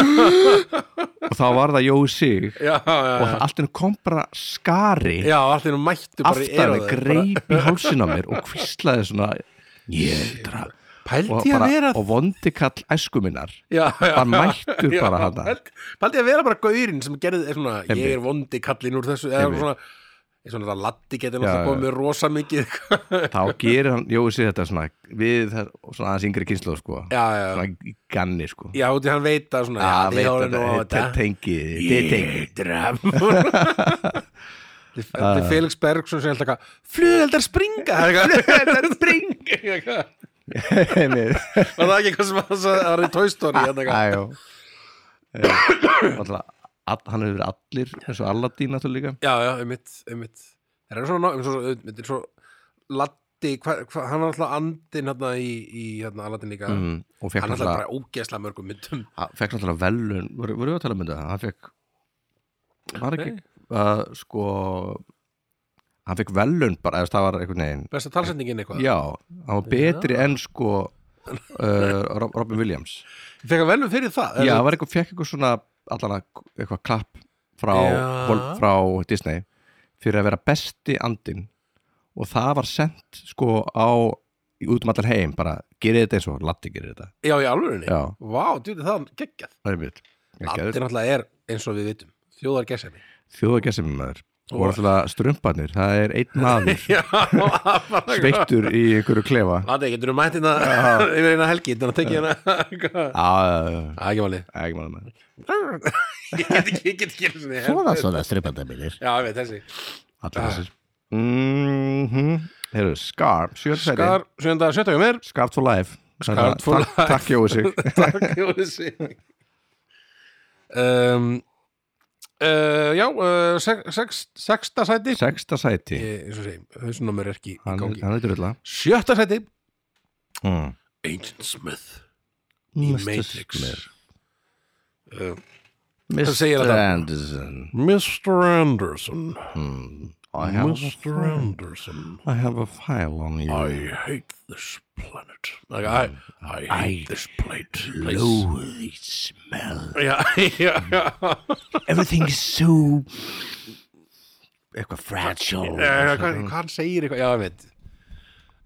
[SPEAKER 2] og þá var það Jói sig
[SPEAKER 1] já, já,
[SPEAKER 2] og
[SPEAKER 1] já,
[SPEAKER 2] allt henni kom bara skari
[SPEAKER 1] já, allt er nú mættu bara í
[SPEAKER 2] aftan
[SPEAKER 1] eyrað
[SPEAKER 2] með
[SPEAKER 1] þeir,
[SPEAKER 2] greip í hálsin á mér og hvíslaði svona ég drap
[SPEAKER 1] bara- pældi
[SPEAKER 2] og,
[SPEAKER 1] ég að
[SPEAKER 2] bara,
[SPEAKER 1] vera
[SPEAKER 2] og vondi kall æsku minnar
[SPEAKER 1] já, já,
[SPEAKER 2] bara mættur
[SPEAKER 1] já,
[SPEAKER 2] bara hana.
[SPEAKER 1] pældi- pældi ég að vera bara gaurinn sem gerði er svona,
[SPEAKER 2] Einmitt.
[SPEAKER 1] ég er vondi kallinn úr þessu eða
[SPEAKER 2] Einmitt.
[SPEAKER 1] svona, er svona það laddi getur
[SPEAKER 2] Já,
[SPEAKER 1] náttúrulega
[SPEAKER 2] já.
[SPEAKER 1] komið rosa mikið
[SPEAKER 2] þá gerir hann Jói sig þetta svona við þær, svona aðeins yngri kynslu sko.
[SPEAKER 1] já, já,
[SPEAKER 2] svona í ganni sko
[SPEAKER 1] já, út í hann veit að svona, já,
[SPEAKER 2] Ah, veit
[SPEAKER 1] já,
[SPEAKER 2] þetta, þetta tengi þetta Ah. tengi
[SPEAKER 1] draf Þetta er Felix Bergson sem held að flugeldar springa flugeldar springa var
[SPEAKER 2] Einmitt.
[SPEAKER 1] það ekki eitthvað sem var- það var í Toy
[SPEAKER 2] Ah,
[SPEAKER 1] Story hérna eitthvað?
[SPEAKER 2] Æjó. Eh, náttúrulega, all- hann hefur verið allir eins og Alladín náttúrulega líka
[SPEAKER 1] já, já, einmitt, einmitt það er svona, um, svo, einmitt, er svo Latti, hva, hva, hann var alltaf andinn hérna í, í hérna Aladdin líka
[SPEAKER 2] mm, og fekk
[SPEAKER 1] hann alltaf
[SPEAKER 2] náttúrulega
[SPEAKER 1] bara ógeðslega mörgum myndum
[SPEAKER 2] hann fekk náttúrulega velun voru, voru við að tala um þetta? hann fekk var ekki
[SPEAKER 1] Nei.
[SPEAKER 2] uh, sko hann fekk velun bara eða það var einhvern veginn
[SPEAKER 1] besta talsendingin eitthvað
[SPEAKER 2] já, hann var betri enn sko uh, Rob- Robin Williams
[SPEAKER 1] fekk hann velum fyrir það
[SPEAKER 2] Já,
[SPEAKER 1] eða-
[SPEAKER 2] það var eitthvað, fekk eitthvað svona allan að eitthvað klapp frá,
[SPEAKER 1] Já.
[SPEAKER 2] hol- frá Disney fyrir að vera besti andinn og það var sendt sko á í- út um allan heim, bara gerið þetta eins og Latti gerir þetta,
[SPEAKER 1] já, í alvörunni
[SPEAKER 2] já,
[SPEAKER 1] vá, djúti það er geggjað
[SPEAKER 2] það er mjög
[SPEAKER 1] Latti náttúrulega er eins og við vitum þjóðar gesemi
[SPEAKER 2] þjóðagessim maður
[SPEAKER 1] Og-
[SPEAKER 2] og alltaf strumpanir, það er einn maður
[SPEAKER 1] já, sveittur
[SPEAKER 2] sveittur í einhverju klefa
[SPEAKER 1] Lati, getur þú mætt hérna yfir eina helgi þannig að tekja hérna
[SPEAKER 2] Já,
[SPEAKER 1] Það er ekki máli
[SPEAKER 2] ekki maður maður
[SPEAKER 1] Ég get ekki, ég get ekki einu sinni
[SPEAKER 4] Svona svona strippandabilir
[SPEAKER 1] Já, ég veit þessi
[SPEAKER 2] allir þessir mhm, Heyrðu, Scar, sjöðsæti
[SPEAKER 1] Skar, sjönda, sjötta hjá mér
[SPEAKER 2] Scarf for life
[SPEAKER 1] Scarf for life.
[SPEAKER 2] Takk- Takk Jói sig
[SPEAKER 1] Takk, Jónsi um, uh, Já, uh, sex, sex, sexta sæti
[SPEAKER 2] Sexta sæti
[SPEAKER 1] Ég, eins og segi, hausnumur er ekki í
[SPEAKER 2] hann,
[SPEAKER 1] gangi
[SPEAKER 2] hann er drulla
[SPEAKER 1] Sjötta sæti
[SPEAKER 2] mm.
[SPEAKER 1] Ancient Smith í Matrix Uh,
[SPEAKER 2] Mr.
[SPEAKER 1] segir þetta.
[SPEAKER 2] Anderson
[SPEAKER 1] Mr. Anderson
[SPEAKER 2] mm. I have, a,
[SPEAKER 5] Mr. Anderson,
[SPEAKER 2] I have a file on you
[SPEAKER 5] I hate this planet. Like, I,
[SPEAKER 1] Mm.
[SPEAKER 5] I hate this plate. place.
[SPEAKER 4] Loathe smell.
[SPEAKER 1] já, já, já.
[SPEAKER 4] Everything is so eitthvað
[SPEAKER 5] Mm.
[SPEAKER 4] fragile.
[SPEAKER 1] Eh, hvað, hvað hann segir eitthvað, já, einmitt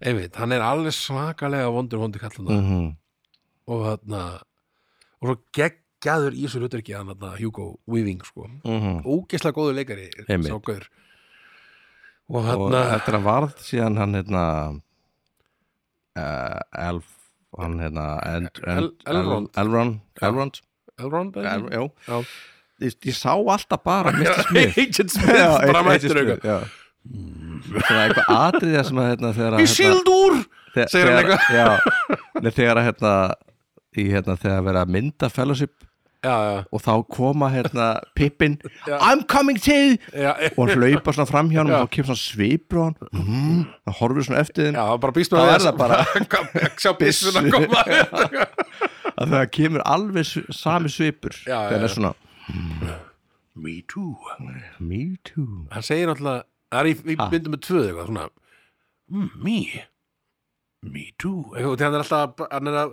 [SPEAKER 1] einmitt, hann er alveg svakalega vondur vondur kallanda mm
[SPEAKER 2] Mm-hmm.
[SPEAKER 1] -hmm. og hann og svo geggjaður í þessu hlutverki hann hann Hugo Weaving sko
[SPEAKER 2] Mhm.
[SPEAKER 1] ógeðslega góður leikari
[SPEAKER 2] Einmitt.
[SPEAKER 1] sá gaur. og
[SPEAKER 2] og
[SPEAKER 1] hann
[SPEAKER 2] eftir að varð síðan hann hérna uh, Elf hann hérna End-
[SPEAKER 1] El-
[SPEAKER 2] End- El-
[SPEAKER 1] Elrond.
[SPEAKER 2] Elrond Elrond
[SPEAKER 1] Elrond
[SPEAKER 2] El-
[SPEAKER 1] eða ekki?
[SPEAKER 2] já.
[SPEAKER 1] Já.
[SPEAKER 2] ég, ég sá alltaf bara Mr. Smith
[SPEAKER 1] Agent Smith bara mættur eitthvað
[SPEAKER 2] eitthvað svona eitthvað atriða sem að hérna þegar að
[SPEAKER 1] Í síldur
[SPEAKER 2] þe-
[SPEAKER 1] segir hann
[SPEAKER 2] þegar- já, nei, þegar að hérna í hérna þegar að vera að mynda fellowship
[SPEAKER 1] Já, já,
[SPEAKER 2] og þá koma hérna Pippin
[SPEAKER 1] Já.
[SPEAKER 2] I'm coming to
[SPEAKER 1] já, já,
[SPEAKER 2] og hann hlaupa svona fram hjá hann
[SPEAKER 1] Já.
[SPEAKER 2] og þá kemur svona svipur á hann mm, hann horfir svona eftir þeim
[SPEAKER 1] já bara býst
[SPEAKER 2] Þá
[SPEAKER 1] með
[SPEAKER 2] er það bara-
[SPEAKER 1] Sjá byssuna
[SPEAKER 2] Byssu.
[SPEAKER 1] koma
[SPEAKER 2] að það kemur alveg s- sami svipur
[SPEAKER 1] Já, já,
[SPEAKER 2] það
[SPEAKER 1] já.
[SPEAKER 2] er svona
[SPEAKER 5] Me too.
[SPEAKER 2] me too
[SPEAKER 1] Hann segir náttúrulega Það er í, í
[SPEAKER 2] Ha.
[SPEAKER 1] myndum með tvöð eitthvað svona
[SPEAKER 5] Mm, me. Me too.
[SPEAKER 1] eitthvað, og þegar hann er alltaf hann er að,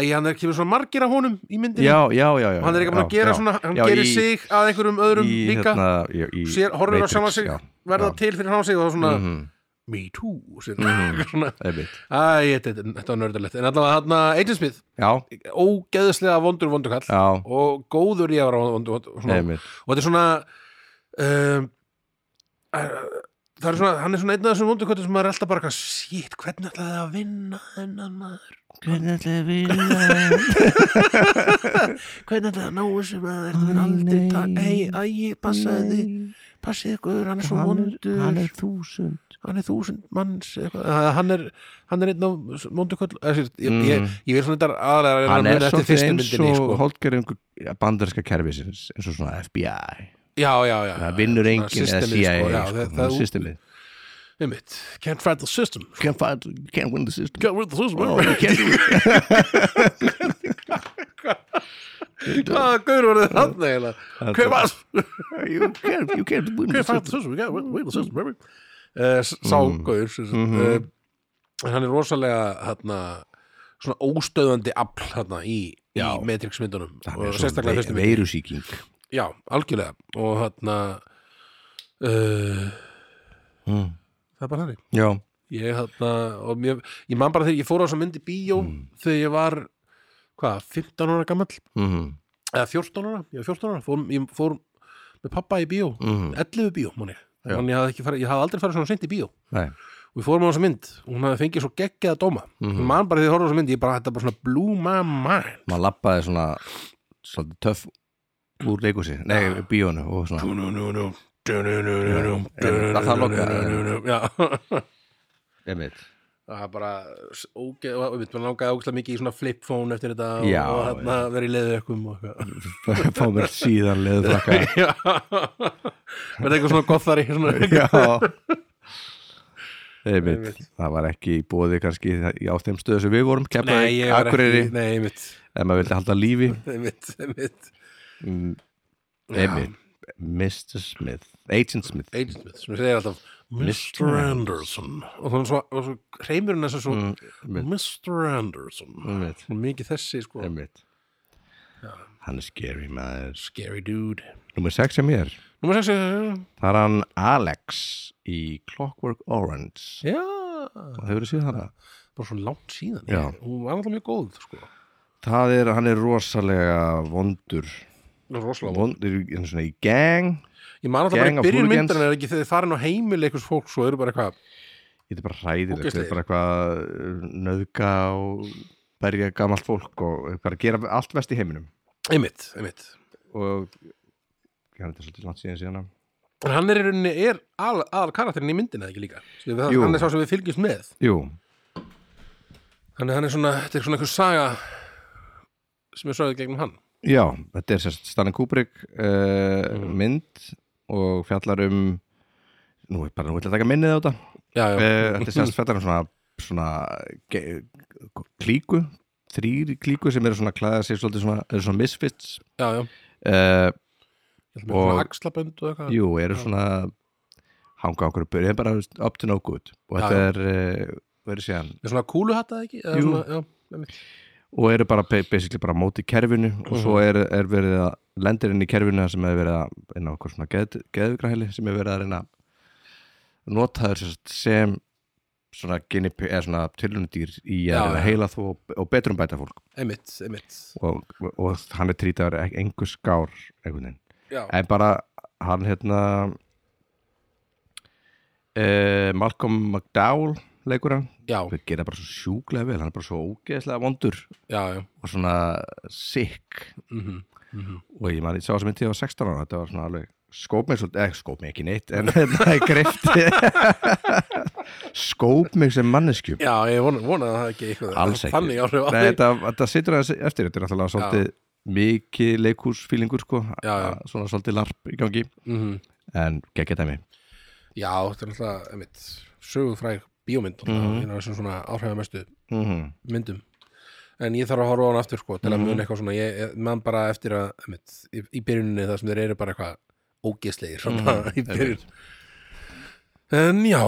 [SPEAKER 1] að hann er kemur svona margir af honum í myndinni
[SPEAKER 2] já, já, já, já
[SPEAKER 1] og hann er ekki
[SPEAKER 2] já,
[SPEAKER 1] búin að gera
[SPEAKER 2] já.
[SPEAKER 1] svona hann
[SPEAKER 2] Já,
[SPEAKER 1] gerir
[SPEAKER 2] í-
[SPEAKER 1] sig að einhverjum öðrum
[SPEAKER 2] í,
[SPEAKER 1] líka
[SPEAKER 2] hérna, já, í
[SPEAKER 1] sér, horfir á
[SPEAKER 2] Matrix,
[SPEAKER 1] sjálfan sig
[SPEAKER 2] já,
[SPEAKER 1] verða
[SPEAKER 2] já.
[SPEAKER 1] til fyrir hann sig og þá svona
[SPEAKER 2] Mhm,
[SPEAKER 1] me too og sér, svona,
[SPEAKER 2] einmitt.
[SPEAKER 1] æ, þetta, þetta, þetta var nördalegt en allavega hann Agent Smith
[SPEAKER 2] já,
[SPEAKER 1] ógeðslega vondur vondur kall
[SPEAKER 2] já,
[SPEAKER 1] og góður í að vera vondur vondur svona,
[SPEAKER 2] einmitt
[SPEAKER 1] og þetta er svona um, er- það er svona, hann er svona einn af þessum vondur kallum sem maður er alltaf bara eitthvað shit, hvernig ætlaði það að vinna þennan maður
[SPEAKER 4] Hvernig ætlaði að vinna?
[SPEAKER 1] hvernig þetta ná þessu maður þetta er aldrei takk, hei, ægi, passaði þið passið ykkur, hann er svo vondur
[SPEAKER 4] Hann er þúsund.
[SPEAKER 1] þúsund manns eitthvað. Eh, hann er, hann er einn af vondur köll eh, sér, ég, ég,
[SPEAKER 2] Mhm.
[SPEAKER 1] ég er svona þetta aðlega að reyna
[SPEAKER 2] hann
[SPEAKER 1] að muna
[SPEAKER 2] er
[SPEAKER 1] eftir
[SPEAKER 2] svolítið
[SPEAKER 1] fyrstu
[SPEAKER 2] eins
[SPEAKER 1] myndinni
[SPEAKER 2] og
[SPEAKER 1] sko.
[SPEAKER 2] holdgerðingu bandarska kerfisins eins og svona FBI
[SPEAKER 1] já, já, já,
[SPEAKER 2] það vinnur enginn eða
[SPEAKER 1] systemið, sko, já,
[SPEAKER 2] CIA
[SPEAKER 1] það-
[SPEAKER 2] sko,
[SPEAKER 1] það-
[SPEAKER 2] systemið
[SPEAKER 1] einmitt. can't fight the system
[SPEAKER 2] can't fight, you can't win the system
[SPEAKER 1] can't fight the system
[SPEAKER 2] Oh, you can't do it.
[SPEAKER 1] hvaða gaur voru þið hann eiginlega can't fight
[SPEAKER 2] You can't, you can't win the
[SPEAKER 1] can't fight the
[SPEAKER 2] system
[SPEAKER 1] system we can't win the system baby. Eh, s- sá
[SPEAKER 2] Mm-hmm.
[SPEAKER 1] gaur sem sagt, eh, hann er rosalega hérna svona óstöðandi afl hérna í, í
[SPEAKER 2] Já.
[SPEAKER 1] Matrix myndunum
[SPEAKER 2] Hann er
[SPEAKER 1] og
[SPEAKER 2] svo
[SPEAKER 1] sérstaklega fyrstu
[SPEAKER 2] ve-
[SPEAKER 1] myndunum
[SPEAKER 2] veirusýking
[SPEAKER 1] Já, algjörlega og hérna uh,
[SPEAKER 2] Hmm.
[SPEAKER 1] það er bara þannig
[SPEAKER 2] já,
[SPEAKER 1] ég, hérna, og mér, ég man bara þegar ég fór á þessa mynd í bíó
[SPEAKER 2] Mm.
[SPEAKER 1] þegar ég var hvað, 15 ára gamall
[SPEAKER 2] mhm,
[SPEAKER 1] eða 14 ára, ég var 14 ára fór, ég fór með pappa í bíó
[SPEAKER 2] mhm
[SPEAKER 1] 11 bíó, manni
[SPEAKER 2] Já.
[SPEAKER 1] Þannig ég hafði, ekki farið, ég hafði aldrei farið svona seint í bíó
[SPEAKER 2] nei,
[SPEAKER 1] og við fórum á þessa mynd og hún hafði fengið svo geggjaða dóma
[SPEAKER 2] Mhm.
[SPEAKER 1] mm. man bara þegar ég horfði á þessa mynd ég bara, þetta bara svona blew my mind
[SPEAKER 2] maður lappaði svona svolítið töff úr leikursi, nei, bíónu og svona það þarf loka,
[SPEAKER 1] loka
[SPEAKER 2] einmitt
[SPEAKER 1] það er bara s- óge- og og við erum langaði ógæslega mikið í svona flip phone eftir þetta og-
[SPEAKER 2] Já,
[SPEAKER 1] og þarna verið í leiðu ekkum og eitthvað
[SPEAKER 2] fá mér síðan leðfrakka
[SPEAKER 1] Já. verið eitthvað svona gothari svona.
[SPEAKER 2] já einmitt, það var ekki í bóði kannski í- á þeim stöðu sem við vorum
[SPEAKER 1] nei,
[SPEAKER 2] Keflavík,
[SPEAKER 1] ég var
[SPEAKER 2] Akureyri,
[SPEAKER 1] ekki nei, einmitt,
[SPEAKER 2] ef maður vildi halda lífi Mm.
[SPEAKER 1] einmitt, einmitt
[SPEAKER 2] einmitt, Mr. Smith Agent Smith
[SPEAKER 1] Agent Smith sem segir alltaf Mr. Anderson og þannig svo, og svo hreimurinn þess að svo
[SPEAKER 2] Mm,
[SPEAKER 1] Mr. Anderson
[SPEAKER 2] einmitt,
[SPEAKER 1] og mikið þessi sko
[SPEAKER 2] Mm. einmitt. hann er scary maður
[SPEAKER 1] scary dude
[SPEAKER 2] nummer 6 sem ég er,
[SPEAKER 1] Númer 6
[SPEAKER 2] það er hann Alex í Clockwork Orange
[SPEAKER 1] já,
[SPEAKER 2] það hefur séð hana
[SPEAKER 1] bara svo langt síðan
[SPEAKER 2] Já.
[SPEAKER 1] hún var alltaf mjög góð sko
[SPEAKER 2] það er, hann er rosalega vondur
[SPEAKER 1] rosalega
[SPEAKER 2] vondur, í- hann er svona í gang
[SPEAKER 1] Ég man alltaf bara
[SPEAKER 2] Gang
[SPEAKER 1] í
[SPEAKER 2] of
[SPEAKER 1] byrjun
[SPEAKER 2] hooligans.
[SPEAKER 1] myndarinn er ekki þegar þið farin á heimil einhvers fólks og eru bara eitthvað
[SPEAKER 2] þetta er bara hræðilegt þetta
[SPEAKER 1] Ógeðslegir.
[SPEAKER 2] er bara eitthvað uh, nöðga og berja gamalt fólk og bara gera allt vest í heiminum
[SPEAKER 1] einmitt, einmitt
[SPEAKER 2] og hann er svolítið langt síðan síðan
[SPEAKER 1] En hann er í rauninni, er aðal aðal karakterinn í myndinni eða ekki líka Skilur við það,
[SPEAKER 2] Jú.
[SPEAKER 1] Hann er sá sem við fylgjumst með
[SPEAKER 2] jú,
[SPEAKER 1] Þannig að hann er svona, þetta er svona einhver saga sem er sögðið gegnum hann
[SPEAKER 2] já, þetta er sérst Stanley Kubrick uh, mynd og fjallar um nú er bara, nú ætla ég að taka minnið á þetta
[SPEAKER 1] Já, já,
[SPEAKER 2] uh, þetta er sérst fjallar um svona, svona ge- klíku þrýr klíku sem eru svona klæða sig svolítið svona, eru svona misfits
[SPEAKER 1] já, já
[SPEAKER 2] uh,
[SPEAKER 1] Ég held með
[SPEAKER 2] og-
[SPEAKER 1] svona axlabönd og eitthvað
[SPEAKER 2] Jú, eru svona hanga á okkur börja, bara þú veist, up to no good og þetta
[SPEAKER 1] Já,
[SPEAKER 2] er, eh, verður síðan
[SPEAKER 1] Með svona kúluhattað ekki? Eða
[SPEAKER 2] Jú.
[SPEAKER 1] svona- já, einmitt.
[SPEAKER 2] og eru bara ba- basically bara á móti kerfinu og
[SPEAKER 1] Mhm.
[SPEAKER 2] svo er, er verið að lendir inn í kerfinu þar sem er verið að inn á okkur svona geð, geðvigrahæli sem er verið að reyna að nota þér sem svona, guinea pig- eða svona tilunudýr í að,
[SPEAKER 1] Já,
[SPEAKER 2] reyna að
[SPEAKER 1] já.
[SPEAKER 2] heila þú og, og betrum bæta fólk
[SPEAKER 1] einmitt, einmitt.
[SPEAKER 2] og, og, hann er trýtaður e-, engu skár einhvern veginn
[SPEAKER 1] Já,
[SPEAKER 2] en bara hann hérna uh, Malcolm McDowell leikur hann
[SPEAKER 1] já,
[SPEAKER 2] við gera bara svo sjúklega vel hann er bara svo ógeðslega vondur
[SPEAKER 1] já, já.
[SPEAKER 2] og svona sick og ég man, ég sá þess að myndi ég var 16 ára þetta var svona alveg, skóp mig svolítið, ekki skóp mig ekki neitt en hérna, þetta er greifti skóp mig sem manneskju
[SPEAKER 1] Já, ég vona, vona að það ekki eitthvað
[SPEAKER 2] Alls ekki.
[SPEAKER 1] Þannig áhrif á
[SPEAKER 2] Nei,
[SPEAKER 1] þig
[SPEAKER 2] þetta, þetta situr aðeins eftir þetta er alltaf svolítið mikið leikúsfílingur sko,
[SPEAKER 1] Já, já.
[SPEAKER 2] að- svona svolítið larp í gangi
[SPEAKER 1] Mhm.
[SPEAKER 2] en geggja dæmi
[SPEAKER 1] Já, þetta er alltaf, einmitt, sögufræg bíómynd
[SPEAKER 2] Mhm.
[SPEAKER 1] mm hérna þessum svona áhrifamestu
[SPEAKER 2] mm
[SPEAKER 1] myndum En ég þarf að horfa á hann aftur sko til
[SPEAKER 2] Mhm.
[SPEAKER 1] að muna eitthvað svona, ég, ég man bara eftir að einmitt, í, í byrjuninni það sem þeir eru bara eitthvað ógeðslegir svona
[SPEAKER 2] Mhm.
[SPEAKER 1] í byrjun En já,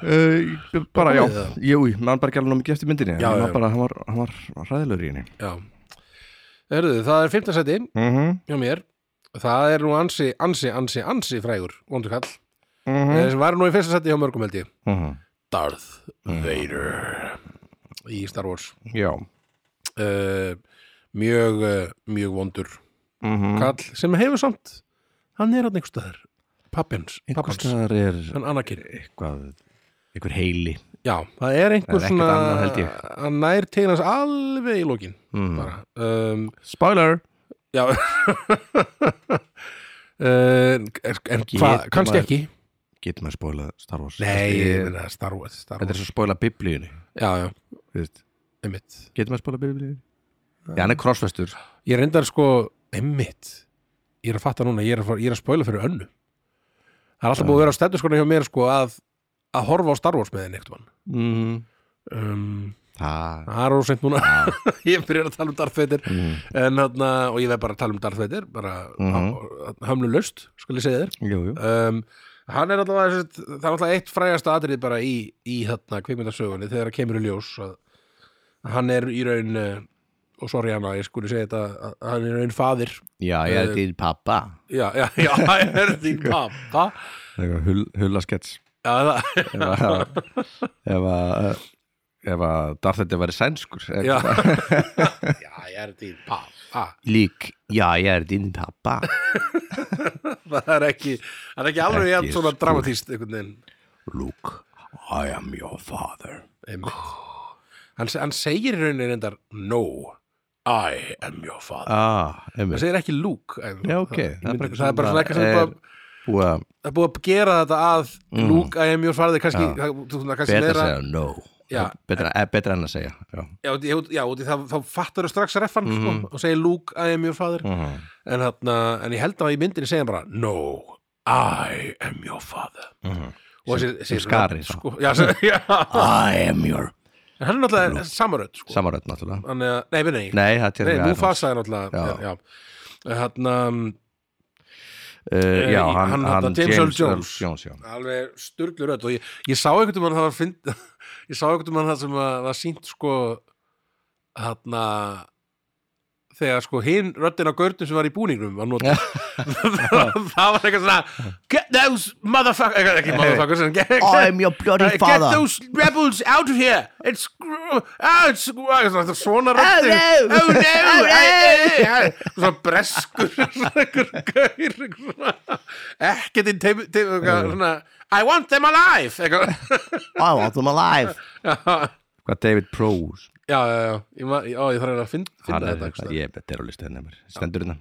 [SPEAKER 2] uh, bara já,
[SPEAKER 1] Komið það?
[SPEAKER 2] jú, mann bara gæla ná mikið eftir myndinni en
[SPEAKER 1] Já,
[SPEAKER 2] hann var
[SPEAKER 1] já.
[SPEAKER 2] bara, hann var, hann var hræðilegur í henni
[SPEAKER 1] já Herðu, það er 15 seti
[SPEAKER 2] mm -hmm.
[SPEAKER 1] hjá mér Það er nú ansi, ansi, ansi, ansi frægur vondur kall,
[SPEAKER 2] Mhm.
[SPEAKER 1] mm sem var nú í fyrsta seti hjá mörgum held ég Darth Vader í Star Wars
[SPEAKER 2] já
[SPEAKER 1] uh, mjög uh, mjög vondur
[SPEAKER 2] mm
[SPEAKER 1] kall sem hefur samt hann er hann einhvers staðar pappins, pappans,
[SPEAKER 2] staðar er
[SPEAKER 1] hann Anakin
[SPEAKER 2] eitthvað einhver heili
[SPEAKER 1] já, það er einhver
[SPEAKER 2] Það er ekkert
[SPEAKER 1] svona
[SPEAKER 2] annað, held ég.
[SPEAKER 1] hann nær til hans alveg í lókin
[SPEAKER 2] mm.
[SPEAKER 1] bara um,
[SPEAKER 2] spoiler
[SPEAKER 1] já Uh, er, er,
[SPEAKER 2] Getur
[SPEAKER 1] hva, kannski
[SPEAKER 2] maður-
[SPEAKER 1] ekki
[SPEAKER 2] getur maður spoilað Star Wars
[SPEAKER 1] Nei, ég
[SPEAKER 2] Þetta er-
[SPEAKER 1] meina Star Wars, Star
[SPEAKER 2] þetta er
[SPEAKER 1] Wars.
[SPEAKER 2] svo spoilað biblíunni
[SPEAKER 1] Já, já,
[SPEAKER 2] veist.
[SPEAKER 1] einmitt
[SPEAKER 2] getur maður spoilað biblíunni já, hann er crossfestur
[SPEAKER 1] Ég reyndar sko, einmitt Ég er að fatta núna, ég er að, fara- ég er að spóla fyrir önnu Það er alltaf búið að vera á stættu sko hjá mér sko að, að horfa á Star Wars með henni eitthvað Mhm.
[SPEAKER 2] mm.
[SPEAKER 1] um,
[SPEAKER 2] það
[SPEAKER 1] Það er óseint núna Ég byrjar að tala um Darth Vader
[SPEAKER 2] mm.
[SPEAKER 1] en, hana, og ég verð bara að tala um Darth Vader bara mm
[SPEAKER 2] Mhm.
[SPEAKER 1] -hmm. hömlu löst, skal ég segja þér
[SPEAKER 2] jú, jú.
[SPEAKER 1] um, Hann er allavega sem sagt, það er allavega eitt frægasta atrið bara í, í þarna kvikmyndasögunni þegar það kemur í ljós að, að hann er í raun eh, og sorry hann að ég skuli segja þetta að að hann er í raun faðir
[SPEAKER 2] já, ég er til pappa
[SPEAKER 1] já, já, já, það er þín pappa
[SPEAKER 2] eitthvað hul, hullaskets
[SPEAKER 1] já, það,
[SPEAKER 2] ef að ef að eh, ef að Darth Vader væri sænskur eh, eða
[SPEAKER 1] já.
[SPEAKER 2] eitthvað.
[SPEAKER 1] já, ég er þín pappa
[SPEAKER 2] lík, já, ég er din pappa
[SPEAKER 1] það er ekki, það er ekki alveg
[SPEAKER 2] Ekki
[SPEAKER 1] jafn svona
[SPEAKER 2] spurning.
[SPEAKER 1] dramatíst einhvern veginn
[SPEAKER 2] Luke, I am your father
[SPEAKER 1] einmitt hann, se- hann segir í rauninni reyndar no, I am your father
[SPEAKER 2] ah,
[SPEAKER 1] hann
[SPEAKER 2] einmitt
[SPEAKER 1] segir ekki Luke en,
[SPEAKER 2] Já, ok.
[SPEAKER 1] það,
[SPEAKER 2] bara Eh,
[SPEAKER 1] það er bara svona eitthvað sem er
[SPEAKER 2] er
[SPEAKER 1] búið að-
[SPEAKER 2] búið að
[SPEAKER 1] það er búið að gera þetta að Luke, I am your father kannski,
[SPEAKER 2] Mhm. Já.
[SPEAKER 1] það, þú- svona, kannski
[SPEAKER 2] betra að
[SPEAKER 1] meira
[SPEAKER 2] segja no
[SPEAKER 1] Já.
[SPEAKER 2] betra, eh, betra en að segja já.
[SPEAKER 1] já, ég- já, út í það, þá fattar þau strax reffan
[SPEAKER 2] Mhm.
[SPEAKER 1] sko, og segir Luke, I am your father en, þarna, en ég held að í myndinni segja hann bara No, I am your father og þessi- þessi
[SPEAKER 2] sem skari, þá.
[SPEAKER 1] sko, já, sem, já.
[SPEAKER 2] I am your
[SPEAKER 1] En hann er náttúrulega samarönd sko.
[SPEAKER 2] samarönd náttúrulega
[SPEAKER 1] hann er, nei, nei, nei,
[SPEAKER 2] nei, það er
[SPEAKER 1] nei
[SPEAKER 2] til
[SPEAKER 1] Mufasa er náttúrulega já. Já. Þarna, um,
[SPEAKER 2] uh,
[SPEAKER 1] Eh,
[SPEAKER 2] já, hann,
[SPEAKER 1] hann-
[SPEAKER 2] hann,
[SPEAKER 1] hann- James Earl Jones.
[SPEAKER 2] Jones já.
[SPEAKER 1] alveg sturglu rödd og ég, ég sá einhvern veginn það var fynd ég sá einhvern veginn það sem að, var sínt sko þarna þegar sko hinn röddin á gaurtum sem var í búningnum var notið það var eitthvað svona get those motherfuckers eitthvað, ekki motherfuckers en get,
[SPEAKER 4] I am your bloody
[SPEAKER 1] get, get
[SPEAKER 4] father.
[SPEAKER 1] those rebels out of here it's, gr- ah, it's gr- svona röddin
[SPEAKER 4] no.
[SPEAKER 1] oh no,
[SPEAKER 4] Oh, no.
[SPEAKER 1] æ, æ, æ, æ. svona breskur svona einhver gaur einhver svona, ekkert inn teim, teim, eitthvað, svona, hérna, I want them alive eitthvað.
[SPEAKER 4] I want them alive.
[SPEAKER 2] hvað David Prose
[SPEAKER 1] já, já, já, ég, ma- já, ég þarf að reyna að finn-
[SPEAKER 2] hann
[SPEAKER 1] finna
[SPEAKER 2] er,
[SPEAKER 1] þetta einhvers staðar.
[SPEAKER 2] ég betur á listu hennar mér. stendur hérna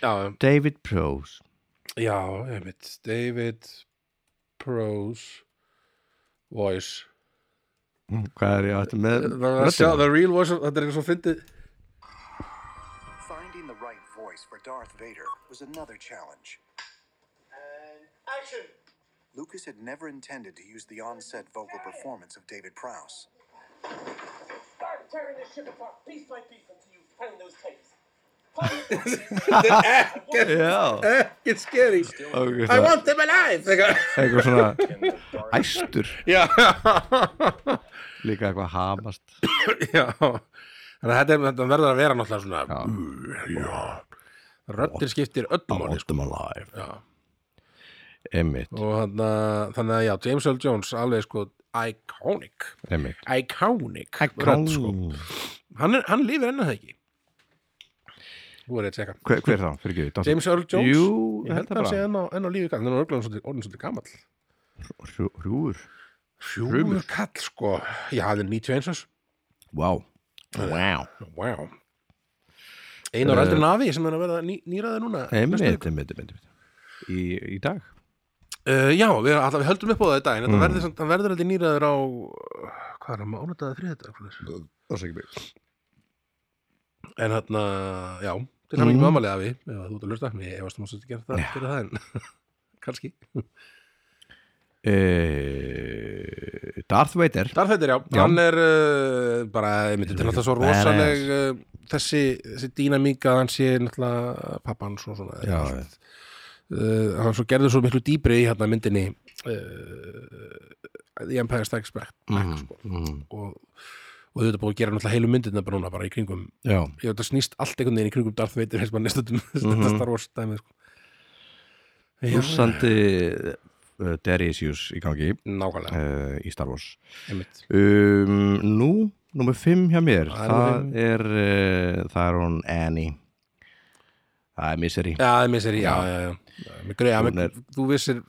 [SPEAKER 1] já,
[SPEAKER 2] David Prose
[SPEAKER 1] já, ég mitt David Prose Voice
[SPEAKER 2] Hm, hvað er ég aftur með
[SPEAKER 1] Eh, Það var að sjá,
[SPEAKER 2] röddina?
[SPEAKER 1] the real voice, þetta er eitthvað svo fyndið
[SPEAKER 6] Finding the right voice for Darth Vader was another challenge. Lucas had never intended to use the onset vocal performance of David Prowse.
[SPEAKER 7] Start tearing this ship apart piece by piece until you find those tapes.
[SPEAKER 2] já,
[SPEAKER 1] Ekkert skeri
[SPEAKER 2] ok,
[SPEAKER 1] Eh, I
[SPEAKER 2] það-
[SPEAKER 1] want them alive Eitthvað.
[SPEAKER 2] eitthvað svona æstur
[SPEAKER 1] Já
[SPEAKER 2] líka eitthvað hamast
[SPEAKER 1] Já Þannig að þetta, er- þetta verður að vera náttúrulega svona
[SPEAKER 2] Já.
[SPEAKER 1] Röddir skiptir öllum máli sko.
[SPEAKER 2] alive
[SPEAKER 1] Já.
[SPEAKER 2] Emmitt,
[SPEAKER 1] Og hann, að- þannig að já, James Earl Jones alveg sko iconic
[SPEAKER 2] emmitt
[SPEAKER 1] Iconic rödd sko Hann, er, hann lifir enn að það ekki Þú er ég að tjekka
[SPEAKER 2] hver, hver þá, fyrir ekki Dottor-
[SPEAKER 1] James Earl Jones
[SPEAKER 2] Jú,
[SPEAKER 1] Ég held að hann sé enn á, enn á lífi kall Hann er örugglega orðinn svolítið- orðinn svolítið gamall
[SPEAKER 2] Hrjú- Hrjúfur
[SPEAKER 1] Hrjúmur kall sko Ég hafði 91 árs
[SPEAKER 2] Vá
[SPEAKER 1] Eh.
[SPEAKER 4] Wow.
[SPEAKER 1] Wow Einar uh, eldri nafi sem er að verða ný, nýraði núna
[SPEAKER 2] Emmitt,
[SPEAKER 1] næstu viku.
[SPEAKER 2] emmitt, emmitt, emmitt Í, í dag
[SPEAKER 1] uh, Já, við, alltaf, við höldum upp á það í dag en mm. verður, samt- hann verður aldrei nýraður á uh, hvað er hann, ánætaði þriðið en hann, já til hann
[SPEAKER 2] Mm.
[SPEAKER 1] ekki mammalið afi, ef að þú ert að lusta ég efast að maður svolítið gera það, gera það en kannski,
[SPEAKER 2] e, Darth Vader
[SPEAKER 1] Darth Vader, já, hann er uh, bara, ég myndi til náttúrulega svo
[SPEAKER 2] Badass.
[SPEAKER 1] rosaleg uh, þessi, þessi dýnamík að hann sé náttúrulega pappan svo svona,
[SPEAKER 2] Já,
[SPEAKER 1] svona uh, hann svo gerður svo miklu dýbri í hérna myndinni uh, The Empire Strikes Back
[SPEAKER 2] Mhm.
[SPEAKER 1] mm. sko. og, og þetta búið að gera náttúrulega heilu myndina bara núna bara í kringum
[SPEAKER 2] já,
[SPEAKER 1] ég veit að snýst allt einhvern veginn í kringum Darth Vader þess maður næstutum
[SPEAKER 2] Mhm.
[SPEAKER 1] þetta Star Wars dæmi sko. Já,
[SPEAKER 2] húsandi uh, Derisius í gangi
[SPEAKER 1] nákvæmlega,
[SPEAKER 2] uh, í Star Wars
[SPEAKER 1] einmitt
[SPEAKER 2] um, Nú, nummer 5 hjá mér
[SPEAKER 1] Það er
[SPEAKER 2] Það er, uh, það er hún Annie Það er Misery
[SPEAKER 1] Já, það er mér sér, já, já, já, já. Mér greið,
[SPEAKER 2] Hún
[SPEAKER 1] mér,
[SPEAKER 2] er-
[SPEAKER 1] þú vissir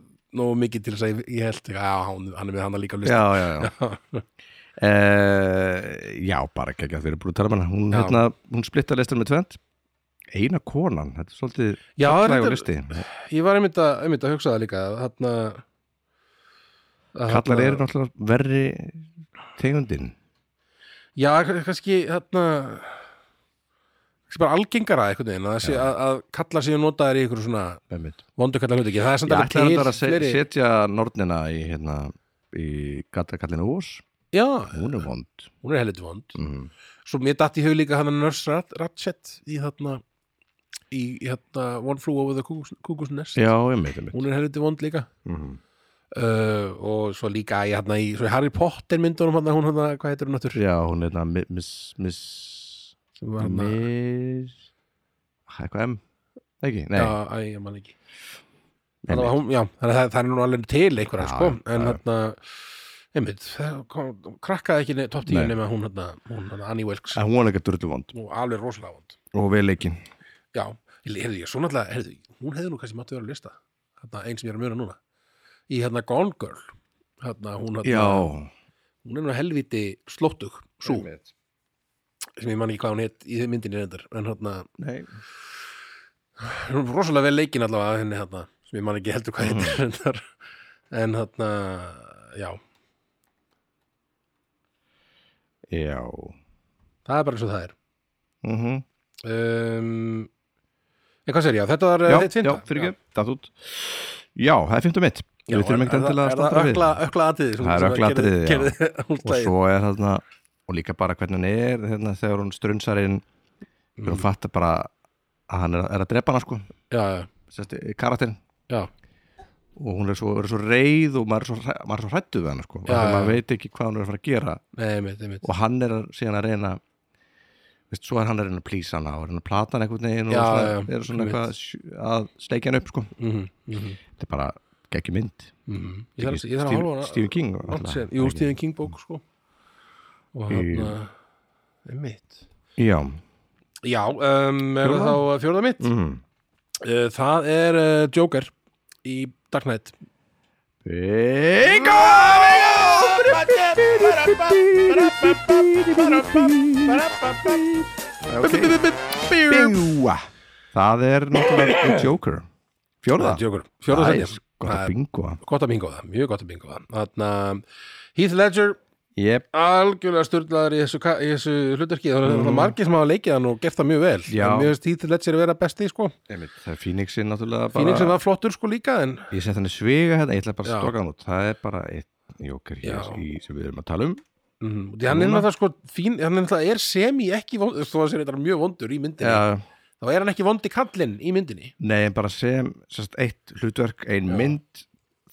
[SPEAKER 1] nógu mikið til þess að ég, ég held já, hann, hann er með hann líka á lista
[SPEAKER 2] já, já, já. Eh, já, bara ekki ekki að fyrir brúð talamann hún,
[SPEAKER 1] Já.
[SPEAKER 2] hérna, hún splittar listan með tvend eina konan, þetta er svolítið
[SPEAKER 1] Já, þetta-
[SPEAKER 2] kallægur listi,
[SPEAKER 1] Ég var einmitt að, einmitt að hugsa það líka hann
[SPEAKER 2] kallar hérna? eru náttúrulega verri tegundin
[SPEAKER 1] Já, k- kannski hérna kannski bara algengara einhvern veginn að, það sé, að, að kalla sig og nota þær í einhverju svona
[SPEAKER 2] Einmitt.
[SPEAKER 1] vondu kalla hluti ekki, það er samt
[SPEAKER 2] ég
[SPEAKER 1] alveg
[SPEAKER 2] ætla þetta að se-
[SPEAKER 1] fleiri-
[SPEAKER 2] setja nornina í, hérna, í kallinu Ós
[SPEAKER 1] Já,
[SPEAKER 2] hún er vond
[SPEAKER 1] hún er helviti vond
[SPEAKER 2] Mhm.
[SPEAKER 1] Svo mér datt í hug líka hann Nurse Rat, Ratchet í þarna í hérna One Flew Over the Cuckoo's Cuckoo's Nest
[SPEAKER 2] já, einmitt, einmitt Mhm.
[SPEAKER 1] hún er helviti vond líka uh, og svo líka í, hérna, í svo í Harry Potter myndunum hann, hún hann, hvað heitir hún náttúr
[SPEAKER 2] já, hún er hérna mi- miss miss
[SPEAKER 1] sem var hann að,
[SPEAKER 2] miss Ah, eitthvað M ekki, nei,
[SPEAKER 1] já,
[SPEAKER 2] já,
[SPEAKER 1] æ, ég man ekki Þannig að
[SPEAKER 2] einmitt,
[SPEAKER 1] hún, já, þannig að það, það er nú alveg til einhverja,
[SPEAKER 2] Já,
[SPEAKER 1] sko,
[SPEAKER 2] já,
[SPEAKER 1] en
[SPEAKER 2] já.
[SPEAKER 1] hérna einmitt, það kom- krakkaði ekki ne- topp tíu
[SPEAKER 2] Nei.
[SPEAKER 1] nema hún, hérna, hún, hérna, Annie Wilkes
[SPEAKER 2] En hún er ekki drullu vond
[SPEAKER 1] og alveg rosalega vond,
[SPEAKER 2] og vel ekki
[SPEAKER 1] já, heyrðu ég, svo náttúrulega heyrðu, hún hefði nú kannski máttu vera að lista hérna, einn sem ég er að muna núna í hérna Gone Girl hérna, hún,
[SPEAKER 2] já,
[SPEAKER 1] hérna, hún er nú helviti slóttug, svo sem ég man ekki hvað hún hétt í þeim myndinni reyndar, en hérna,
[SPEAKER 2] nei
[SPEAKER 1] hún er rosalega vel leikin allavega henni hérna, sem ég man ekki heldur hvað
[SPEAKER 2] Mhm.
[SPEAKER 1] heitir reyndar en hérna, já
[SPEAKER 2] Já
[SPEAKER 1] það er bara eins og það er
[SPEAKER 2] mm
[SPEAKER 1] um, en hvað sér ég, þetta var
[SPEAKER 2] Já,
[SPEAKER 1] Eh, þitt
[SPEAKER 2] já, fyrir ekki, datt út Já, það er fymta mitt Við þurfum ekkert endilega að standa við
[SPEAKER 1] ökla, ökla atriði
[SPEAKER 2] Það er ökla atriði, já.
[SPEAKER 1] og
[SPEAKER 2] Og svo er þarna Og líka bara hvernig hann er hérna, Þegar hún strunsar inn
[SPEAKER 1] Mm.
[SPEAKER 2] Þegar hún fattar bara að hann er, er að drepa hana sko
[SPEAKER 1] já, já,
[SPEAKER 2] Sérst, karakterinn
[SPEAKER 1] já,
[SPEAKER 2] Og hún er svo, er svo reið og maður er svo, hræ- maður er svo hrættu við hana sko
[SPEAKER 1] Já,
[SPEAKER 2] Þegar
[SPEAKER 1] já.
[SPEAKER 2] maður veit ekki hvað hún er að fara að gera
[SPEAKER 1] nei, mitt, mitt
[SPEAKER 2] Og hann er að, síðan að reyna Veist, svo er hann að reyna að plýsa hana og reyna að plata hann einhvern veginn og
[SPEAKER 1] Já,
[SPEAKER 2] svona,
[SPEAKER 1] já, já,
[SPEAKER 2] er
[SPEAKER 1] einmitt.
[SPEAKER 2] svona eitthvað að sj- að sleikja hann upp sko.
[SPEAKER 1] Mhm, mhm,
[SPEAKER 2] Þetta er bara geggjum mynd
[SPEAKER 1] mhm. ég þarf ég þarf að horfa
[SPEAKER 2] Stephen-
[SPEAKER 1] á hana
[SPEAKER 2] Stephen King
[SPEAKER 1] langt
[SPEAKER 2] náttúrulega.
[SPEAKER 1] síðan. jú, Stephen King bók sko og hann mitt
[SPEAKER 2] Já
[SPEAKER 1] já, um, er það þá fjórða mitt
[SPEAKER 2] mm.
[SPEAKER 1] Uh, það er uh, Joker í Dark Knight
[SPEAKER 2] Bingo! Bingo! Það er náttúrulega The Joker Fjórða sko,
[SPEAKER 1] Joker, fjórða
[SPEAKER 2] Það er
[SPEAKER 1] sæti.
[SPEAKER 2] gott
[SPEAKER 1] Það
[SPEAKER 2] að
[SPEAKER 1] er
[SPEAKER 2] bingo
[SPEAKER 1] Gott að bingo það, mjög gott að bingo það Þarna, Heath Ledger
[SPEAKER 2] yep.
[SPEAKER 1] algjörlega styrlaður í þessu, ka- í þessu hlutarki það er mm. margir sem hafa leikið hann og gert það mjög vel
[SPEAKER 2] Já.
[SPEAKER 1] en mér finnst Heath Ledger vera besti sko.
[SPEAKER 2] Það er Phoenixin náttúrulega bara
[SPEAKER 1] Phoenixin var flottur sko líka en
[SPEAKER 2] Ég sett hann í svega hérna, ég ætla bara
[SPEAKER 1] Já.
[SPEAKER 2] að stoka hann út Það er bara einn Joker hér
[SPEAKER 1] Já.
[SPEAKER 2] í, sem við erum að tala um
[SPEAKER 1] mm, hann er náttúrulega sko fín, hann er náttúrulega er semi ekki vondur, þó að sér þetta mjög vondur í myndinni
[SPEAKER 2] Já,
[SPEAKER 1] þá er hann ekki vondi kallinn í myndinni
[SPEAKER 2] Nei, en bara sem sérst, eitt hlutverk, ein mynd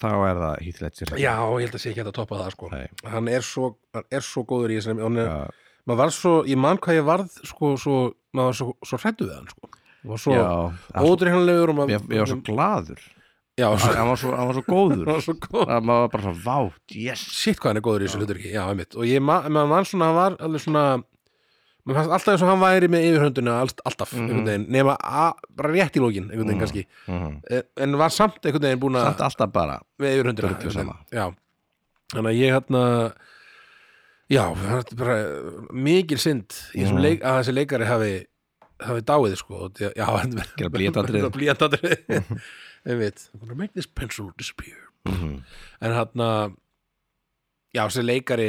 [SPEAKER 2] þá er það Heath Ledger
[SPEAKER 1] já, ég held að sé ekki hægt að toppa það sko
[SPEAKER 2] Nei.
[SPEAKER 1] hann er, svo, hann er svo góður í þessari hann er,
[SPEAKER 2] Já.
[SPEAKER 1] maður var svo, ég man hvað ég varð sko, svo, maður var svo, svo hrættu við hann sko og svo
[SPEAKER 2] Já, hann-
[SPEAKER 1] ódreifnlegur og maður-
[SPEAKER 2] ég, ég var svo gladur
[SPEAKER 1] já, svo,
[SPEAKER 2] hann var svo, hann var svo góður
[SPEAKER 1] var svo góð
[SPEAKER 2] að maður var bara svona vátt, yes
[SPEAKER 1] shit hvað hann er góður í þessu hlutverki já, einmitt. og ég ma maður mann svona hann var alveg svona maður fannst alltaf eins og hann væri með yfirhönduna allt, alltaf, einhvern veginn, nema a- bara rétt í lókin, einhvern veginn kannski en, en var samt einhvern veginn búin
[SPEAKER 2] samt
[SPEAKER 1] að
[SPEAKER 2] alltaf bara
[SPEAKER 1] með yfirhönduna
[SPEAKER 2] drullu
[SPEAKER 1] einhvern veginn.
[SPEAKER 2] sama.
[SPEAKER 1] já, þannig að ég hérna já, það er bara mikil synd í
[SPEAKER 2] Mhm.
[SPEAKER 1] þessum leik að þessi leikari hafi hafi dáið sko og því að- já,
[SPEAKER 2] Gera blýantatrið.
[SPEAKER 1] blíjandadrið einmitt I'm gonna make this pencil disappear
[SPEAKER 2] Mhm.
[SPEAKER 1] en hérna já, þessi leikari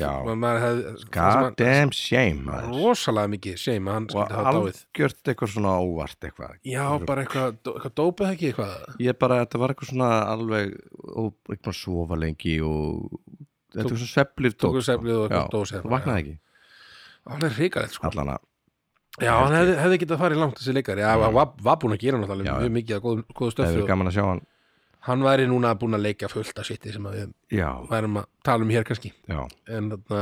[SPEAKER 2] Já.
[SPEAKER 1] ma- maður hefði
[SPEAKER 2] god damn shame
[SPEAKER 1] maður-
[SPEAKER 2] maður.
[SPEAKER 1] rosalega mikið shame að hann
[SPEAKER 2] og
[SPEAKER 1] skyldi hafa dáið
[SPEAKER 2] algjört eitthvað svona óvart eitthvað
[SPEAKER 1] já, bara eitthvað, eitthvað dópið ekki eitthvað
[SPEAKER 2] ég bara, þetta var eitthvað svona alveg og ekki bara sofa lengi og þetta var svona sveflir
[SPEAKER 1] tóku sveflið og eitthvað dós hérna,
[SPEAKER 2] vaknaði ekki,
[SPEAKER 1] hann er hrikalegt sko
[SPEAKER 2] allan að
[SPEAKER 1] já, hann hefði, hefði getað farið langt þessi leikari já, hann var, var búin að gera náttúrulega
[SPEAKER 2] Já,
[SPEAKER 1] mjög mikið að góðu, góðu
[SPEAKER 2] það
[SPEAKER 1] stöfi
[SPEAKER 2] hefur
[SPEAKER 1] og
[SPEAKER 2] gaman að sjá hann
[SPEAKER 1] hann væri núna búin að leika fullt af sitti sem að við
[SPEAKER 2] já,
[SPEAKER 1] værum að tala um hér kannski
[SPEAKER 2] já,
[SPEAKER 1] en þarna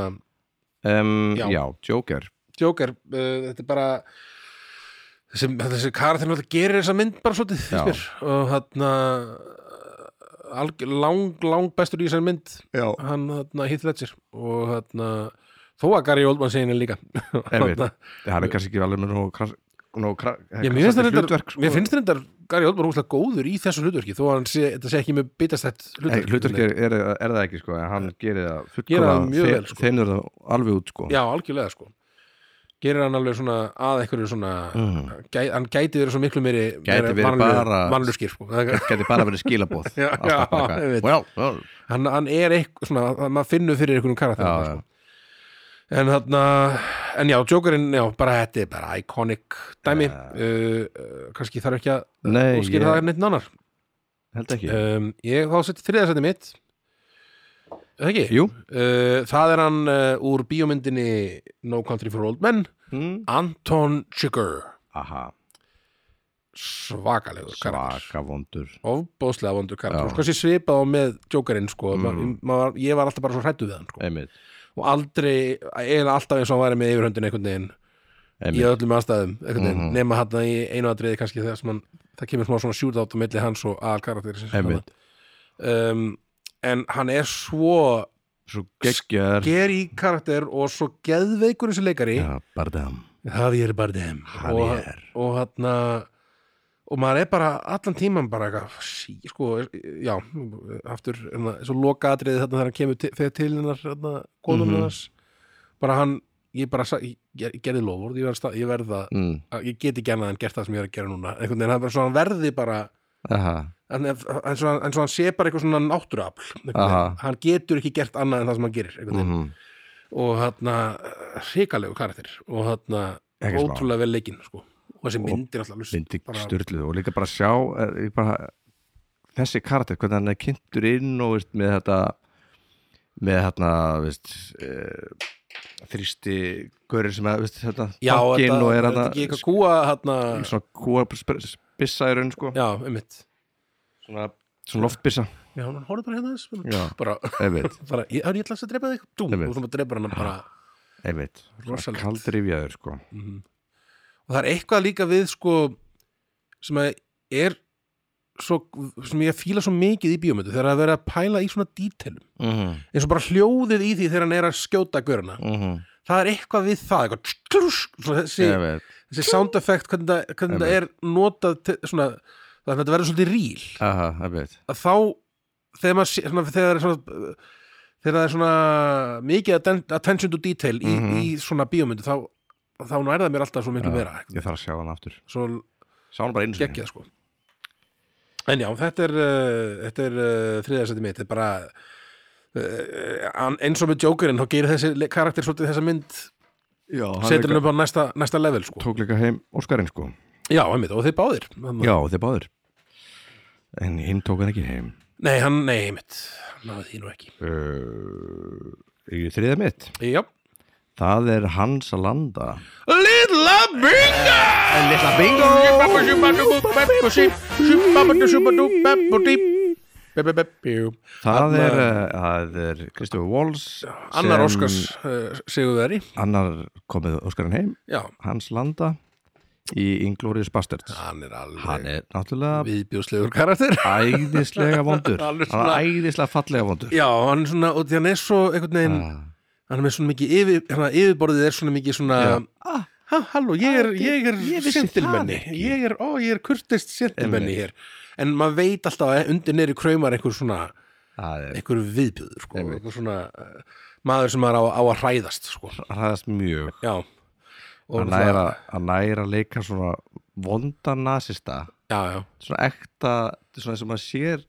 [SPEAKER 2] um,
[SPEAKER 1] Já.
[SPEAKER 2] já. Joker
[SPEAKER 1] Joker, uh, þetta er bara þessi, þessi karð þegar þetta gerir þessa mynd bara svolítið
[SPEAKER 2] Já.
[SPEAKER 1] finnst mér. og þarna alg, lang, lang bestur í þessari mynd
[SPEAKER 2] já,
[SPEAKER 1] hann þarna hitt Ledger og þarna þó að Gary Oldman segin er líka
[SPEAKER 2] Einmitt.
[SPEAKER 1] Þarna-
[SPEAKER 2] það er kannski ekki alveg með nóg krass- nóg krass-
[SPEAKER 1] Já, mér finnst
[SPEAKER 2] krassandi
[SPEAKER 1] það reyndar-
[SPEAKER 2] hlutverk, sko.
[SPEAKER 1] mér finnst þetta Gary Oldman húslega góður í þessu hlutverki þó að hann sé, þetta sé ekki með bitastætt
[SPEAKER 2] Nei,
[SPEAKER 1] hlutverk,
[SPEAKER 2] hlutverk er, er, er það ekki sko en hann gerir það
[SPEAKER 1] Gerir það mjög
[SPEAKER 2] þe-
[SPEAKER 1] vel, sko.
[SPEAKER 2] þenur það alveg út sko
[SPEAKER 1] Já, algjörlega sko gerir hann alveg svona að einhverju svona gæ, hann gæti verið svo miklu meiri
[SPEAKER 2] Mm. Gæti verið bara-
[SPEAKER 1] mannlurskir sko. Það-
[SPEAKER 2] gæti bara verið skilabóð
[SPEAKER 1] Já,
[SPEAKER 2] Alltaf
[SPEAKER 1] já,
[SPEAKER 2] bara eitthvað,
[SPEAKER 1] ég veit.
[SPEAKER 2] well, well.
[SPEAKER 1] hann, hann er eitthvað svona, að maður finnur fyrir einhvernum karakter
[SPEAKER 2] Já,
[SPEAKER 1] sko. en þarna en já, Jokerinn, já, bara þetta er bara iconic dæmi uh, uh, kannski þarf ekki að
[SPEAKER 2] Nei,
[SPEAKER 1] útskýra
[SPEAKER 2] ég-
[SPEAKER 1] það neitt annar
[SPEAKER 2] held ekki
[SPEAKER 1] um, ég þá seti þriðasæti mitt Er það ekki?
[SPEAKER 2] Jú.
[SPEAKER 1] Uh, það er hann uh, úr bíómyndinni No Country for Old Men
[SPEAKER 2] Mm.
[SPEAKER 1] Anton Chigurh
[SPEAKER 2] aha,
[SPEAKER 1] svakalegur karakter
[SPEAKER 2] svaka vondur
[SPEAKER 1] Sko. ofbóðslega vondur karakter
[SPEAKER 2] Já.
[SPEAKER 1] sko, svipað á með Jokerinn sko. mm. maður, ég var alltaf bara svo hrættu við hann sko.
[SPEAKER 2] einmitt,
[SPEAKER 1] og aldrei, eiginlega alltaf eins og hann væri með yfirhöndin einhvern veginn í
[SPEAKER 2] einmitt. Mhm.
[SPEAKER 1] öllum aðstæðum einhvern veginn, nema hann í einu aðriði kannski þegar sem hann, það kemur smá svona shootout á milli hans og aðal karakter
[SPEAKER 2] Einmitt.
[SPEAKER 1] um, en hann er svo
[SPEAKER 2] svo geggjör
[SPEAKER 1] geri karakter og svo geðveikur eins og leikari
[SPEAKER 2] já, barðam
[SPEAKER 1] Javier Bardem og,
[SPEAKER 2] Javier.
[SPEAKER 1] og hann og maður er bara allan tíman bara eitthvað, sí, sko, já aftur, hérna, svo lokaatriði þarna þegar hann kemur til, þegar til hennar hérna, konum
[SPEAKER 2] Mhm.
[SPEAKER 1] mm bara hann ég bara, sa- ég, ég gerði lofur ég verð, sta- ég verð að,
[SPEAKER 2] mm.
[SPEAKER 1] að, ég get ekki annað en gert það sem ég er að gera núna, einhvern veginn, hann er bara svo hann verði bara
[SPEAKER 2] aha,
[SPEAKER 1] en, en, en, svo, hann- en svo hann sé bara eitthvað svona náttúruafl einhvern
[SPEAKER 2] Aha.
[SPEAKER 1] veginn. hann getur ekki gert annað en það sem hann gerir einhvern veginn
[SPEAKER 2] mm.
[SPEAKER 1] og þarna hrikalegu karakter og þarna
[SPEAKER 2] Ekki smá.
[SPEAKER 1] ótrúlega vel leikinn sko. og þessi myndir alltaf alveg
[SPEAKER 2] myndi
[SPEAKER 1] bara-
[SPEAKER 2] styrluð og líka bara sjá eh, ég bara, þessi karakter, hvernig hann er kynntur inn og veist, með þetta með þarna veist, uh, þrýsti görið sem að, veist, þetta,
[SPEAKER 1] já,
[SPEAKER 2] bankinn
[SPEAKER 1] þetta,
[SPEAKER 2] og er
[SPEAKER 1] þetta ekki eitthvað
[SPEAKER 2] þarna
[SPEAKER 1] kúa þarna,
[SPEAKER 2] svona kúa spissa í raun sko
[SPEAKER 1] já, einmitt
[SPEAKER 2] svona, svona loftbissa
[SPEAKER 1] já, hann horfði bara hérna þess
[SPEAKER 2] Já.
[SPEAKER 1] bara,
[SPEAKER 2] einmitt,
[SPEAKER 1] bara, ég, er ég ætlaðist að drepa þig Dúm,
[SPEAKER 2] Einmitt.
[SPEAKER 1] og þú bara drepar hann bara
[SPEAKER 2] einmitt
[SPEAKER 1] Rosalegt.
[SPEAKER 2] kaldur yfjaður sko
[SPEAKER 1] og það er eitthvað líka við sko sem að er svo, sem ég fíla svo mikið í bíómyndu þegar að vera að pæla í svona dítelum
[SPEAKER 2] mhm,
[SPEAKER 1] eins og bara hljóðið í því þegar hann er að skjóta görna
[SPEAKER 2] mhm,
[SPEAKER 1] það er eitthvað við það eitthvað, tlusk, svona þessi,
[SPEAKER 2] einmitt
[SPEAKER 1] þessi sound effect hvernig það, hvernig það er notað til, svona, þannig að þetta verður svolítið ríl
[SPEAKER 2] aha, einmitt,
[SPEAKER 1] að þá þegar, maður, sé- svona, þegar, er svona, uh, þegar það er svona mikið atten- attention to detail í,
[SPEAKER 2] Mhm.
[SPEAKER 1] í svona bíómyndu þá, þá nærða mér alltaf svo miklu meira
[SPEAKER 2] ég þarf að sjá hann aftur
[SPEAKER 1] svo
[SPEAKER 2] sá hann bara einu sinni
[SPEAKER 1] geggjað sko en já, þetta er, uh, þetta er uh, þriðarsætti mitt, þetta er bara uh, an- eins og með Jokerinn þá gerir þessi le- karakter svolítið þessa mynd
[SPEAKER 2] Já, hann
[SPEAKER 1] setur hann
[SPEAKER 2] líka-
[SPEAKER 1] upp á næsta, næsta level sko
[SPEAKER 2] tók líka heim Óskarinn sko
[SPEAKER 1] já, einmitt, og þeir báðir Þannig að-
[SPEAKER 2] Já, þeir báður En hinn tók hann ekki heim
[SPEAKER 1] Nei, hann, nei, einmitt, hann náði því nú ekki
[SPEAKER 2] uh, Í þriða mitt
[SPEAKER 1] Já
[SPEAKER 2] Það er Hans Landa
[SPEAKER 1] Little Bingo!
[SPEAKER 2] litla bingo Það er, eh, það er Kristofur Walls
[SPEAKER 1] Annar
[SPEAKER 2] sem-
[SPEAKER 1] Óskars uh, Sigurveri
[SPEAKER 2] Annar komið Óskarinn heim
[SPEAKER 1] Já,
[SPEAKER 2] Hans Landa í Inglourious Bastards
[SPEAKER 1] hann er
[SPEAKER 2] Hann
[SPEAKER 1] alveg
[SPEAKER 2] er náttúrulega
[SPEAKER 1] viðbjóðslegur karakter
[SPEAKER 2] æðislega vondur
[SPEAKER 1] Hann
[SPEAKER 2] Hann
[SPEAKER 1] er
[SPEAKER 2] er
[SPEAKER 1] svona-
[SPEAKER 2] æðislega fallega vondur
[SPEAKER 1] Já, hann er svona, og því hann er svo einhvern veginn,
[SPEAKER 2] Ah.
[SPEAKER 1] hann er með svona mikið yfir, hann að yfirborðið er svona mikið svona ha, halló, ég er, ég er
[SPEAKER 2] ég vissi
[SPEAKER 1] sentilmenni,
[SPEAKER 2] það ekki."
[SPEAKER 1] ég er, ó, ég er kurtist sentilmenni hér, en maður veit alltaf að undir neyri kraumar einhver svona
[SPEAKER 2] Það er
[SPEAKER 1] einhver viðbjöður, sko, einhver svona eh, maður sem maður á, á að hræðast, sko
[SPEAKER 2] hræðast mjög
[SPEAKER 1] Já, og
[SPEAKER 2] að
[SPEAKER 1] það-
[SPEAKER 2] læra, að læra að leika svona vonda nasista
[SPEAKER 1] Já, já,
[SPEAKER 2] svona ekta, svona sem maður sér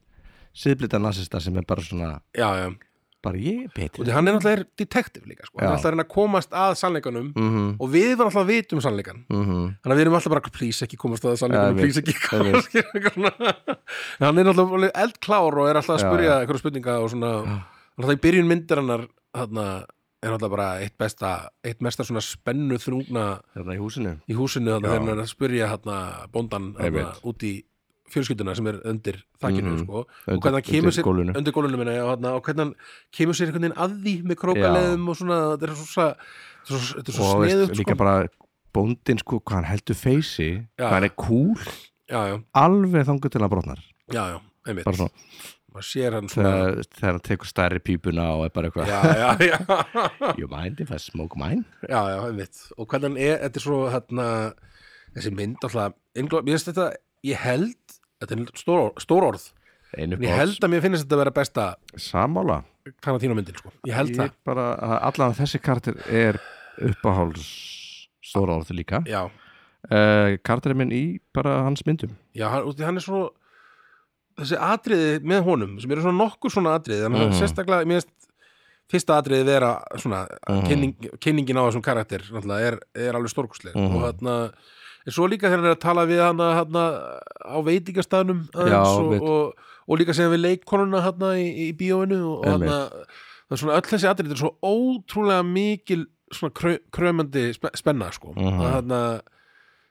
[SPEAKER 2] síðblita nasista sem er bara svona
[SPEAKER 1] já, já
[SPEAKER 2] bara ég er
[SPEAKER 1] og
[SPEAKER 2] betri
[SPEAKER 1] því hann er náttúrulega detektiv líka, sko, hann er
[SPEAKER 2] Já.
[SPEAKER 1] alltaf að reyna að komast að sannleikanum
[SPEAKER 2] Mhm,
[SPEAKER 1] og við varum alltaf að vita um sannleikan
[SPEAKER 2] mhm.
[SPEAKER 1] Þannig að við erum alltaf bara, please ekki komast að það
[SPEAKER 2] Ja,
[SPEAKER 1] sannleikunum,
[SPEAKER 2] ég
[SPEAKER 1] please
[SPEAKER 2] veit,
[SPEAKER 1] ekki
[SPEAKER 2] ég veit.
[SPEAKER 1] komast skilur, svona. En hann er náttúrulega eldklár og er alltaf að
[SPEAKER 2] Já,
[SPEAKER 1] spyrja einhverja spurninga og svona, alltaf í byrjun myndir hennar þarna, er alltaf bara eitt besta, eitt mesta svona spennu þrungna
[SPEAKER 2] Þarna hérna í húsinu
[SPEAKER 1] í húsinu þarna þegar
[SPEAKER 2] Já.
[SPEAKER 1] hann er að spyrja þarna bóndan
[SPEAKER 2] Ég
[SPEAKER 1] þarna
[SPEAKER 2] veit.
[SPEAKER 1] út í fjölskylduna sem er undir þakkinu
[SPEAKER 2] Mhm.
[SPEAKER 1] sko, og
[SPEAKER 2] Undir-
[SPEAKER 1] hvernig hann kemur
[SPEAKER 2] undir
[SPEAKER 1] sér
[SPEAKER 2] gólfinu.
[SPEAKER 1] undir gólunum minna, já, þarna, og hvernig hann kemur sér einhvern veginn að því með krókaleðum og svona, þetta er svo, svo, þetta er svo
[SPEAKER 2] og veist,
[SPEAKER 1] sniðugt sko.
[SPEAKER 2] líka bara bóndin sko, hvað hann heldur feysi
[SPEAKER 1] Já.
[SPEAKER 2] hvað hann er cool,
[SPEAKER 1] já, já,
[SPEAKER 2] alveg þangur til að brotnar
[SPEAKER 1] já, já, einmitt
[SPEAKER 2] bara svona,
[SPEAKER 1] maður sér hann svona
[SPEAKER 2] þegar, þegar hann tekur stærri pípuna og er bara eitthvað,
[SPEAKER 1] já, já, já,
[SPEAKER 2] you mind if I smoke mine
[SPEAKER 1] já, já, einmitt og hvernig hann er, þetta er svo hérna, þessi mynd alltaf, Inglour- mér finnst þetta ég held, þetta er stór, stór orð
[SPEAKER 2] einu
[SPEAKER 1] en ég held að mér finnst þetta að vera besta
[SPEAKER 2] samála
[SPEAKER 1] kannatína myndin, sko, ég held
[SPEAKER 2] ég bara, að allan þessi kartir er uppáháls stóra orð líka
[SPEAKER 1] það já,
[SPEAKER 2] uh, kartir er minn í bara hans myndum
[SPEAKER 1] já, hann, út í- hann er svo þessi atriði með honum sem eru svona nokkur svona atriði þannig að
[SPEAKER 2] Mhm.
[SPEAKER 1] sérstaklega, mér finnst fyrsta atriði vera svona
[SPEAKER 2] Mhm.
[SPEAKER 1] kynning, kynningin á þessum karakter náttúrulega, er, er alveg stórkustleg
[SPEAKER 2] Mhm.
[SPEAKER 1] og þarna en svo líka þegar hann er að tala við hana hana, á veitingastæðnum aðeins
[SPEAKER 2] Já,
[SPEAKER 1] og,
[SPEAKER 2] mitt.
[SPEAKER 1] og, og líka segja við leikkonuna hana í, í bíóinu og
[SPEAKER 2] Einmitt.
[SPEAKER 1] hana, það er svona öll þessi atrið þetta er svo ótrúlega mikil svona krö, krömandi spe- spenna sko
[SPEAKER 2] Mhm.
[SPEAKER 1] að, hana,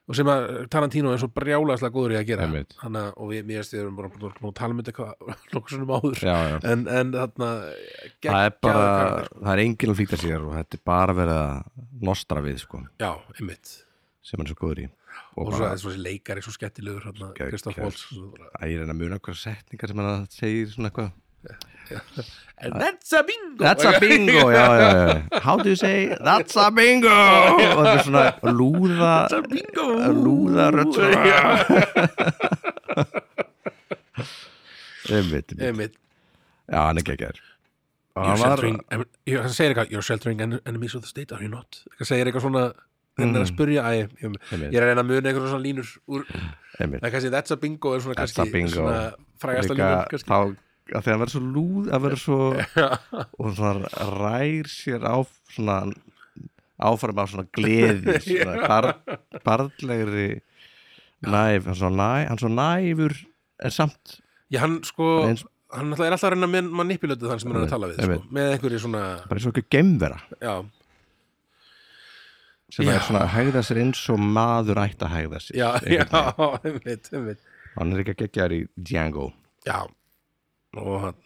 [SPEAKER 1] og sem að Tarantino er svo brjálaðslega góður í að gera
[SPEAKER 2] Einmitt.
[SPEAKER 1] hana, og við, mér stíðum bara búin að tala um þetta hvað nokkuð svona áður
[SPEAKER 2] já, já.
[SPEAKER 1] en, en þarna
[SPEAKER 2] það er
[SPEAKER 1] geggjaður
[SPEAKER 2] bara,
[SPEAKER 1] karakter, sko.
[SPEAKER 2] það er enginn að flýta sér og þetta er bara verið að nostra við sko,
[SPEAKER 1] já, einmitt
[SPEAKER 2] sem hann er svo góður í og,
[SPEAKER 1] og svo
[SPEAKER 2] bara,
[SPEAKER 1] er þessi leikari svo skettilegur hérna,
[SPEAKER 2] Geggjað.
[SPEAKER 1] Kristoff Waltz svo bara,
[SPEAKER 2] að ég reyna að muna okkur setningar sem hann segir svona eitthvað
[SPEAKER 1] and that's a bingo
[SPEAKER 2] That's a bingo, já, já, já How do you say, that's a bingo og þetta er svona lúða
[SPEAKER 1] bingo
[SPEAKER 2] lúða rödd einmitt, einmitt.
[SPEAKER 1] einmitt
[SPEAKER 2] já, hann er geggjær Og
[SPEAKER 1] You're
[SPEAKER 2] hann var,
[SPEAKER 1] sheltering, ég- hann segir eitthvað You're sheltering en- enemies of the state, are you not? Hann segir eitthvað svona hann
[SPEAKER 2] Mm.
[SPEAKER 1] er að spurja æ, ég, ég er að reyna að muna eitthvað svona línur úr,
[SPEAKER 2] einmitt
[SPEAKER 1] það er kannski that's a bingo er svona
[SPEAKER 2] That's
[SPEAKER 1] kannski
[SPEAKER 2] a bingo.
[SPEAKER 1] svona frægasta
[SPEAKER 2] líka
[SPEAKER 1] línur kannski
[SPEAKER 2] þá að því að vera svo lúð að vera svo og svona rær sér á svona áfram á svona gleði svona bar, barnlegri næf, hann svo, næ, hann svo næfur en samt
[SPEAKER 1] já, hann sko,
[SPEAKER 2] Hann eins-
[SPEAKER 1] hann náttúrulega er alltaf að reyna að manipulötu þann sem hann er að
[SPEAKER 2] Einmitt,
[SPEAKER 1] tala við sko,
[SPEAKER 2] einmitt.
[SPEAKER 1] með einhverju svona
[SPEAKER 2] bara eins og ekki gemvera
[SPEAKER 1] já,
[SPEAKER 2] sem
[SPEAKER 1] Já.
[SPEAKER 2] er svona að hegða sér eins og maður ætti að hegða sér
[SPEAKER 1] já, já,
[SPEAKER 2] einhvern veginn.
[SPEAKER 1] einmitt, einmitt
[SPEAKER 2] hann er ekki að gegja þær í Django
[SPEAKER 1] já, og hann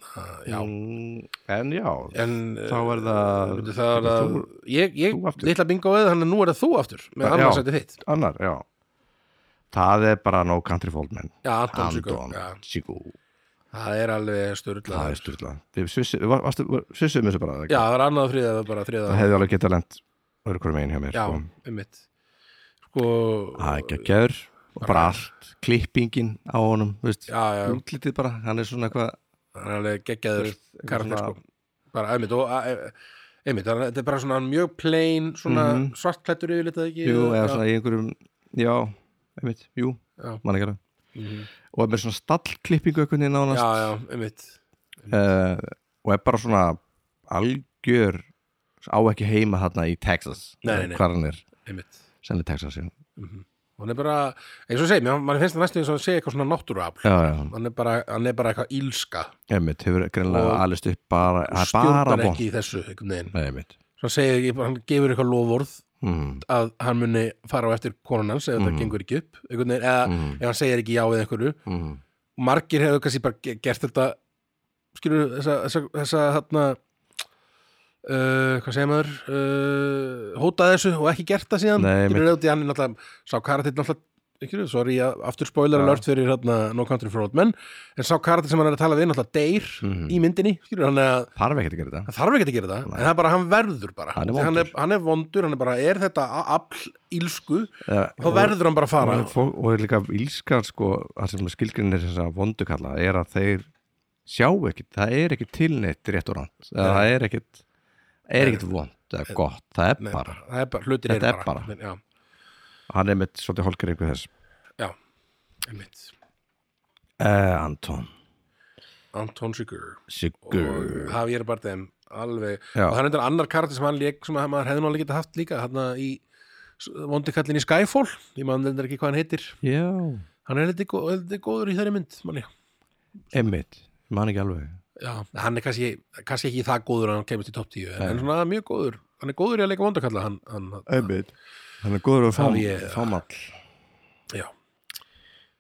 [SPEAKER 1] já,
[SPEAKER 2] Mm, en já,
[SPEAKER 1] en eh,
[SPEAKER 2] þá er það-
[SPEAKER 1] Veitu, það er að,
[SPEAKER 2] þú-
[SPEAKER 1] ég, ég
[SPEAKER 2] þú aftur.
[SPEAKER 1] litla bingoið, hann er nú er það þú aftur
[SPEAKER 2] Já.
[SPEAKER 1] með annarsætti þitt,
[SPEAKER 2] annar, já það er bara no country for old men
[SPEAKER 1] já, Anton Sigurð,
[SPEAKER 2] Andon
[SPEAKER 1] já.
[SPEAKER 2] Sigú
[SPEAKER 1] það er alveg störla
[SPEAKER 2] það er styrla við svissu- við var- varstu- var- svissuðum þessu bara
[SPEAKER 1] já, það er annað þriða, það er bara þriða
[SPEAKER 2] það hefði alveg getað lent öðru hverju megin hjá mér
[SPEAKER 1] já,
[SPEAKER 2] sko.
[SPEAKER 1] einmitt sko,
[SPEAKER 2] það er geggjaður og bara allt klippingin á honum þú veist,
[SPEAKER 1] já, já,
[SPEAKER 2] útlitið bara, hann er svona eitthvað
[SPEAKER 1] hann er alveg geggjaður
[SPEAKER 2] Þú veist,
[SPEAKER 1] karakter
[SPEAKER 2] svona-
[SPEAKER 1] sko bara einmitt og að- e- einmitt, þannig að þetta er bara svona mjög plain svona mm
[SPEAKER 2] Mhm.
[SPEAKER 1] svartklættur yfir litað ekki
[SPEAKER 2] jú, eða
[SPEAKER 1] já,
[SPEAKER 2] svona í einhverjum já, einmitt, jú,
[SPEAKER 1] Já. Mhm.
[SPEAKER 2] mann ekki alveg og er með svona stallklippingu einhvern veginn á
[SPEAKER 1] já,
[SPEAKER 2] hann
[SPEAKER 1] já, einmitt
[SPEAKER 2] uh, og er bara svona algjör á ekki heima þarna í Texas Eh,
[SPEAKER 1] Nei, nei, nei.
[SPEAKER 2] hvar hann er,
[SPEAKER 1] einmitt
[SPEAKER 2] senni Texas já,
[SPEAKER 1] hann er bara, eins og segjum, mann finnst það næstu eins og hann sé eitthvað svona náttúruafl
[SPEAKER 2] já, já.
[SPEAKER 1] hann er bara, hann er bara eitthvað ílska
[SPEAKER 2] Einmitt, hefur greinlega
[SPEAKER 1] Og-
[SPEAKER 2] alist upp bara, það er bara
[SPEAKER 1] stjórnar
[SPEAKER 2] vont.
[SPEAKER 1] ekki í þessu einhvern veginn
[SPEAKER 2] Nei, einmitt
[SPEAKER 1] svo hann segir, ekki, hann gefur eitthvað lofvorð
[SPEAKER 2] mm,
[SPEAKER 1] að hann muni fara á eftir konan hans ef
[SPEAKER 2] Mhm.
[SPEAKER 1] þetta gengur ekki upp einhvern veginn, eða
[SPEAKER 2] Mm.
[SPEAKER 1] ef hann segir ekki já eða einhverju
[SPEAKER 2] mm,
[SPEAKER 1] margir hefur kannski bara ge- gert þetta skilur þessa, þessa, þessa þarna Uh, hvað segir maður uh, hótað þessu og ekki gert það síðan
[SPEAKER 2] Nei,
[SPEAKER 1] skilur þetta, hann er náttúrulega sá karatinn náttúrulega ekki, sorry, að- aftur spoiler
[SPEAKER 2] Já.
[SPEAKER 1] alert fyrir hérna, No Country for Old Men en sá karatinn sem hann er að tala við náttúrulega deyr
[SPEAKER 2] Mhm.
[SPEAKER 1] í myndinni, skilur hann að
[SPEAKER 2] Þarf ekki að gera þetta
[SPEAKER 1] Það þarf ekki að gera það,
[SPEAKER 2] Nei.
[SPEAKER 1] en það er bara, hann verður bara
[SPEAKER 2] Hann er
[SPEAKER 1] Því hann, er, hann er vondur, hann er bara, er þetta a- afl ílsku,
[SPEAKER 2] Eða-
[SPEAKER 1] þá verður hann bara að fara
[SPEAKER 2] Eh, og, fó- og er líka ílskan sko, það sem skilgrinir þess að vondu kalla er að þeir sjá ekkit það er ekkit tilneitt rétt og ránt eða það er ekkit, er ekkit vond eða gott, það er
[SPEAKER 1] Nei,
[SPEAKER 2] bara
[SPEAKER 1] það er bara, hlutir
[SPEAKER 2] Þetta
[SPEAKER 1] eru
[SPEAKER 2] er bara.
[SPEAKER 1] Men, Já,
[SPEAKER 2] hann er mitt svolítið holger einhver þess
[SPEAKER 1] já, einmitt
[SPEAKER 2] uh, Anton
[SPEAKER 1] Anton Sigur
[SPEAKER 2] Sigur
[SPEAKER 1] og Javier Bardem, alveg
[SPEAKER 2] Já.
[SPEAKER 1] og það er endur annar karati sem hann lék sem að maður hefði nálega getað haft líka, hann í s- vondi kallinn í Skyfall, ég maður endur ekki hvað hann heitir
[SPEAKER 2] já,
[SPEAKER 1] hann er heldur gó- heldur góður í þeirri mynd, manni
[SPEAKER 2] emmitt, man ekki alveg
[SPEAKER 1] Já, hann er kannski, kannski ekki það góður að hann kemur til topp 10, en, en svona mjög góður hann er góður í að leika vondakalla hann, hann,
[SPEAKER 2] emmitt, hann er góður að
[SPEAKER 1] fám-
[SPEAKER 2] fámall
[SPEAKER 1] já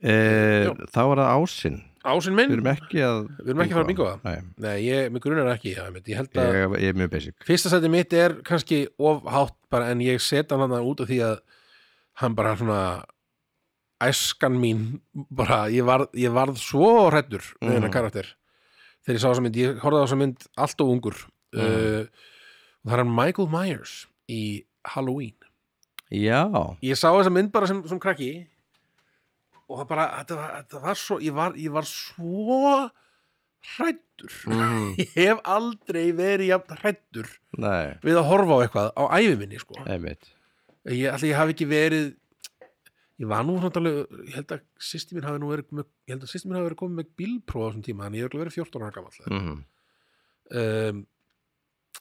[SPEAKER 2] Eh, þá er það ásinn
[SPEAKER 1] Ásinn
[SPEAKER 2] við
[SPEAKER 1] minn,
[SPEAKER 2] erum ekki að
[SPEAKER 1] Við erum ekki að fara að bingoa.
[SPEAKER 2] Nei,
[SPEAKER 1] nei, ég, mig grunar ekki já, einmitt. ég held að
[SPEAKER 2] ég, ég er mjög basic
[SPEAKER 1] fyrsta sæti mitt er kannski of hátt bara en ég set hann hann út af því að hann bara svona æskan mín bara, ég varð, ég varð svo hrættur með
[SPEAKER 2] Mhm.
[SPEAKER 1] hennar karakter þegar ég sá þessa mynd, ég horfði á þessa mynd allt og ungur uh, og það er hann Michael Myers í Halloween
[SPEAKER 2] já,
[SPEAKER 1] ég sá þessa mynd bara sem, sem krakki og það bara, þetta var, þetta var svo ég var, ég var svo hrættur ég hef aldrei verið jafn hrættur
[SPEAKER 2] nei,
[SPEAKER 1] við að horfa á eitthvað á ævi minni sko.
[SPEAKER 2] emmitt
[SPEAKER 1] ég, allir, ég hafi ekki verið ég var nú svona alveg, ég held að sýsti mín hafi nú verið með, ég held að sýsti mín hafi verið komið með bílpróf á þessum tíma, en ég hef örugglega verið 14 ára gamall
[SPEAKER 2] mm.
[SPEAKER 1] um,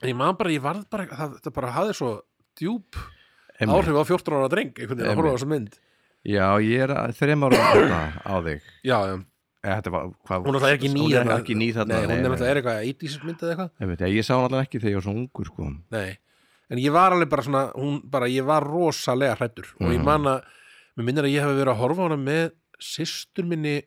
[SPEAKER 1] en ég man bara, ég varð bara það, það bara hafði svo djúb
[SPEAKER 2] Einmitt.
[SPEAKER 1] áhrif á 14 ára dreng einhvern veginn að horfa á
[SPEAKER 2] Einmitt.
[SPEAKER 1] þessa mynd
[SPEAKER 2] Já, ég er að- þrem ára þarna á þig
[SPEAKER 1] já, já,
[SPEAKER 2] Eða, Þetta var, hvað,
[SPEAKER 1] hún alltaf er ekki ný
[SPEAKER 2] Hún er
[SPEAKER 1] þarna.
[SPEAKER 2] ekki ný þarna
[SPEAKER 1] nei, hún er alltaf er eitthvað 80s mynd eða eitthvað
[SPEAKER 2] Einmitt, já, Ég sá hann alltaf ekki þegar ég var svona ungur sko.
[SPEAKER 1] nei, en ég var alveg bara svona hún, bara, ég var rosalega hrættur og
[SPEAKER 2] Mhm.
[SPEAKER 1] ég man að, mér minnir að ég hef verið að horfa á hana með systur minni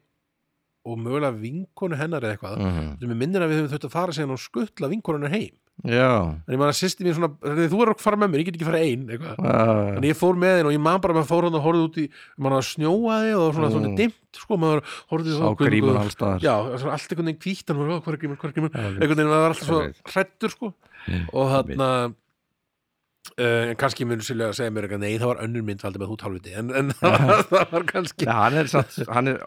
[SPEAKER 1] og mögulega vinkonu hennar eða eitthvað, mm.
[SPEAKER 2] -hmm.
[SPEAKER 1] mér minnir að við höfum þurft að fara síðan og skuttla vinkonu hennar heim
[SPEAKER 2] Já
[SPEAKER 1] en ég man að systur mín svona, þú er að fara með mér ég get ekki fara ein, eitthvað
[SPEAKER 2] uh,
[SPEAKER 1] en ég fór með henn og ég man bara að maður fór hann og horfði út í maður að snjóaði og það var svona,
[SPEAKER 2] Mm.
[SPEAKER 1] svona dimmt sko, maður horfði
[SPEAKER 2] Sá
[SPEAKER 1] hvernig-
[SPEAKER 2] grímur alls staðar.
[SPEAKER 1] já, það var svona allt einhvern veginn kvítt hann var, hvað er grímur, hvað er grímur
[SPEAKER 2] einmitt.
[SPEAKER 1] einhvern veginn maður var alltaf svo
[SPEAKER 2] Einmitt.
[SPEAKER 1] hrættur sko og þarna uh, kannski mun sérlega að segja mér eitthvað nei, það var önnur mynd valdi með þú talviti en, en það, var, það var kannski
[SPEAKER 2] Nei, hann er satt, hann er,